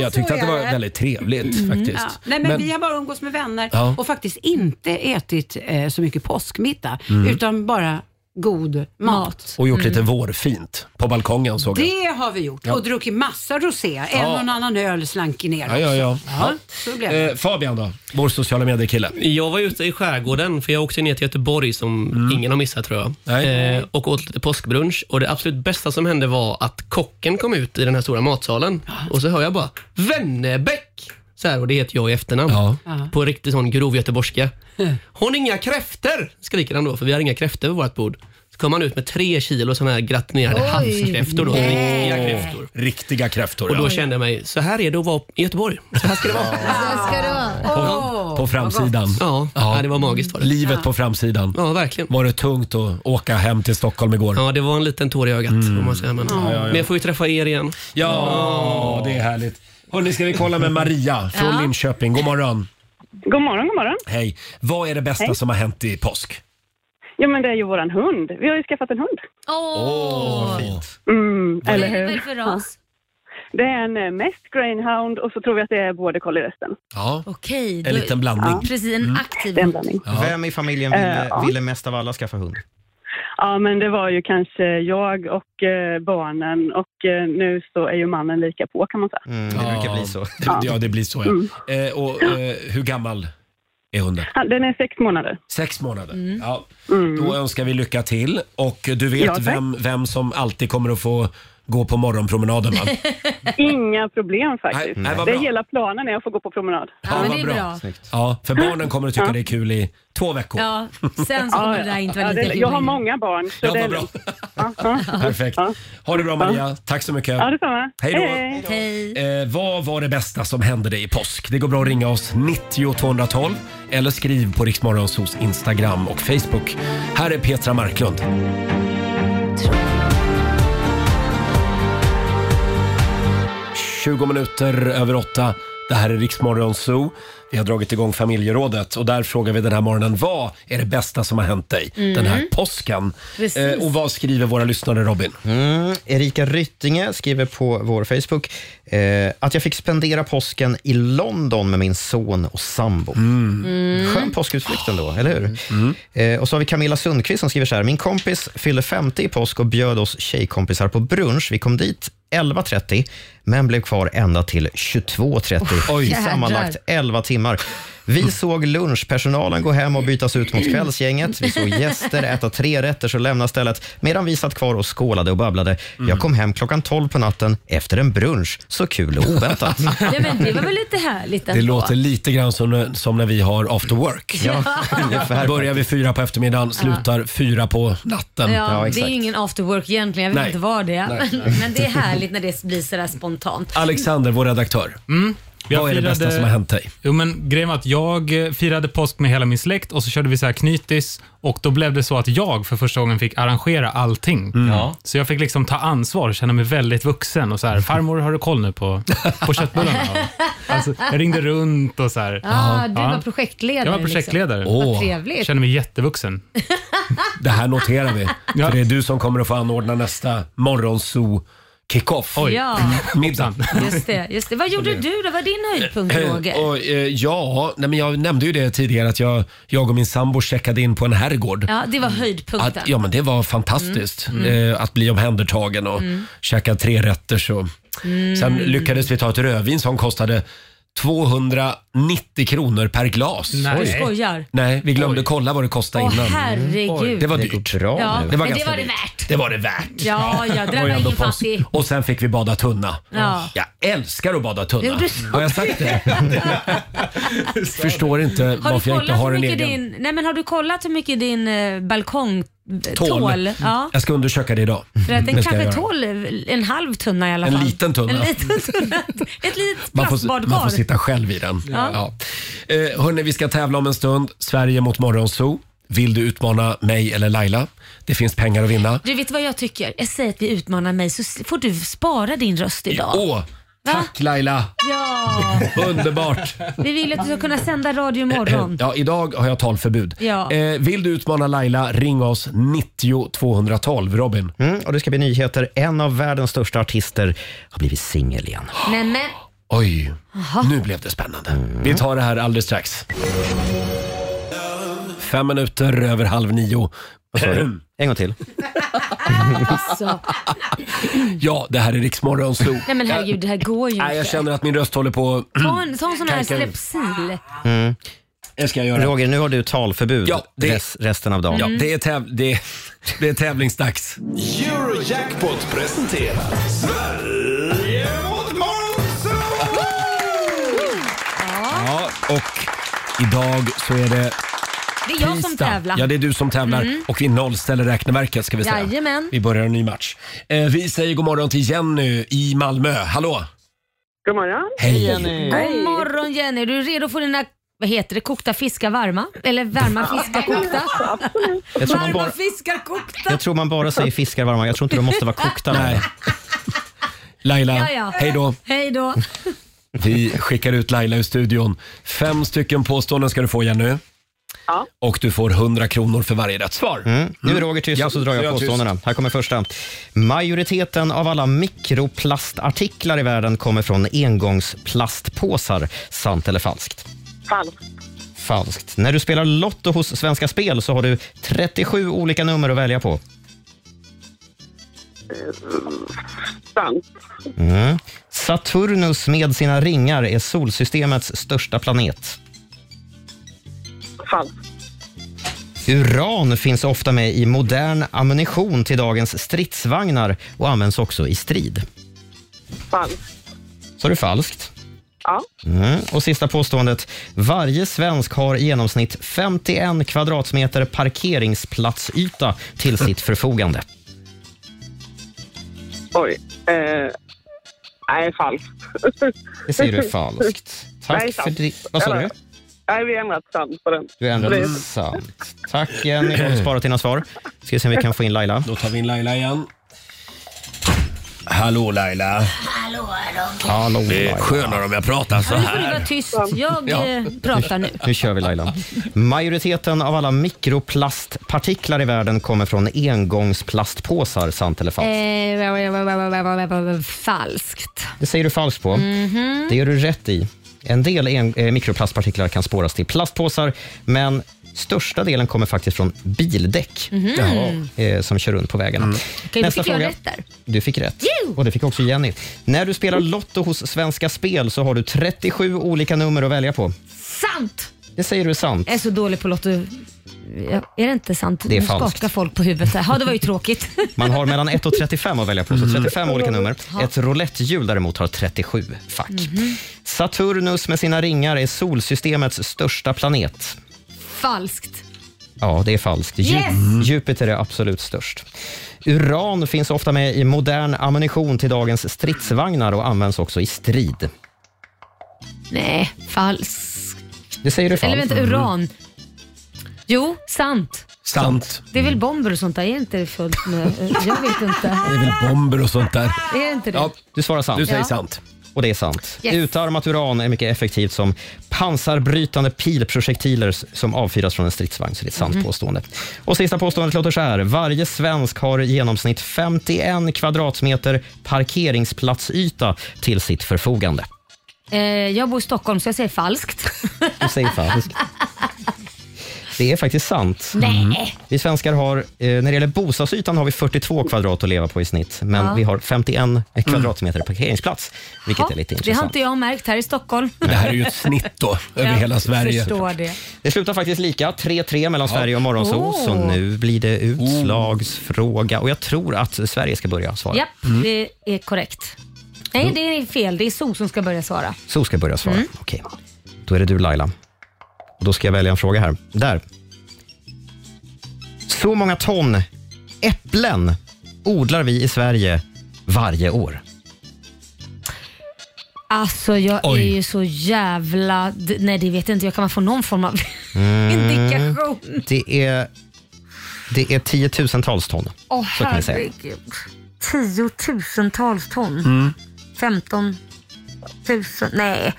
Speaker 1: Jag tyckte
Speaker 7: Äh, Så
Speaker 1: att det var
Speaker 7: är det. Mm.
Speaker 1: väldigt trevligt
Speaker 2: Mm.
Speaker 1: faktiskt.
Speaker 7: Ja. Nej, men, vi har bara umgås med vänner
Speaker 1: Ja.
Speaker 7: och faktiskt inte ätit eh, så mycket påskmiddag
Speaker 1: Mm.
Speaker 7: utan bara god mat.
Speaker 1: Och gjort
Speaker 7: Mm.
Speaker 1: lite vårfint på balkongen såg jag.
Speaker 7: Det har vi gjort
Speaker 1: Ja.
Speaker 7: och druckit massa rosé. En
Speaker 1: Ja.
Speaker 7: och en annan öl slank ner
Speaker 1: Ja, ja, ja.
Speaker 7: också. Ja, så blev det.
Speaker 1: Eh, Fabian då, vår sociala medier-kille.
Speaker 8: Jag var ute i skärgården, för jag åkte ner till Göteborg som
Speaker 1: Mm.
Speaker 8: ingen har missat tror jag. Eh, och åt lite påskbrunch. Och det absolut bästa som hände var att kocken kom ut i den här stora matsalen. Och så hör jag bara Vennebäck! Så här, och det heter jag i efternamn.
Speaker 5: Ja.
Speaker 8: På riktigt sån grov göteborgska.
Speaker 1: Mm.
Speaker 8: Hon har inga kräftor! skriker han då, för vi har inga kräftor på vårt bord. Så kom han ut med tre kilo såna här gratinerade
Speaker 5: Oj,
Speaker 8: havskräftor. Då,
Speaker 5: nej.
Speaker 8: riktiga kräftor.
Speaker 1: Riktiga kräftor.
Speaker 8: Och då
Speaker 1: ja.
Speaker 8: kände jag mig, så här är det att vara i Göteborg. Så här ska det vara.
Speaker 1: På, på framsidan.
Speaker 8: Ja, ja, det var magiskt. Var det.
Speaker 1: Livet på framsidan.
Speaker 8: Ja, verkligen.
Speaker 1: Var det tungt att åka hem till Stockholm igår?
Speaker 8: Ja, det var en liten tår i ögat. Om man säger. Men,
Speaker 1: Mm. Ja, ja, ja.
Speaker 8: men jag får ju träffa er igen.
Speaker 1: Ja, det är härligt. Hörni, ska vi kolla med Maria från
Speaker 8: Ja.
Speaker 1: Linköping. God morgon.
Speaker 13: God morgon, god morgon.
Speaker 1: Hej. Vad är det bästa
Speaker 13: Hej.
Speaker 1: som har hänt i påsk?
Speaker 13: Ja, men det är ju våran hund. Vi har ju skaffat en hund.
Speaker 1: Åh,
Speaker 13: Mm,
Speaker 1: Vad är-
Speaker 13: eller hur?
Speaker 1: vad är det
Speaker 2: för ras?
Speaker 13: Det är en eh, mäst greyhound och så tror vi att det är border collie resten.
Speaker 1: Ja.
Speaker 2: Okej.
Speaker 3: En liten blandning.
Speaker 1: Mm.
Speaker 2: Ja. Precis, en aktiv
Speaker 13: Det är en blandning.
Speaker 3: Vem i familjen ville,
Speaker 13: Eh, ja.
Speaker 3: ville mest av alla skaffa hund?
Speaker 13: Ja, men det var ju kanske jag och eh, barnen och eh, nu så är ju mannen lika på kan man säga.
Speaker 1: Det brukar bli så. Mm. Ja, det blir så ja.
Speaker 13: Mm.
Speaker 1: Eh, och eh, hur gammal är hunden?
Speaker 13: Ja, Den är sex månader.
Speaker 1: Sex månader.
Speaker 13: Mm.
Speaker 1: Ja. Då önskar vi lycka till och du vet
Speaker 13: Ja, tack.
Speaker 1: vem, vem som alltid kommer att få gå på morgonpromenaden va?
Speaker 13: Inga problem faktiskt.
Speaker 1: Nej, nej, vad
Speaker 13: det är
Speaker 1: bra.
Speaker 13: hela planen när jag får gå på promenad.
Speaker 1: Ja, men vad det är bra. bra. Ja, för barnen kommer att tycka det är kul i två veckor.
Speaker 2: Ja, sen så kommer det där inte vara lika kul
Speaker 13: Jag har
Speaker 2: längre.
Speaker 13: många barn. Så
Speaker 1: Ja,
Speaker 13: det är
Speaker 1: vad bra.
Speaker 13: lugnt. Ja, ja.
Speaker 1: Perfekt. Ha det bra Maria. Tack så mycket.
Speaker 13: Ja, detsamma.
Speaker 1: Hej då.
Speaker 2: Hej.
Speaker 1: Eh, vad var det bästa som hände dig i påsk? Det går bra att ringa oss 90 212 eller skriv på Riksmorgonsos Instagram och Facebook. Här är Petra Marklund. ...20 minuter över åtta. Det här är Riksmorgon Zoo. Vi har dragit igång familjerådet och där frågar vi den här morgonen vad är det bästa som har hänt dig
Speaker 3: Mm.
Speaker 1: den här påsken?
Speaker 3: Precis.
Speaker 1: Eh, och vad skriver våra lyssnare Robin?
Speaker 3: Mm. Erika Ryttinge skriver på vår Facebook eh, att jag fick spendera påsken i London med min son och sambo.
Speaker 5: Mm.
Speaker 3: Skön påskutflykt ändå, eller hur? Eh, och så har vi Camilla Sundqvist som skriver så här. Min kompis fyllde 50 i påsk och bjöd oss tjejkompisar på brunch. Vi kom dit 11.30, men blev kvar ända till 22.30.
Speaker 5: Oj.
Speaker 3: i
Speaker 5: Jädrar.
Speaker 3: Sammanlagt 11 timmar. Vi såg lunchpersonalen gå hem och bytas ut mot kvällsgänget. Vi såg gäster äta tre rätter och lämna stället medan vi satt kvar och skålade och babblade. Jag kom hem klockan 12 på natten efter en brunch. Så kul och oväntat.
Speaker 2: Ja, men det var väl lite härligt
Speaker 1: Det
Speaker 2: ändå.
Speaker 1: låter lite grann som, när- som när vi har after work.
Speaker 2: Ja, ungefär.
Speaker 1: Börjar vid fyra på eftermiddagen, slutar fyra på natten.
Speaker 2: Ja, det är ju ingen after work egentligen. Jag vet
Speaker 1: Nej.
Speaker 2: inte vad det är.
Speaker 1: Nej.
Speaker 2: Men, men det är härligt när det blir sådär spontant.
Speaker 1: Alexander, vår redaktör. Vad är det bästa
Speaker 9: eh,
Speaker 1: som har hänt dig?
Speaker 9: Jo, men grejen var att jag eh, firade påsk med hela min släkt och så körde vi så här knytis och då blev det så att jag för första gången fick arrangera allting.
Speaker 16: Ja.
Speaker 9: Så jag fick liksom ta ansvar och känna mig väldigt vuxen och så här, farmor har du koll nu på, på köttbullarna? alltså, jag ringde runt och så här.
Speaker 2: Ah, du
Speaker 9: Ja.
Speaker 2: var projektledare.
Speaker 9: Jag var projektledare.
Speaker 2: Liksom. Vad trevligt.
Speaker 9: Känner mig jättevuxen.
Speaker 1: Det här noterar vi. För det är du som kommer att få anordna nästa morgonzoo kickoff.
Speaker 2: Oj. Ja.
Speaker 1: Middag.
Speaker 2: Just det, just det. Vad gjorde
Speaker 1: det.
Speaker 2: du då? Vad var din höjdpunkt Roger?
Speaker 1: Och, eh, ja, nej, men jag nämnde ju det tidigare att jag, jag och min sambo checkade in på en herrgård.
Speaker 2: Ja, det var höjdpunkten.
Speaker 1: Att, ja, men det var fantastiskt
Speaker 2: Mm. Mm.
Speaker 1: Eh, att bli omhändertagen och
Speaker 2: Mm.
Speaker 1: käka tre rätter. Så.
Speaker 2: Mm.
Speaker 1: Sen lyckades vi ta ett rödvin som kostade 290 kronor per glas.
Speaker 2: Nej. Du skojar.
Speaker 1: Nej, vi glömde kolla vad det kostade
Speaker 2: Åh,
Speaker 1: innan.
Speaker 2: herregud. Oj.
Speaker 1: Det var
Speaker 2: Det
Speaker 1: dyrt.
Speaker 2: bra Ja, nu.
Speaker 1: det var
Speaker 2: men det
Speaker 1: ganska
Speaker 2: var det
Speaker 1: dyrt.
Speaker 2: värt.
Speaker 1: Det var det värt.
Speaker 2: Ja, ja, det där
Speaker 1: Och
Speaker 2: var
Speaker 1: ändå
Speaker 2: ingen
Speaker 1: post.
Speaker 2: fattig.
Speaker 1: Och sen fick vi bada tunna.
Speaker 2: Ja.
Speaker 1: Jag älskar att bada tunna.
Speaker 2: Gjorde du så?
Speaker 1: Har jag sagt det? Förstår inte
Speaker 2: Har du
Speaker 1: varför jag inte
Speaker 2: kollat
Speaker 1: har
Speaker 2: hur
Speaker 1: en
Speaker 2: mycket
Speaker 1: egen.
Speaker 2: din, nej men har du kollat hur mycket din eh, balkong Eh, tål? Ja.
Speaker 1: Jag ska undersöka det idag.
Speaker 2: För att den
Speaker 1: Det ska jag
Speaker 2: kanske
Speaker 1: göra.
Speaker 2: tål en halv tunna i alla
Speaker 1: En
Speaker 2: fall.
Speaker 1: liten tunna.
Speaker 2: En liten tunna. Ett litet
Speaker 1: Man får,
Speaker 2: plastbadkar.
Speaker 1: man får sitta själv i den. Ja.
Speaker 2: Ja.
Speaker 1: Eh, hörni, vi ska tävla om en stund. Sverige mot Morgonzoo. Vill du utmana mig eller Laila? Det finns pengar att vinna.
Speaker 2: Du vet vad jag tycker? Jag säger att vi utmanar mig så s- får du spara din röst idag.
Speaker 1: Åh, tack Laila!
Speaker 2: Ja,
Speaker 1: Underbart! Eh,
Speaker 2: vi vill att du ska kunna sända radio imorgon.
Speaker 1: Ja, idag har jag talförbud.
Speaker 2: Ja.
Speaker 1: Eh, vill du utmana Laila, ring oss 90 212. Robin.
Speaker 3: Mm, och det ska bli nyheter. En av världens största artister har blivit singel igen.
Speaker 2: Nej men,
Speaker 1: Oj, nu blev det spännande.
Speaker 3: Mm.
Speaker 1: Vi tar det här alldeles strax. Fem minuter över halv nio.
Speaker 3: En gång till.
Speaker 2: alltså.
Speaker 1: Ja, det här är Riksmorgon Zoo.
Speaker 2: Nej men herregud, det här går ju
Speaker 1: Nej, jag
Speaker 2: inte.
Speaker 1: känner att min röst håller på...
Speaker 2: Ta en, ta en sån
Speaker 1: Kan-
Speaker 2: här
Speaker 1: kan-
Speaker 2: Strepsil.
Speaker 3: Mm.
Speaker 1: Det ska jag göra.
Speaker 3: Roger, nu har du talförbud
Speaker 1: Ja, det-
Speaker 3: res- resten av dagen.
Speaker 1: Ja, det, är täv- det, är, det är tävlingsdags.
Speaker 10: Eurojackpot presenterar Sverige mot
Speaker 1: Ja, och idag så är det
Speaker 2: Det är jag som
Speaker 1: tisdag.
Speaker 2: tävlar.
Speaker 1: Ja, det är du som tävlar
Speaker 2: Mm.
Speaker 1: och vi nollställer räkneverket ska vi säga.
Speaker 2: Jajamän.
Speaker 1: Vi börjar en ny match. Eh, vi säger god morgon till Jenny i Malmö. Hallå!
Speaker 13: God morgon.
Speaker 1: Hej, Jenny.
Speaker 2: God morgon Jenny, är du redo för dina vad heter det? Kokta fiskar varma? Eller varma fiskar kokta?
Speaker 3: Jag tror man
Speaker 2: varma
Speaker 3: bara-
Speaker 2: fiskar kokta!
Speaker 3: Jag tror man bara säger fiskar varma. Jag tror inte de måste vara kokta.
Speaker 1: Nej. Laila,
Speaker 2: Ja, ja.
Speaker 1: hej då.
Speaker 2: Hej då.
Speaker 1: Vi skickar ut Laila ur studion. Fem stycken påståenden ska du få Jenny.
Speaker 13: Ja.
Speaker 1: Och du får 100 kronor för varje rätt svar.
Speaker 3: Mm. Nu är Roger tyst
Speaker 1: Ja,
Speaker 3: och så drar
Speaker 1: nu är
Speaker 3: jag
Speaker 1: tyst.
Speaker 3: påståendena. Här kommer första. Majoriteten av alla mikroplastartiklar i världen kommer från engångsplastpåsar. Sant eller falskt?
Speaker 13: Falskt.
Speaker 3: falskt. När du spelar Lotto hos Svenska Spel så har du 37 olika nummer att välja på.
Speaker 6: Sant.
Speaker 3: Mm. Saturnus med sina ringar är solsystemets största planet.
Speaker 6: Falskt.
Speaker 3: Uran finns ofta med i modern ammunition till dagens stridsvagnar och används också i strid.
Speaker 6: Falskt.
Speaker 3: Så är det falskt.
Speaker 6: Ja.
Speaker 3: Mm. Och sista påståendet. Varje svensk har i genomsnitt 51 kvadratmeter parkeringsplatsyta till sitt förfogande.
Speaker 6: Oj. Eh, nej, falskt.
Speaker 3: Det säger du falskt. Tack
Speaker 6: nej,
Speaker 3: för
Speaker 6: sant.
Speaker 3: di- vad sa du?
Speaker 6: Eller, Nej, vi har ändrat sant på den.
Speaker 3: Du ändrar
Speaker 6: Det-
Speaker 3: det sant. Tack eh, Jenny, har du sparat dina svar. Ska vi se om vi kan få in Laila.
Speaker 1: Då tar vi in Laila igen. Hallå Laila.
Speaker 2: Hallå, hallå.
Speaker 3: Hallå,
Speaker 1: det är
Speaker 3: Laila.
Speaker 1: skönare om jag pratar så
Speaker 2: Nu får du
Speaker 1: här.
Speaker 2: vara tyst. Jag
Speaker 3: Ja.
Speaker 2: eh, pratar nu.
Speaker 3: Nu kör vi Laila. Majoriteten av alla mikroplastpartiklar i världen kommer från engångsplastpåsar, sant eller falskt?
Speaker 2: Eh, Falskt.
Speaker 3: Det säger du falskt på.
Speaker 2: Mhm.
Speaker 3: Det gör du rätt i. En del en, eh, mikroplastpartiklar kan spåras till plastpåsar, men största delen kommer faktiskt från bildäck
Speaker 2: Mhm.
Speaker 3: Jaha. eh, som kör runt på vägarna.
Speaker 2: Mm. Okej, då fick jag rätt där.
Speaker 3: Du fick rätt. Och det fick också Jenny. När du spelar Lotto hos Svenska Spel så har du 37 olika nummer att välja på.
Speaker 2: Sant!
Speaker 3: Det säger du är sant.
Speaker 2: Jag är så dålig på Lotto. Ja, Är det inte sant?
Speaker 3: Det är
Speaker 2: nu
Speaker 3: falskt.
Speaker 2: skakar folk på huvudet. så här. Ja, det var ju tråkigt.
Speaker 3: Man har mellan 1 och 35 att välja på,
Speaker 1: Mm.
Speaker 3: så 35 olika nummer.
Speaker 2: Ja.
Speaker 3: Ett roulettehjul däremot har 37 fack.
Speaker 2: Mhm.
Speaker 3: Saturnus med sina ringar är solsystemets största planet.
Speaker 2: Falskt.
Speaker 3: Ja, det är falskt. Ju-
Speaker 2: Yes!
Speaker 3: Jupiter är absolut störst. Uran finns ofta med i modern ammunition till dagens stridsvagnar och används också i strid.
Speaker 2: Nej, falskt.
Speaker 3: Det säger du falskt. Mm.
Speaker 2: Eller vänta, uran. Jo, sant.
Speaker 1: Sant.
Speaker 2: Det är väl bomber och sånt där? Är det inte fullt med... Jag vet inte.
Speaker 1: Det är väl bomber och sånt där.
Speaker 2: Är det inte det?
Speaker 1: Ja,
Speaker 3: Du svarar sant.
Speaker 1: Du säger Ja.
Speaker 2: sant.
Speaker 3: Och det är sant.
Speaker 2: Yes.
Speaker 3: Utarmat uran är mycket effektivt som pansarbrytande pilprojektiler s- som avfyras från en stridsvagn. Så det är ett sant
Speaker 2: Mhm.
Speaker 3: påstående. Och sista påståendet låter så här. Varje svensk har i genomsnitt 51 kvadratmeter parkeringsplatsyta till sitt förfogande.
Speaker 2: Eh, jag bor i Stockholm så jag säger falskt.
Speaker 3: Du säger falskt. Det är faktiskt sant.
Speaker 2: Nej. Mm.
Speaker 3: Vi svenskar har, eh, när det gäller bostadsytan har vi 42 kvadrat att leva på i snitt, men
Speaker 2: Ja.
Speaker 3: vi har 51
Speaker 1: Mm.
Speaker 3: kvadratmeter parkeringsplats, vilket är lite
Speaker 2: det har
Speaker 3: intressant.
Speaker 2: inte jag märkt här i Stockholm.
Speaker 3: Det här är ju ett snitt då, över hela Sverige.
Speaker 2: Jag förstår det.
Speaker 3: Det slutar faktiskt lika, 3-3 mellan Sverige och Morgonzoo,
Speaker 2: Åh.
Speaker 3: så nu blir det utslagsfråga och jag tror att Sverige ska börja svara.
Speaker 2: Japp, det är korrekt. Nej, det är fel. Det är SO som ska börja svara.
Speaker 3: Så ska jag börja svara.
Speaker 2: Mm.
Speaker 3: Okej. Då är det du Laila. Och då ska jag välja en fråga här. Där. Så många ton äpplen odlar vi i Sverige varje år?
Speaker 2: Alltså jag
Speaker 3: Oj.
Speaker 2: är ju så jävla... d- Nej det vet jag inte. Jag kan man få någon form av... Indikation.
Speaker 3: Mm. Det är, det är tiotusentals ton.
Speaker 2: Åh
Speaker 3: så kan vi säga.
Speaker 2: herregud. Tiotusentals ton.
Speaker 3: Mm.
Speaker 2: 15 000. Nej,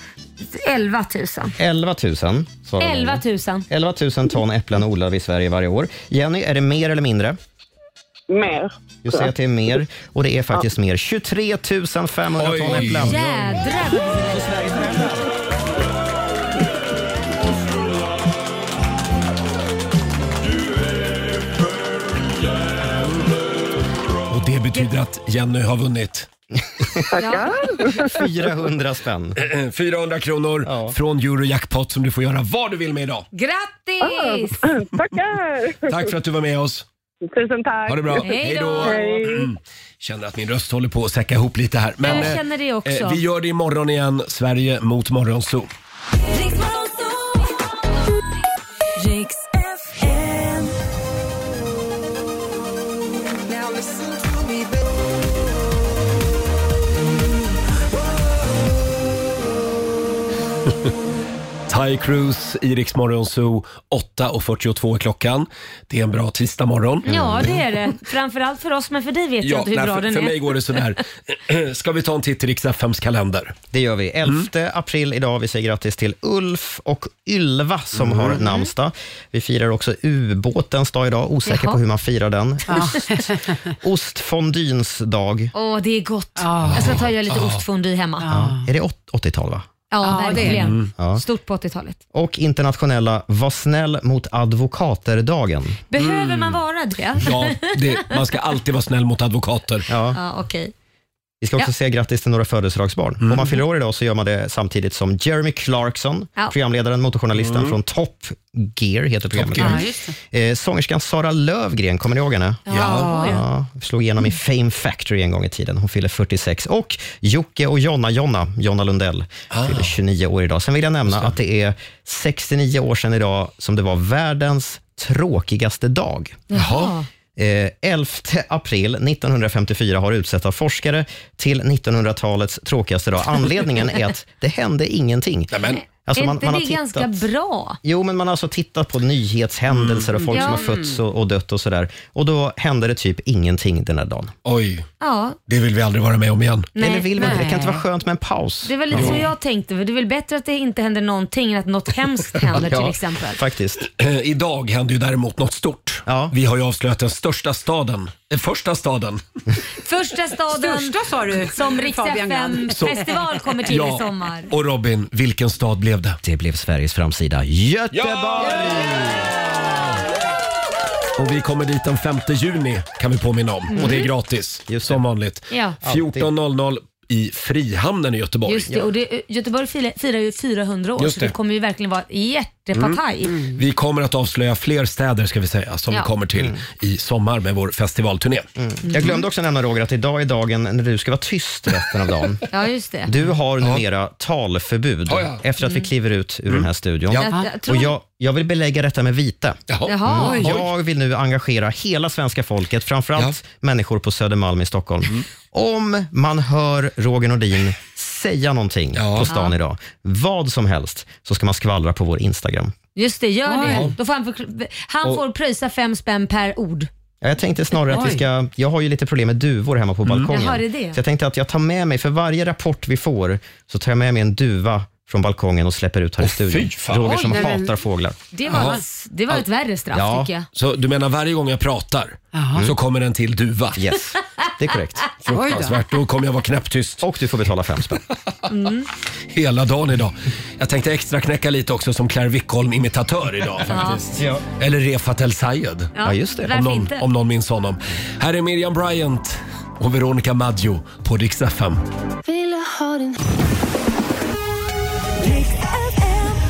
Speaker 2: 11 000.
Speaker 3: 11 000 svarar Laila.
Speaker 2: 11 000.
Speaker 3: 11 000 ton äpplen odlar vi i Sverige varje år. Jenny, är det mer eller mindre?
Speaker 6: Mer.
Speaker 3: Jag säger att det är mer och det är faktiskt mer. 23 500 ton äpplen.
Speaker 2: Jädrar vad det
Speaker 1: Och det betyder att Jenny har vunnit.
Speaker 6: Tackar.
Speaker 3: 400 spänn.
Speaker 1: 400 kronor från Eurojackpot som du får göra vad du vill med idag.
Speaker 2: Grattis!
Speaker 6: Ah, tackar!
Speaker 1: Tack för att du var med oss.
Speaker 6: Tusen tack.
Speaker 1: Ha det bra. Hej då. Mm. Känner att min röst håller på att säcka ihop lite här.
Speaker 2: Jag
Speaker 1: eh,
Speaker 2: känner det också.
Speaker 1: vi gör det imorgon igen. Sverige mot Morgonzoo. Ty Cruz, Iriks Morgonzoo. 8.42 är klockan. Det är en bra tisdagmorgon.
Speaker 2: Ja
Speaker 3: Mm.
Speaker 2: det är det. Framförallt för oss men för dig vet jag inte hur
Speaker 1: nej,
Speaker 2: bra
Speaker 1: för,
Speaker 2: den
Speaker 1: för
Speaker 2: är.
Speaker 1: mig går det sådär. Ska vi ta en titt i Rix FMs kalender? Mm.
Speaker 3: Det gör vi. 11 april idag. Vi säger grattis till Ulf och Ylva som har namnsdag. Vi firar också ubåtens dag idag. Osäker
Speaker 2: Jaha.
Speaker 3: på hur man firar den.
Speaker 2: Ja.
Speaker 3: Ostfondyns dag.
Speaker 2: Åh det är gott. Jag ska ta och göra lite
Speaker 3: Ah.
Speaker 2: ostfondue hemma.
Speaker 3: Ja. Är det åt- 80-tal va?
Speaker 2: Ja,
Speaker 7: Ja, det är-
Speaker 2: verkligen.
Speaker 3: Mm, ja.
Speaker 2: Stort på 80-talet.
Speaker 3: Och internationella Var snäll mot advokater-dagen.
Speaker 2: Behöver man vara det?
Speaker 3: alltid vara snäll mot advokater. Ja.
Speaker 2: Ja, okej.
Speaker 3: Vi ska också
Speaker 2: Ja.
Speaker 3: säga grattis till några födelsedagsbarn. Om man fyller år idag så gör man det samtidigt som Jeremy Clarkson,
Speaker 2: Ja.
Speaker 3: programledaren, motorjournalisten
Speaker 2: Mm.
Speaker 3: från Top Gear, heter programmet.
Speaker 2: Gear. Ja, just
Speaker 3: Eh, sångerskan Sara Lövgren, kommer ni ihåg henne?
Speaker 2: Ja. Ja.
Speaker 3: slog igenom i Fame Factory en gång i tiden. Hon fyller 46. Och Jocke och Jonna-Jonna, Jonna Lundell, fyller 29 år idag. Sen vill jag nämna att det är 69 år sedan idag som det var världens tråkigaste dag.
Speaker 5: Jaha.
Speaker 3: Eh, 11 april 1954 har utsetts av forskare till 1900-talets tråkigaste dag. Anledningen är att det hände ingenting. Alltså,
Speaker 2: är
Speaker 3: man-
Speaker 2: inte
Speaker 3: man
Speaker 2: det
Speaker 3: har tittat-
Speaker 2: ganska bra?
Speaker 3: Jo, men man har alltså tittat på nyhetshändelser och folk som
Speaker 2: Mm. Ja.
Speaker 3: har fötts och, och dött och sådär. Och då hände det typ ingenting den här dagen.
Speaker 1: Oj,
Speaker 2: Ja,
Speaker 1: det vill vi aldrig vara med om igen.
Speaker 2: Nej,
Speaker 3: Eller vill man inte? Det
Speaker 2: nej.
Speaker 3: kan inte vara skönt med en paus.
Speaker 2: det var lite
Speaker 3: Ja.
Speaker 2: så jag tänkte. För det är väl bättre att det inte händer någonting än att något hemskt händer till exempel.
Speaker 3: Faktiskt.
Speaker 1: Idag hände ju däremot något stort. Vi har ju avslöjat den största staden. Den första staden.
Speaker 2: Första staden
Speaker 7: Största sa du,
Speaker 2: som Rix
Speaker 7: Fabian Grand.
Speaker 1: Så-
Speaker 2: festival kommer till i sommar.
Speaker 1: Och Robin, vilken stad blev det?
Speaker 3: Det blev Sveriges framsida, Göteborg!
Speaker 1: Och vi kommer dit den 5 juni kan vi påminna om.
Speaker 2: Mm.
Speaker 1: Och det är gratis, som vanligt.
Speaker 2: Ja.
Speaker 1: 14.00 i Frihamnen i Göteborg.
Speaker 2: Just det, och det, Göteborg firar firar ju 400 år
Speaker 1: Just
Speaker 2: så det
Speaker 1: det.
Speaker 2: kommer ju verkligen vara
Speaker 1: Mm.
Speaker 2: jättepartaj.
Speaker 1: Vi kommer att avslöja fler städer ska vi säga som
Speaker 2: Ja. Mm.
Speaker 1: vi kommer till i sommar med vår festivalturné.
Speaker 3: Jag glömde också nämna Roger att idag är dagen när du ska vara tyst resten av dagen.
Speaker 2: Ja, just det.
Speaker 3: Du har numera talförbud efter att vi
Speaker 2: Mm.
Speaker 3: kliver ut ur den här studion.
Speaker 2: Ja. Jag- jag tror-
Speaker 3: Och jag, jag vill belägga detta med vite.
Speaker 2: Jaha.
Speaker 3: Mm.
Speaker 2: Oj.
Speaker 3: Jag vill nu engagera hela svenska folket, framförallt människor på Södermalm i Stockholm.
Speaker 2: Mm.
Speaker 3: Om man hör Roger Nordin säga någonting på stan
Speaker 2: Ja.
Speaker 3: idag, vad som helst, så ska man skvallra på vår Instagram.
Speaker 2: Just det, gör det.
Speaker 3: Oj.
Speaker 2: Då får han förkl- han
Speaker 3: Och-
Speaker 2: får pröjsa fem spänn per ord.
Speaker 3: Ja, Jag tänkte snarare att vi
Speaker 2: Oj. Mm.
Speaker 3: ska... Jag har ju lite problem med duvor hemma på balkongen.
Speaker 2: Jaha, det är det.
Speaker 3: Så jag tänkte att jag tar med mig, för varje rapport vi får, så tar jag med mig en duva från balkongen och släpper ut här i studion.
Speaker 1: fan.
Speaker 3: Roger
Speaker 2: Oj,
Speaker 3: som
Speaker 2: nej, men-
Speaker 3: hatar fåglar.
Speaker 2: Det var, det var ett värre straff tycker jag.
Speaker 1: Så du menar varje gång jag pratar
Speaker 2: Jaha.
Speaker 1: så kommer en till duva?
Speaker 3: Yes, det är korrekt.
Speaker 1: Fruktansvärt. Då kommer jag vara knäpptyst.
Speaker 3: Och du får betala fem spänn.
Speaker 2: Mm.
Speaker 1: Hela dagen idag. Jag tänkte extra knäcka lite också som Claire Wickholm-imitatör idag
Speaker 2: Ja.
Speaker 1: faktiskt. Eller Refat El Sayed.
Speaker 2: Ja, just det. varför
Speaker 1: Om någon,
Speaker 2: inte?
Speaker 1: om någon minns honom. Här är Miriam Bryant och Veronica Maggio på Rix FM.